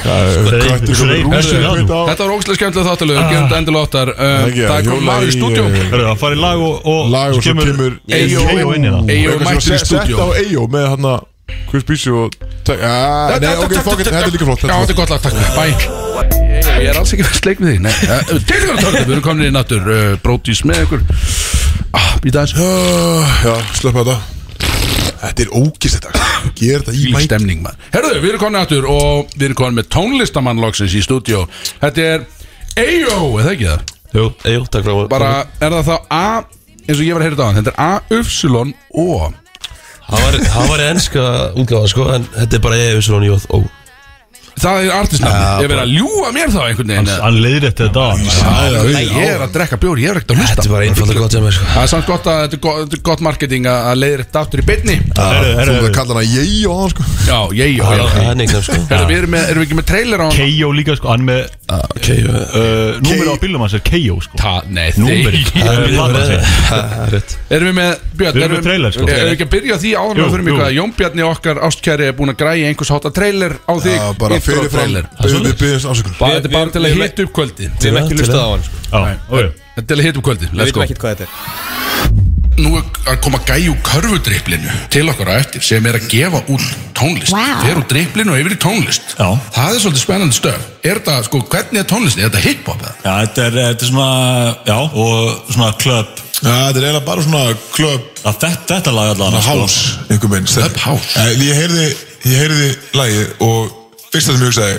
D: kvöldi?
A: Kvættur svo
B: Reif,
A: rúsið
B: reif,
A: kvita á
C: Þetta var ógstlega skemmtilega þáttalögur Gerum þetta endilega áttar
A: Það ekki,
C: Það kom
A: Jóla
C: maður í
A: í,
C: stúdjó
A: eh,
B: Hörru, það farið lag og, og
A: Lag og svo kemur
C: Eyjó.
B: Eyjó inn í það
C: Eyjó
A: Eitthvað sem
C: mættur í
A: var sett-
C: stúdíó.
A: Sett á Eyjó með hann að Chris Bísi og Tek- Ah, Nei, ok, fuck it, þetta er líka flott
C: Já,
A: þetta er flott.
C: þetta er gott lag, takk Bæ Ég er alls ekki að sleik við þig Nei, eh, til ykkur að tölta Við erum komin inn aftur eh, Brótis með ykkur Ah, Býta aðeins
A: Ah, Já, slöpa þetta Þetta er ógist þetta Ger þetta í
C: Fíl
A: mæk
C: stemning maður Herðu, við erum komin aftur Og við erum komin með tónlistamann loksins í stúdjó Þetta er Eyjó, eða ekki það?
D: Jú, jú, takk fyrir
C: Bara, er það þá A eins og ég var að heyrða á hann, þetta er A-Y-O
D: Það var, það var ennska útgáða sko En þetta er bara ég, Ísrón, Jóð og
C: Það er artistnafn, ég verið að ljúa mér þá einhvern veginn
B: Hann leiðir þetta þetta
C: Já, Nei, ég er að drekka bjór, ég er ekkert að hlusta
D: Þetta er bara einfalda gott sem er sko
C: Það er samt gott að þetta er gott, þetta er gott marketing að að leiðir þetta aftur í beinni
B: Herru,
A: Þú
B: herru,
A: veist að kalla hana ég og hann sko
C: Já, ég, já,
D: Það
C: já
D: er neignum sko
C: Herra, við erum, með, erum við ekki með trailer á hann?
B: K.O. líka sko, hann með
C: Ah,
D: Ok,
B: uh, Númerið á bílum hans er K.O. sko
C: Ta, nei,
B: Númerið Eh,
C: þeir
B: Það er pappa sinn.
D: rétt
C: Erum við með, Björn,
B: Við erum með trailer, sko.
C: Erum við ekki að byrja á því áður
B: Jú,
C: með fyrir mig
B: jú.
C: hvað Jón Bjarni okkar ástkæri er búin að græja einhvers hátta trailer á þig
A: Já, bara
C: intro
A: fyrirfram
C: trailer.
A: Byrðum við byrðum ásökun
C: Bara- Þetta er bara
D: Við-
C: til
D: við-
C: að hita upp kvöldi
D: Við erum ekki lustað á hann sko
B: Já, ok
C: Þetta er til að hita upp kvöldi, let's go
D: hvað þetta er
C: Nú er að koma gæju körfudriplinu til okkar á eftir sem er að gefa út tónlist
F: Vá.
C: Fer úr driplinu og yfir í tónlist
B: Já.
C: Það er svolítið spennandi stöf Er þetta, sko, hvernig er tónlistin? Er þetta hip-hop eða?
B: Já, þetta er, þetta er svona, já, og svona klöp
A: Þetta er eiginlega bara svona klöp
B: Þetta, þetta lag allavega sko.
A: House,
C: sko.
A: einhver minn
C: Club house?
A: Eh, Ég heyrði, ég heyrði lagið og fyrsta sem ég hugsaði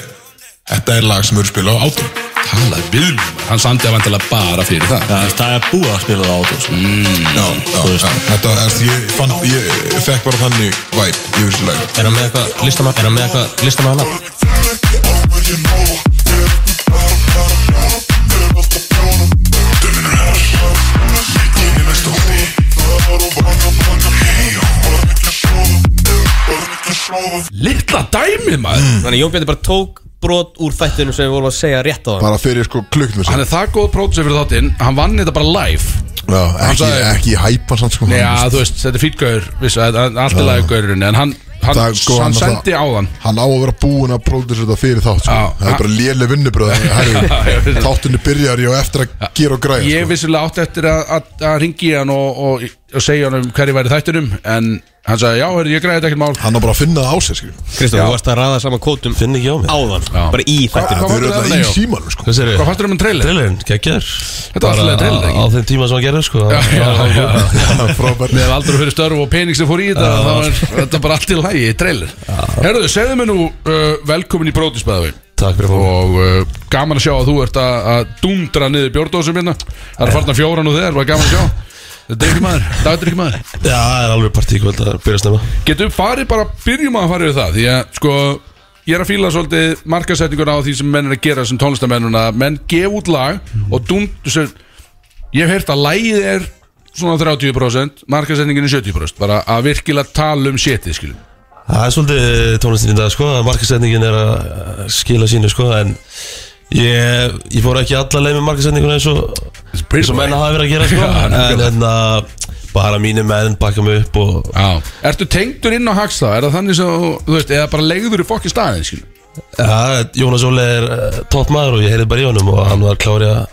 A: Þetta er lag sem eru spila á átum
C: Talaði byrjum Hann sandi að vantilega bara fyrir það Mm.
B: Já, það er búið að spila það á þetta sko.
A: Já, já, já Þetta, eftir, ég fann, ég fekk bara þannig væp yfir þessu lagi
D: Er hann með eitthvað listamann? Er hann með eitthvað listamann hann?
C: Littla dæmið maður
A: Mm.
D: Þannig Jón Bjarni bara tók brot úr þættinu sem við vorum að segja rétt á hann
A: Bara fyrir sko klukkt með
C: Hann
A: sér
C: er það góð pródusir fyrir þáttinn Hann vann þetta bara live
A: Já, ekki,
C: sagði-
A: ekki hæpa samt sko
C: Nei, ja, þú veist, þetta er fýtgöður Allt er lagið gaururinn En hann, hann,
A: Það er sko,
C: hann
A: hann
C: sendi á
A: náttúrulega-
C: hann
A: Hann á að vera búinn að pródusera þetta fyrir þátt sko.
C: Já.
A: Það er bara léleg
C: <laughs>
A: vinnubröð Þáttunni byrjar ég á eftir að gera og græja
C: Ég
A: sko.
C: vissulega átti eftir að, að, að ringi hann og, og, og segja hann um hverju væri þættinum En Hann sagði, já, heyrðu, ég greiði þetta ekkert mál
A: Hann á bara að finna það á sér skilur
I: Kristof, þú varst að ræða saman kótum
D: Finn ekki á mig
I: áðan Bara í
C: Hvað
I: þættinu
A: Þau eru
C: fannst
A: þetta í
C: þér um Leo?
A: símanum sko
D: Hvað sér
C: Hvað fannst þér um en trailer?
D: Trailerinn, geggjör
C: Þetta var alltaf trailer,
D: Á
C: ekki?
D: þeim tíma sem hann gerði sko
C: Já, <laughs> já, já,
A: <laughs>
C: já.
A: Frábær
C: Með aldrei fyrir störf og pening sem fór í þetta Það var þetta er bara allt í lagi í trailer Herðu, segðu mér nú uh, velkomin í brótisbæðavín
D: Takk fyrir fólk
C: Og uh, gaman að sjá að þú ert að, að dundra niður bjórdósum hérna Það er farna fjóran og þeir, var gaman að
D: <laughs>
C: sjá Þetta er ekki maður, það er ekki maður
D: Já, það er alveg partí kvöld að byrja snemma
C: Getum við farið bara, byrjum að fara við það Því að sko, ég er að fíla svolítið markasetninguna á því sem menn er að gera sem tónlistamennun að menn gef út lag og dund, sem, ég hef heyrt að lagið er svona 30% markasetningin er 70% bara að virkilega tala um sétið skilum
D: Það er svolítið tónlistin í dag sko Markasetningin er að eh, skila sínu sko En ég, ég fór ekki alla leið með markasetninguna eins og
C: pretty
D: Eins og menn
C: boy.
D: hafa verið að gera
C: <laughs>
D: sko
C: Já, nefnilega.
D: En hérna Bara mínu menn bakka mig upp og
C: Já. Ertu tengdur inn á hagstað, er það þannig sem þú- þú veist, eða bara legður í fokki staðin skilum
D: Já, Jónas Óli er uh, topp maður og ég heyrði bara í honum og hann var klári að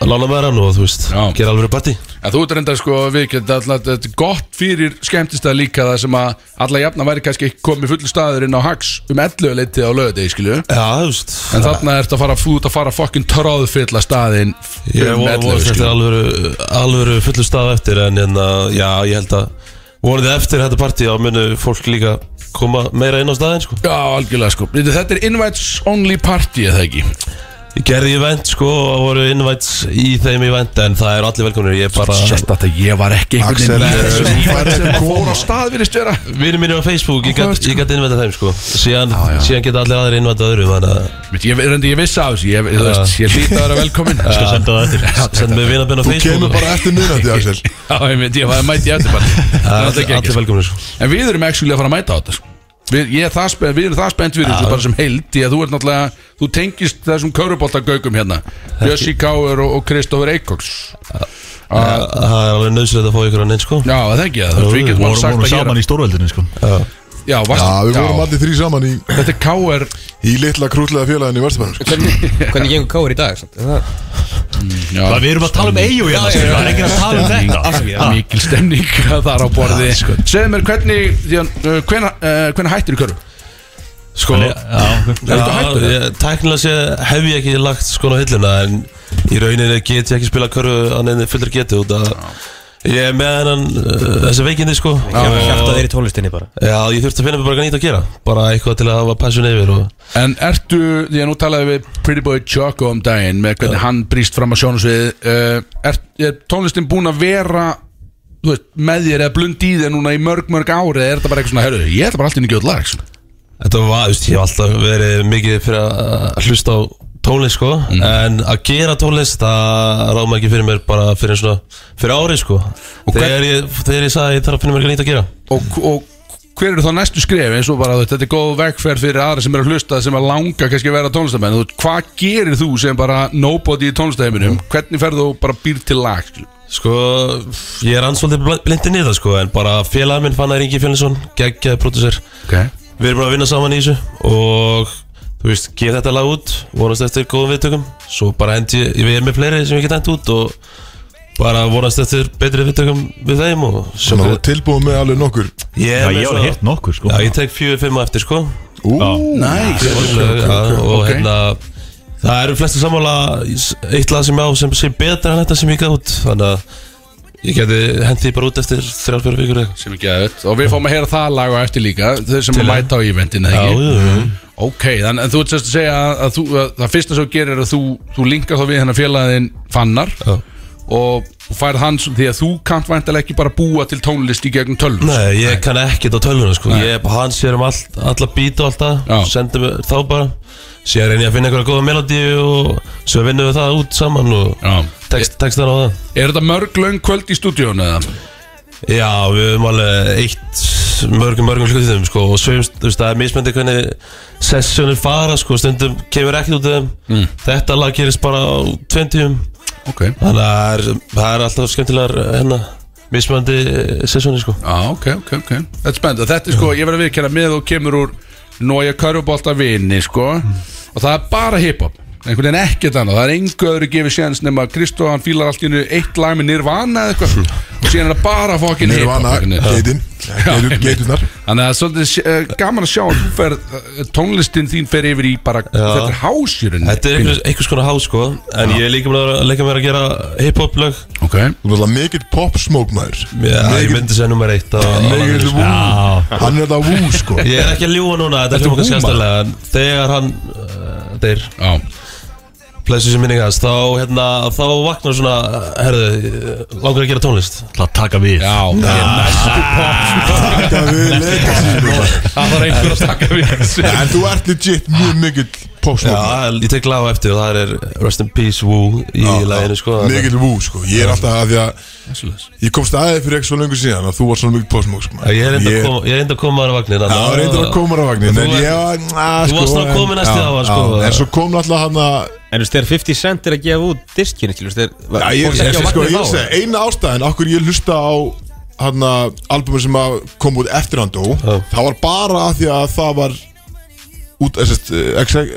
D: að lána með hann og þú veist,
C: Já.
D: gera alveg partí
C: En þú ert reyndar sko viðkjönd alltaf þetta er gott fyrir skemmtistað líka það sem að alla jafna væri kannski ekki komið fullur staður inn á hags um 11 leitið á lögadegi skilju
D: Já, þú veist
C: En þarna ertu að fara þú ert að fara fucking tróðfylla staðinn
D: Ég sko.
C: um
D: voru
C: 11,
D: vor, þetta
C: skilju.
D: er alvöru, alvöru fullu stað eftir en hérna, já, ég held að voruði eftir þetta partí þá munu fólk líka koma meira inn á staðinn sko.
C: Já, algjörlega sko Þetta þetta er invites only party eða ekki
D: Ég gerði event sko og voru invites í þeim event en það er allir velkomnir, ég bara
C: Sérst að ég var ekki
A: Axel,
C: einhvern
A: eh,
C: veginn
A: þú færð
C: sem
A: ekki að
C: fór á
A: koma.
C: stað virðist vera
D: Vinur minn er á Facebook, ég gæti sko. innvænt þeim sko síðan, síðan geta allir aðrir innvænt öðrum þannig að
C: Ég, ég, reyndi, ég vissi af þessu, ég, þú veist, ég hlýta að vera velkomin
D: Ég skal senda það eftir Send mig vinabinn á
A: Þú kemur
D: Facebook
A: bara eftir minnandi Axel
C: Já, ég veit, ég var að mæti eftir bara Það er alltaf
D: Allir
C: ekki
D: allir velkominir sko
C: En við erum ekki að fara að mæta á þetta sko. við, ég er það spennt, Við erum það spennt fyrir þessu bara sem heild Því að þú ert náttúrulega, þú tengist þessum köruboltagaugum hérna Bjössi Káur og, og Kristofur Eikóks Ah,
D: Það það er alveg nöðsilegt að fá ykkur hann inn sko
C: Já, það ekki það, þú veist, við
D: Við
C: getum alveg
D: vorum-
C: sagt
D: vorum
C: að
D: saman
C: gera
D: í stórveldinu sko
C: Já, varst,
A: Já, við vorum allir þrý saman í,
C: Þetta er Káur
A: í litla krútlega félaginu í Vesturbænum sko.
I: Hvernig gengur káur í dag? samt? Það-
D: Það við erum að tala um EU já, já, Það er ekki að tala um þetta
C: Mikil stemning <laughs> þar á borði Segðu mér hvernig, því að, uh, hvena, uh, hvena hættir í körfu?
D: Sko
C: Er þetta hættur það?
D: Tæknilega sé hef ég ekki lagt sko á hillina En í rauninni get ég ekki spila körfu Hann einnig fullur getu út að Ég er með hennan uh, þessi veikindi sko
I: Hjartað
D: Og-
I: er í tónlistinni bara
D: Já, ég þurfti að finna mér bara eitthvað nýtt að gera Bara eitthvað til að hafa passion yfir og
C: En ertu, því að nú talaði við Pretty Boy Choco um daginn með hvernig hann brýst fram á sjónusvið uh, er, er tónlistin búin að vera þú veist, með þér eða blund í þér núna í mörg mörg ári eða er þetta bara eitthvað svona, herru, ég ætla bara alltaf inn í gjöld lag sko? svona.
D: Þetta var, þú veist, ég hef alltaf verið mikið fyrir að hlusta á tónlist sko En að gera tónlist, það ráðum ekki fyrir mér bara fyrir svona, fyrir ári sko Þegar ég, þegar ég sagði ég þarf að finna mér eitthvað nýtt að gera
C: og, og hver eru þá næstu skrif eins og bara þú veist, þetta er góð vegferð fyrir aðra sem eru að hlusta sem að langa kannski að vera tónlistamenn Þú veist, hvað gerir þú sem bara nobody í tónlistaheiminum hvernig ferðu og bara býr til lag svona?
D: Sko, ég er ansvöldið blindin í það sko En bara félagið minn fann að Ringi Fjölinsson, geggjaði pródúsir
C: okay.
D: Við erum bara að vinna saman í þessu Og, þú veist, gef þetta lag út Vonast eftir góðum viðtökum Svo bara hendi, ég- við erum með fleiri sem ég get hent út Og bara vonast eftir betri viðtökum við þeim og
A: Svona, þú ert tilbúin með alveg nokkur
D: Ég
B: Já,
D: er með
B: ég hef
D: svona-
B: hirt nokkur sko
D: Já, ég tek fjögur fimm á eftir sko
A: Ú,
C: nice.
D: Já, Og
C: ok.
D: hérna Það eru flestu sammála Eitt lag sem ég á sem sé betra en þetta sem ég gaf út Þannig að ég geti hendi bara út eftir þrjár fjóra vikur eða eitthvað.
C: sem er geðut og við fáum að heyra það lag á eftir líka þeir sem að mæta á eventinu eða
D: Já,
C: ekki?
D: jú, jú.
C: ok, þannig en þú ert sérst að segja að, að, þú, að það fyrsta sem þú gerir er að þú, þú linkar þá við hennar félagin fannar
D: Já.
C: og þú færð hans því að þú kannt væntalega ekki bara búa til tónlist í gegnum tölv
D: Nei, ég kann ekkert á tölvunum sko Ég er bara hans sér um allt, alla bít og allt
C: Já.
D: það Sendi mér þá bara Sér reyni ég að finna einhverja góða melodíu Og svo vinnum við það út saman Og
C: Já.
D: tekst, tekst á það
C: er þetta mörg löng kvöld í stúdíónu eða?
D: Já, við höfum alveg eitt mörgum, mörgum hlutum sko, og sveimst, þú veist, það er mismöndi hvernig sessjónir fara, sko, stundum kemur ekkert út af þeim, þetta lag gerist bara á tveim tíum,
C: ok,
D: þannig að það er, það er alltaf skemmtilegar hérna, mismöndi sessjónir, sko
C: Já, Ah, ok, ok, ok Þetta er spennt og þetta er sko, ég verð að viðkjöna með og kemur úr Nója Körfubolta vini, sko Og það er bara hiphop einhvern veginn ekkert annað, það er engu öðru gefið séns nema að Kristó, hann fílar allt í hennu eitt lag með Nirvana eða eitthvað og síðan er það bara fokkin
A: Nirvana, geitin geitur- Geiturnar
C: Þannig að það er svolítið eh, gaman að sjá að þú fer, eh, tónlistin þín fer yfir í bara, þetta er hásjörunni
D: Þetta er einhvers, einhvers konar há sko En ég er líka með að leika mér að gera hip-hop lög
C: Ok,
A: Þú er alltaf mikill popsmoke maður
D: Já, ég myndi segja nummer eitt á, á
A: Mikill
D: landinu,
A: vú Hann er það vú sko
D: Ég er ekki að ljúa núna, þetta er
C: Ertu
D: hljóma kannski
C: Woo-man?
D: aðstæðlega En þegar hann, uh, þeir, <laughs>
C: já,
D: plessu sem minningast Þá, hérna, þá vaknar svona, uh, herðu, uh, langar að gera tónlist
B: Það taka við
C: já
A: Takk að við leika sín
C: Það var einhver að taka við þessu
A: En þú ert legit mjög mikill
D: Já,
A: popsmoke
D: ég tek lag á eftir og það er Rest in Peace Woo í
A: Já,
D: laginu sko
A: já, Mikill vú sko Ég er alltaf að því að Ég komst aðeins fyrir ekki svo lengur síðan að þú var svona mikill popsmoke sko
D: Ég er reyndar að koma- ég er reyndar að koma að vagnin
A: Já, það reyndar að koma á vagnin En
D: Þú
A: ég
D: er-
A: var na,
D: þú varst að koma næst
A: já,
D: í það var,
A: já,
D: sko.
A: En svo kom náttúrulega hann að
J: En þú veist, þegar 50 Cent er að gefa út diskinu, þú veist,
A: Já,
J: þegar
A: ég
J: fólk
A: er
J: ekki á
A: sko, ég
J: vagnir
A: er að
J: þá
A: segja Eina ástæðin Akkur ég hlusta á hann að Albumur sem að kom út eftir hann dó Það var bara að því að það var út, eh, þessast,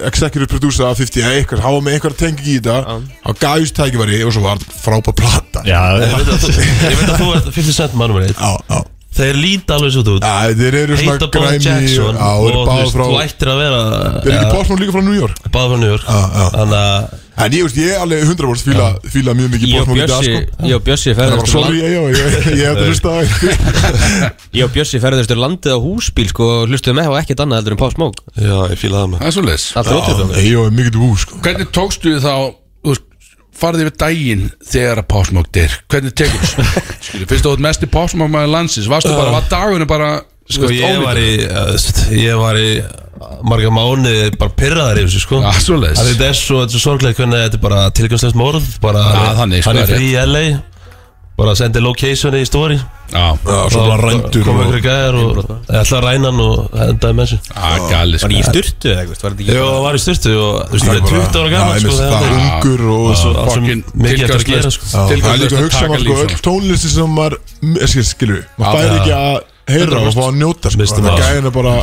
A: executive producer af 50 eða eitthvað, hafa með eitthvað tengi í þetta hann gæðist tækifæri og svo var þetta frábær plata
B: Já,
D: Ég veit að þú- ég veit að þú ert 50 cent mannum eitt
A: já, já.
D: Þeir líta alveg svo út
A: Já, þeir eru svona
D: Heita Bob
A: græmi
D: Jackson
A: Já, þeir eru
D: og þú
A: báða
D: veist,
A: frá
D: þú ættir að vera
A: Þeir eru ekki bóðsmann líka frá New York
D: báða frá New York
A: Já, já.
D: Þannig að
A: En ég veist, ég er alveg 100% fíla, fíla mjög mikið
J: Ég og
A: bóðsmann í dag
J: Bjössi,
A: sko
J: ég og Bjössi
A: Það var
J: ferðast um land-
A: sorry, ég, ég, ég, ég, ég hefði hlusta á
J: ég og Bjössi ferðast um landið á húsbíl, sko, og hlustuðum með og ekkert annað heldur en Pá Smók
D: Já, ég fíla það maður
C: Það er svo leis
J: Það er ótrúð
A: Ég hefði mikið úr, sko
C: Hvernig tókstu þið þá þú veist, farið yfir daginn þegar að pásmók dyr hvernig tekur
D: <laughs>
C: þessu? Skilu, fyrst þú ert mesti pásmók maður landsins varstu bara, var dagunni bara
D: Sko ég var í, uh, st- ég var í uh, marga mánu bara pyrraðar yfir þessu sko
C: Já, svoleiðis.
D: Það er þetta er svo, þetta er svo sorglega hvernig þetta er bara tilgangslegt morð bara
C: Já, þannig, sko,
D: Hann
C: það
D: er
C: er
D: frí í LA bara sendi locationi í story
C: Já,
A: Já, svo bara rændur
D: Kom
A: og
D: ykkur gæðar og ég ætla að ræna hann og hendaði með þessu
C: að gali
J: Var
C: sko
J: ég í styrtu eða eitthvað, var þetta
D: Jó,
J: ekki
D: hann var í styrtu og þú veist,
A: Það
D: það
A: er
D: er 20 ára gaman sko
A: Það er
D: þegar hann-
A: ungur og
D: svo-
A: Já,
D: á svo
C: Fucking
D: mikið eftir að
C: tilgangslaust-
D: gera, sko.
A: Það er líka að
C: tilgangslaust að
A: hugsa
C: taka
A: maður, sko
C: líf
A: Öll
C: svona.
A: tónlisti sem maður Skilur, skilur Maður fær ekki að heyra og fá að njóta, sko
D: Mistum
A: Það
D: það.
A: er gæðina bara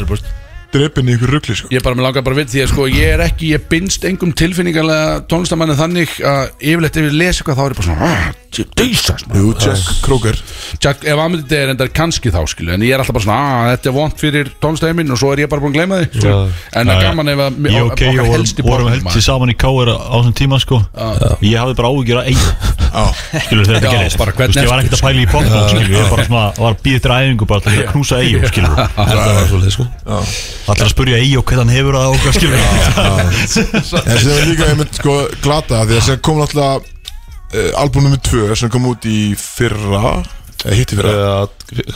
A: Dreipin í ykkur ruggli, sko
C: Ég er bara með langar bara við því að sko ég er ekki ég binst engum tilfinningarlega tónlistamanni þannig að yfirleitt ef ég les eitthvað þá er ég bara svona "Ah, djú- Jesus man."
A: Jú, Jack Kroger
C: Jack, ef aðmyndið er endar kannski þá skilu en ég er alltaf bara svona að þetta er vont fyrir tónlistæmin og svo er ég bara búin að gleyma því skilu. en það er gaman ef að
B: Ég og Kei og vorum- vorum helsti saman í K.R. á þessum tíma sko Ég hafði bara áhugjur að eiga Skilur þegar
C: Já,
B: þetta gerist
C: bara
B: Þú
C: hvernig
B: veist, Ég var
C: ertu,
B: ekkert að pæla í popnum skilur Ég var bara svona, var býð eftir æfingu bara til að knúsa eigu skilur
D: Það var svolítið sko
B: Allar að spurja eigu hvernig hann hefur það og hvað skilur
A: En sem er líka, ég mynd, sko, glata Því að sem kom náttúrulega uh, Album nr. 2 sem kom út í fyrra eh, Hitti fyrra
D: Já,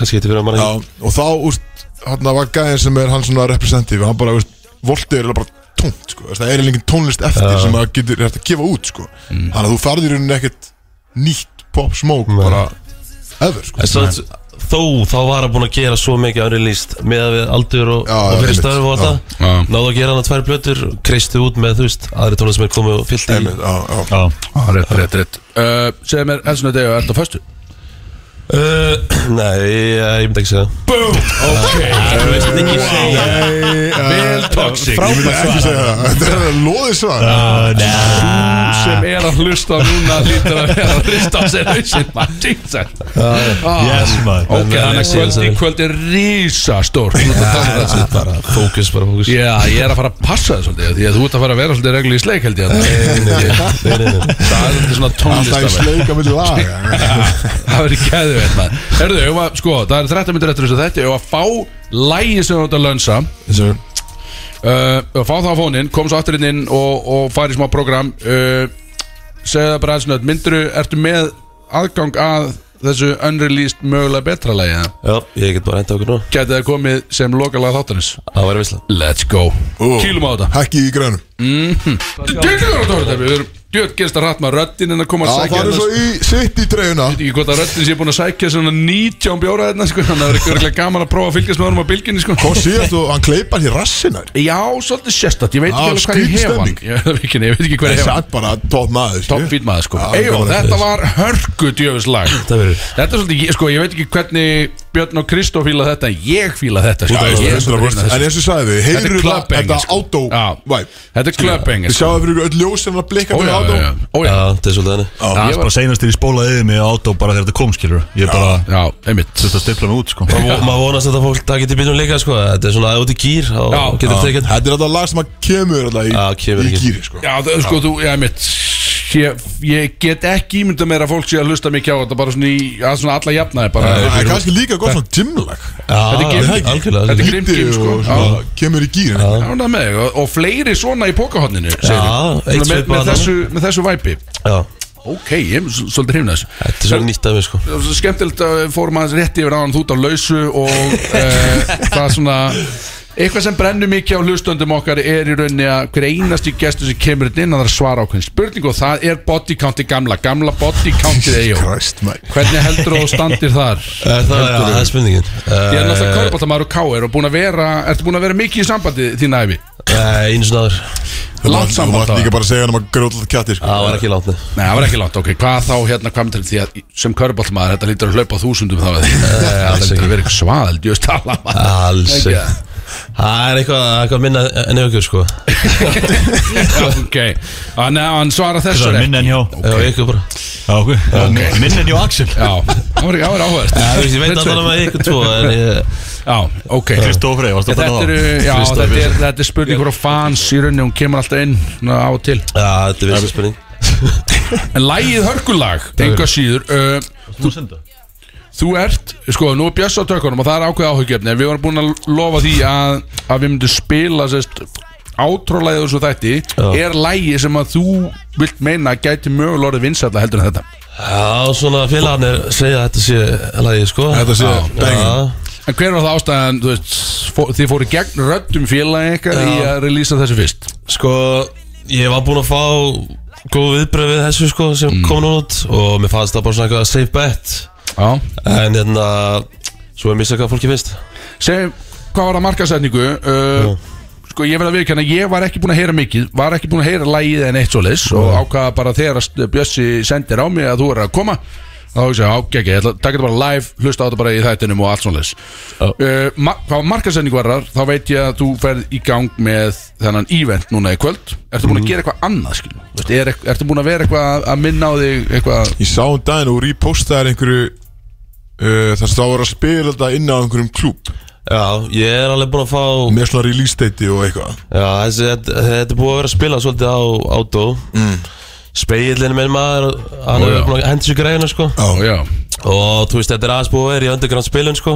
D: kannski getur fyrir að manna
A: Já, og þá, úst, hann var gæðin sem er hann svona representative, hann bara, úst, voltið er bara tónt, sko, Þess, það er líka tónlist eftir sem að getur hægt að gefa út, sko þannig að þú farðir rauninni ekkert nýtt pop smoke,
D: Mm. Nei.
A: bara ever, sko,
D: En svo- Þó, þá var hann búin að gera svo mikið árið líst með að við aldur og,
A: Já,
D: og fyrir
A: einmitt,
D: stöður og
A: já.
D: alltaf
C: Já.
D: Náðu að gera hann að tvær blötur, kreistu út með þú veist aðri tónlega sem er komið og fyllt í
A: Einmitt, já, já.
B: Já,
C: Já, rétt, rétt, rétt uh, Segðu mér, elsinu degi, ertu á föstu?
D: uh, Nei, ég, ég myndi ekki segja
B: Uh,
C: Vel toxic
A: ég myndi ekki segja það, þetta er loðið svar
B: uh,
C: Þú sem er að hlusta núna lítur að vera að hlusta á sér hausinn maður, Jesus.
B: yes
C: Ah,
B: maður
C: Ok, þannig að kvöld í kvöld er rísastór
D: Það er bara fókus, bara fókus
C: um Já, ég er að fara að passa það svolítið Því að þú ert að fara að vera svolítið reglu í sleik held ég að
D: Nei, nei, nei.
C: Það er svolítið svona
A: alltaf í
C: tónlist
A: sleika milli laga
D: <laughs>
C: Það verður gæðu veit maður Herðu, ef að- sko, það er 13 myndir eftir þessu þetta Ef að fá lægi sem þú ert að lönsa uh, og fá það á fónin, kom svo aftur inn inn og, og fari í smá program uh, segja það bara aðeins nöðt mynduru, ertu með aðgang að þessu unreleased mögulega betra lagi
D: Já, ég get bara henda okkur nú
C: getið það komið sem lokalega þáttanins
D: Það væri vissla
C: Let's go,
A: Ó.
C: kýlum á þetta
A: hækki í grænum,
C: Djöð gerst að rætt maður röddinn en að koma
A: já,
C: að
A: það er
C: sækja hérna
A: svo í sitt í treyuna
C: Ég veit ekki hvort að röddinn sé búin að sækja svona 19 bjóra þarna sko Þannig að það er ykkurlega gaman að prófa að fylgjast með honum á bylginni sko
A: kom síðast og hann kleipar hér rassinar
C: Já, svolítið sérstætt, ég veit
A: Já,
C: ekki alveg hvað ég hef hann
A: skrýtstemming.
C: Ég veit ekki, ég veit ekki hvað ég
A: það
C: hef hann
A: er bara top maður skilju.
C: Toppfýt maður sko
A: Já,
C: Eyjó,
A: gaman að
C: þetta
A: þessu.
C: var hörgu djöfuslag
D: Það verður
C: Þetta er svolítið, ég- sko, ég veit ekki hvernig Björn og Kristó fíla þetta en ég fíla þetta
A: Út
C: sko.
A: af þessu,
C: ég er
A: 100%.
C: svolítið að
A: En
C: þessu.
A: eins og sagði þið,
C: Þetta er
A: heyrðu það,
C: clubbing,
A: þetta
C: sko.
A: átó
C: Já. Þetta er clubbing,
A: Við
C: sko.
A: sjáum fyrir ykkur öll ljós sem að blikka
C: Ó,
A: fyrir
C: já,
A: átó
C: já, já. Ó, já.
D: Já, þetta er svolítið þannig
B: Það
C: ég
B: er bara senast þegar ég spólaði yfir mig á átó bara þegar þetta kom, skilur Ég bara
C: Já, einmitt
B: þurfti að stifla mig út, sko
D: Og vo- maður vonast að þetta fólk takit í bílum líka sko Þetta er svona að út í gýr og
C: Já,
D: getur
C: já.
D: tekið
A: Þetta er alltaf lag sem að kemur alltaf í,
D: Já, kemur
A: í
D: ekki.
A: gýri sko.
C: Já, það, sko, þú, já, einmitt Ég, ég get ekki ímynda mér að fólk sé að hlusta mikið á þetta bara svona í, að svona alla jafnaði bara
A: Það er kannski líka gott svona gymlag
C: er
D: Þetta
C: gym.
D: Algjörlega
C: Þetta er
D: algjörlega.
C: gym. Grimm gym,
A: Lítið
C: sko.
A: og svona kemur í gýrin
C: Já, það er með, þig. og, og fleiri svona í pókahotninu
D: Já, eitt
C: með, með,
D: svipað þarna.
C: þessu, með þessu væpi
D: Já,
C: Ok, ég er s- svolítið hrifna þessu
D: Þetta er svona nýtt af mér sko
C: Það var svo skemmtilegt að við fórum aðeins rétt yfir áðan þú út á lausu
A: <laughs>
C: og uh, það er svona eitthvað sem brennur mikið á hlustöndum okkar er í rauninni að hver einasti gestur sem kemur hérna inn að það er svara ákveðin spurning og það er body countið gamla gamla body countið eigi
A: Christ, mæ
C: hvernig heldur þú standir þar
D: Eh, Það er- já, það er spurningin
C: ég er
D: Eh,
C: náttúrulega körbáttamæður og káir og búin að vera ertu búin að vera mikið í sambandi þín æfi
D: eh, Einu svona aður
A: Þú
C: langt samband
A: mátt
C: á
A: líka
C: það
A: bara segja hann um að gróta alltaf kjattir sko.
D: Það var ekki látni
C: Nei, það var ekki langt, ok, hvað þá hérna hvað með til því að sem körbáttamæður þetta lítur að hlaupa á þúsundum þá Eh, það
D: alls
C: lítur
D: ekki. Ah.
C: að vera eitthvað svaðald, ég veist alla maður.
D: Alls
C: Ekki
D: ekki
C: það?
D: Það er eitthvað, eitthvað minna en ykkur sko
C: ok Þannig að hann svara þessu
B: Það er
C: rétt.
B: minn en hjá
D: Já, ykkur bara
B: Já, ok Minn en hjá Axel
C: Já, það var það var áhverst
D: Já, þú veist, Ég veit alltaf með ykkur tvo en ég
C: Já, ok
B: Kristófrey, varstu að
C: Þetta
B: tala
C: eru,
B: þá?
C: já,
D: Kristoffer.
C: þetta er, þetta er spurning hvora fans í rauninni, hún kemur alltaf inn svona á og til
D: Já, þetta er vissi spurning
C: En lægið hörkulag, enga síður uh,
B: Þú senda
C: Þú ert, sko, nú er Bjöss á tökunum og það er ákveð áhugjefni en Við vorum búin að lofa því að, að við myndum spila sérst átrólæðið og svo þætti Er lægið sem að þú vilt meina að gæti mögulega orðið vinsætla heldur en þetta
D: Já, svona félagarnir segja að þetta sé lagið sko
A: Þetta sé bengið
D: Já,
C: En hver var það ástæðan, þú veist, fó, þið fóru gegn röddum félagi ykkar í að relýsa þessu fyrst
D: Sko, ég var búinn að fá góð viðbröð við þessu sko sem kom nú út og mér fannst það bara svona eitthvað safe bet
C: Já
D: en hérna, svo er missa hvað fólki finnst
C: Segjum, hvað var það markasetningu uh, Sko, ég verð að viðkjanna Ég var ekki búin að heyra mikið Var ekki búin að heyra lægið en eitt svoleiðis Og ákvaða bara þegar að st- Bjössi sendir á mig Að þú er að koma Þá hugsa ég, ágæk ég, ég ætla að taka þetta bara live Hlusta á þetta bara í þættinum og allt svoleiðis uh, ma Hvað markasetningu var þar Þá veit ég að þú ferð í gang með Þennan event núna í kvöld Ertu búin að gera eitthvað annað, skil Vist, er, ekk- Ertu búin að vera eitthvað að minna á þig Eitthvað
A: Ég sá um daginn og repostaðar einhverju uh, þar sem það var að spila þetta inn á einhverjum klúb
D: Já, ég er alveg búinn að fá
A: með svona release date og eitthvað
D: Já, þessi, þetta, þetta er búið að vera að spila svolítið á átó mm. Speillin minn maður, hann
C: Ó, já.
D: er búinn að hendi sér greiðina sko
C: Ó, já,
D: Og þú veist, þetta er aðeins búið að vera í underground spilin sko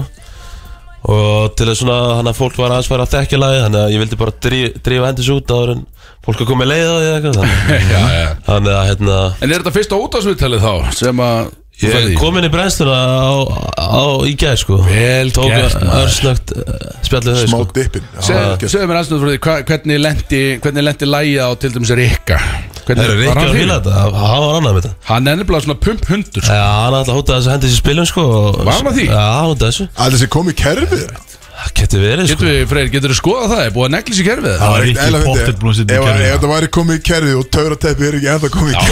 D: Og til að svona, hann að fólk var aðeins fara að þekkja lagi Þannig að ég vildi bara dríf, drífa hendis út áður en fólk að koma með leið á því eða eitthvað þannig-
C: <laughs> já, já.
D: Þannig að hérna,
C: En er þetta fyrsta útásviðtalið þá sem að þú
D: ég
C: ferð í?
D: er komin í brennstuna á, á, í gæð sko
C: Vel
D: Tók
C: gert, maður.
D: örsnögt spjallið þau
A: smá
D: sko
A: dippin Já.
C: Segðu segðu mér aðstöðu fyrir því hva- hvernig lendi hvernig lendi lægið á til dæmis Rikka
D: Það eru
C: var
D: reykja að
C: hann
D: fíla
C: hrifinn?
D: þetta, hann var annað með þetta
C: Hann er nefnilega svona pump hundur sko.
D: Já, hann ætlaði að hóta þessu hendi þessi spilum sko og-
C: Var hann að því?
D: Já, hann hóta þessu
A: Allir sem kom í kerfið
D: Það getur verið sko
C: Getur við, Freyr, getur við skoðað það? Er búið að neglis í kerfið?
B: Það var
A: Eitt
B: ekki
A: eðla fyndi.
B: pottet búin að
A: Ef
B: setja í
A: ef
B: kerfi
A: þetta væri komið í kerfið og töfrateppi er ekki ennþá komið í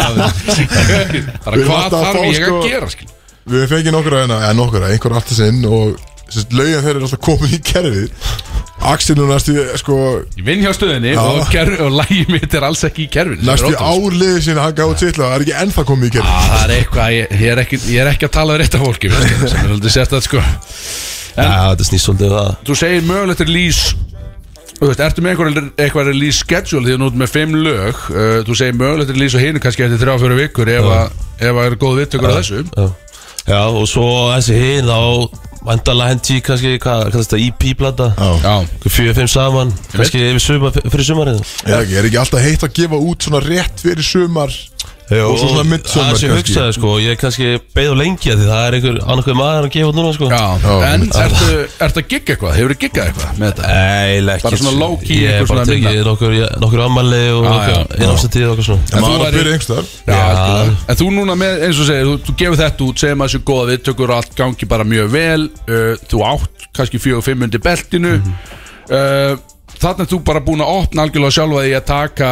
A: kerfið
C: Það er
A: Við
C: hvað
A: vantar að
C: þarf
A: fá,
C: ég að
A: sko-
C: gera skil?
A: Við fengið nokkra hérna, eða nokkra, einhver artist inn og sérst, lögin þeir eru alltaf komin í kerfið Axel nú næstu, sko,
C: Ég vinn hjá stöðinni
A: Já.
C: og, kerfi, og lægið mitt er alls ekki í kerfinu sem er
A: næstu
C: ótrúlegt.
A: árliði sinni hann gáði til það er ekki ennþá komið í
C: Á,
A: kerfið
C: Það er eitthvað, ég, ég, er ekki, ég er ekki að tala við rétt af fólki veistu, sem er aldrei sérstætt sko
D: Já, þetta snýst svolítið um það
C: þú segir mögulegt release Þú veist, ertu með einhver, eitthvað release schedule því að nú ert með fimm lög uh, þú segir mögulegt release og hinu kannski eftir þrjá fjóru vikur ef að ef að er góð vittökur á þessu
D: Já, já og svo þessi hinn á Vandala hendi kannski, hvað hvað er þetta, E EP-plata
A: Já.
C: Já,
D: Fjögur, fimm saman, kannski yfir sumar, fyrir sumarið
A: Já, ekki, Er ekki alltaf heitt að gefa út svona rétt fyrir sumar og svo svona midsumar
D: Það sé hugsaði sko, ég kannski beið á lengi að því það er einhver annarkveð maður að gefa út núna sko
C: já,
A: Já,
C: en
A: mitt.
C: ertu, ertu að gigga eitthvað? Hefur þið giggað eitthvað með þetta?
D: Nei, ekki
C: Bara svona low key, einhver
D: Ég er bara
C: svona
D: tekið
C: minna.
D: nokkur, ég- nokkur ammali og
C: Já, já.
D: nokkur innafsettíð og eitthvað svona
A: En
C: þú
A: maður
C: væri-
A: að byrja einhverstaðar
C: Já,
D: Já.
C: já. En þú núna með, eins og segir, þú, þú gefur þetta út segir maður þessu góða viðtökur og allt gangi bara mjög vel uh, þú átt kannski fjögur og fimm undir
A: Mhm.
C: beltinu mm -hmm. uh, Þannig að þú bara búin að opna algjörlega sjálfa því að taka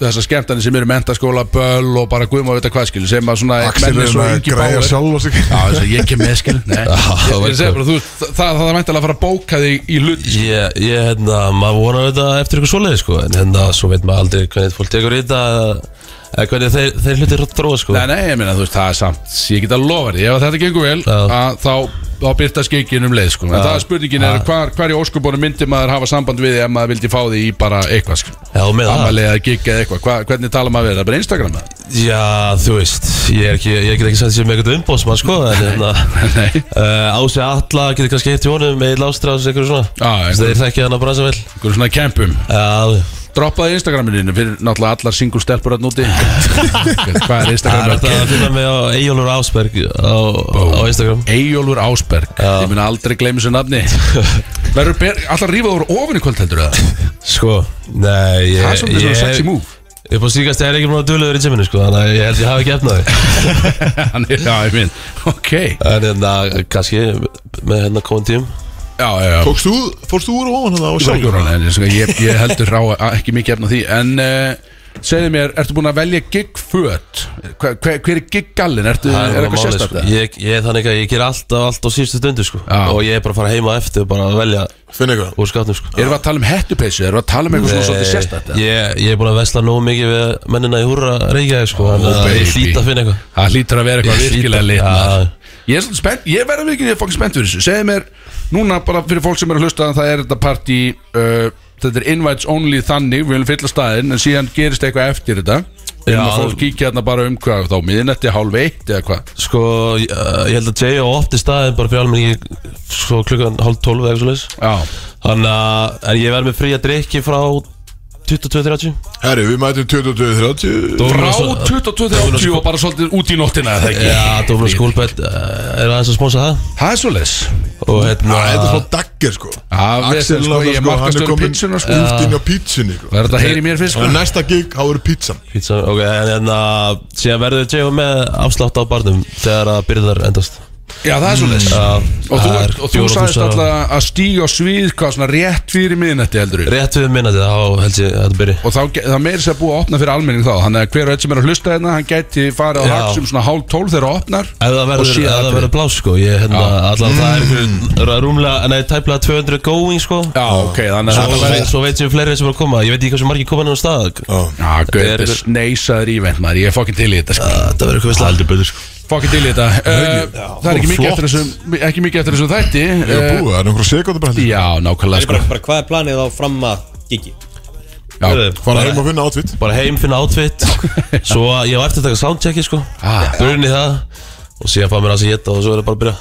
C: þessar skemmtani sem eru mentaskóla, böl og bara guðum að vita hvað skil sem að svona
A: Axel
C: menn
A: er
C: eins og
A: að
C: Ingi
A: græja
C: Bauer-
A: sjálf og sig
C: Já, þess að ég kem með skil
A: <laughs>
C: Nei, ég,
D: það
C: ég,
D: var
C: ég segi bara, þú, það, það, það er meintilega að fara að bóka þig í hlut
D: Ég, ég, hérna, maður vonar þetta eftir eitthvað svoleiði, sko En hérna, svo veit maður aldrei hvernig fólk tekur í þetta Eða hvernig þeir, þeir hlutir dróða, sko
C: Nei, nei, ég meina, þú veist, það er samt Ég get að lofa þér, ef að þetta gengur vel
D: Já.
C: að, þá, þá byrta skeikin um leið, sko En það er spurningin er, hvar, hvar í óskupunum myndi maður hafa samband við því ef maður vildi fá því í bara eitthvað, sko
D: Já, með það
C: Amalið að gigga eða eitthvað, Hva, hvernig tala maður við, það er bara Instagram eða?
D: Já, þú veist, ég, er ekki, ég get ekki sagt sem eitthvað umbóðsmann, sko En hérna,
C: Nei,
D: uh, Ási Alla, getur kannski hitt í honum Eil Ástrás, eitthvað svona
C: Já,
D: Þess að þeir þekki hann að brasa vel
C: einhverjum svona kempum
D: Já,
C: Droppaði Instagraminu fyrir náttúrulega allar single stelpur að
D: <laughs>
C: núti Hvað er
D: það er
C: Instagram?
D: þetta að finna mig á Eyjólfur Ásberg á, á Instagram
C: Eyjólfur Ásberg Ég mun aldrei gleymi þessu
D: <laughs>
C: nafni Verður ber- allar rífað úr ofin í kvöld heldur það
D: Sko, nei ég,
C: Það er svolítið svona sexy
D: <laughs>
C: move
D: Ég er búin að síkast ég er ekki búin að duðlegur í gyminu, sko Þannig að ég held ég hafi ekki efnaði
C: <laughs> Hann er- Já, ég minn Ok Já,
D: En hérna, kannski með hérna komum tím
C: já, já
A: Tókst þú, fórst þú úr og ofan það og sjálfur
C: Sjálfur hann en ég- ég, ég heldur rá að- ekki mikið efna því En uh, segðu mér, ertu búin að velja gigföt? Hver, hver er giggallin? Ertu, er
D: Það bara
C: eitthvað
D: málið,
C: sérstætt?
D: sko.
C: það?
D: ég, ég er þannig að ég ger allt á allt á síðustu stundu sko
C: Já.
D: Og ég er bara að fara heima eftir og bara að velja
A: Finn eitthvað
D: úr skátnum sko
C: Erum við að tala um hettupeysu? Erum við að tala um eitthvað svona svolítið sérstætt?
D: Nei, Eh, ég, ég er búin að vesla nógu mikið við mennina í húra Reykjavík sko Þannig að
C: baby.
D: ég hlýt að finna eitthvað
C: Það hlýtur að vera eitthvað
D: Ég hlýt
C: virkilega
D: að-
C: lit
D: Já.
C: maður. Ég er svolítið spennt, ég verða mikið ég er fokkin spennt fyrir þessu Segðu mér, núna bara fyrir fólk sem eru að hlusta Það er þetta partí uh, Þetta er invites only þannig, við viljum fylla staðinn En síðan gerist eitthvað eftir þetta Við viljum
D: Já.
C: að fólk kíkja hérna bara um hvað Þá miðinetti hálf eitt eða hvað
D: Sko, ég, ég held að J.O. opti staðin bara fyrir almenningi Sko klukkan hálf tólf eða eitthvað svoleiðis
C: Já,
D: Þannig að en ég verð með fría drikki frá 22.30
A: Herri, við mætum 22.30
C: frá
D: Dómurinn svo-
C: 22.80 og bara svolítið út í nóttina eða ekki
D: Já, Dófnum skólbett eh, er aðeins að spónsa það
C: Það er svolítið
D: Og hérna
A: Það er svona dagger sko
C: Já, við
A: Axel
C: erum sko,
A: Laga, sko,
C: ég er
A: hann er
C: markastur
A: komin
C: pítsuna sko
A: út inn á pítsunni sko.
C: Það er þetta að heyri mér fyrst
A: Og
C: sko
A: næsta gig, þá eru pítsan
D: Pizza, ok, en hérna Síðan verður J.O. með afslátt á barnum Þegar að byrðar endast
C: Já, það er svolítið
D: Mm. Já,
C: Og þú,
D: það er
C: ert- og þú
D: 4.000
C: sagðist alltaf að stíga á svið hvað svona rétt fyrir miðnætti heldur við
D: Rétt við minna þetta, þá held ég að þetta byrji
C: og þá, ge- það meiri sér að búa að opna fyrir almenning þá þannig að hver og einn sem er að hlusta hérna hann gæti farið á
D: Já.
C: hagsum svona hálf tólf þegar það opnar
D: Ef það
C: Og
D: verður,
C: sé
D: ef það
C: atriði.
D: verður blás sko Ég hérna, allan það er einhver Rúmlega, nei, tæplega 200 going sko
C: Já, ok, þannig að
D: Svo,
C: það verður
D: svo veit ég um fleiri sem eru að koma Ég veit ekki hversu margir koma nefnum stað
A: Já.
C: Já, gauð,
D: Er
C: þetta er
D: einhver-
C: sneisaður ívent maður, ég er fokkin til í þetta sko.
D: Það verður eitthvað veistlega Aldrei betur sko
C: Fokkin til í þetta uh, Það er ekki mikið,
A: flott.
C: eftir þessum, ekki mikið eftir þessum þætti
A: Ég er
C: uh,
A: búið, það er einhverja sekundur bara heldur
C: Já, nákvæmlega
K: bara,
C: sko
K: bara hvað er planið á fram að gigi?
C: Já,
A: Fara heim að finna átvit
D: Bara heim, finna outfit Svo ég var eftir að taka soundchecki sko
C: Ah.
D: Brunni það Og síðan fá mér að sér geta og svo er það bara að byrja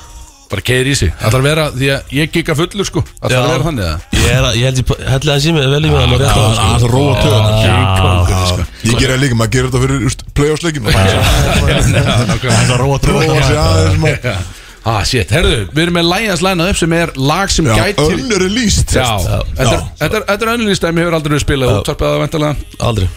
C: bara keir í sig Það þarf að vera, því að ég gikk að fullur sko Það þarf að
D: Já.
C: vera þannig að
D: Ég, er, að- ég held ég held að það sé mig vel í mig alveg rétt á
A: Það er
D: sko.
A: að róa
C: Kóngurinn, sko.
A: töðan Ég gera það líka, maður gerir þetta fyrir playoffsleikin Það er að róa töðan Róa sig aðeins maður.
C: Ah, shit, herðu, við erum með Lions lænað upp sem er lag sem
A: Já,
C: gæti
A: Önnur er líst
C: Já, þetta er- þetta er- þetta er önlunistæmi hefur aldrei verið spilað útvarpið að vantala
D: Aldrei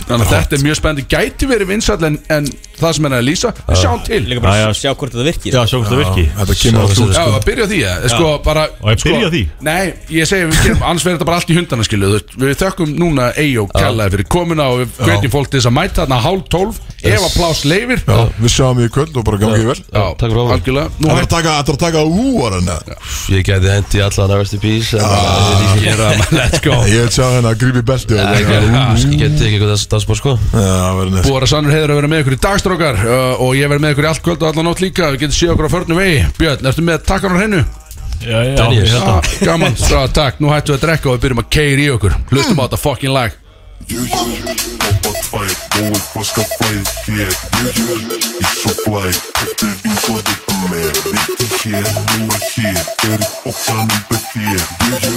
C: Þannig að þetta er mjög spennandi, gæti verið vinsall en, en það sem henni er að lýsa, við sjáum til
K: Líka
B: Já,
K: bara
B: já.
K: sjá hvort þetta virkir
B: Já, sjá hvort það virki
A: Þetta kemur allt út
C: Já, að byrja á því, ja. sko, bara
B: Og ég byrja á því?
C: Nei, ég segi, við gerum, annars verður þetta bara allt í hundana, skilu veist, Við þökkum núna Eyjó kallaði fyrir komuna og við hvetjum fólk til þess að mæta þarna hálf tólf, ef að plás leifir
A: Já, Við sjáum í kvöld og bara gangið vel
D: Já, takk fyrir áfram.
C: algjörlega Nú
A: Það
C: er
A: er að taka, þetta er að taka úar hann
D: Ég gæti hendi allan að rest in peace en það
C: að
D: er
C: sko. gera, let's
A: <laughs>
C: go
A: Ég vil sjá henni að grípi belti og
D: ekki-
A: taka-
D: Ég geti ekki eitthvað þess dagsbór sko
A: Já, það verður næst
C: Búar að sannur heiður að vera með ykkur í dagstrókar uh, og ég verð með ykkur í allt kvöld og allan nótt líka við getum séð okkur á förnum vegi Björn, ertu með takkan á hreinu?
B: Já, já,
D: Dennis.
B: ég held að-
C: Ah, Gaman, svo takk, nú hættum við að drekka og við byrjum að keira í okkur Hlustum á þetta fucking lag
G: Þetta er eins og þetta með Þetta er hér, nú er hér Eru okkar nýmur hér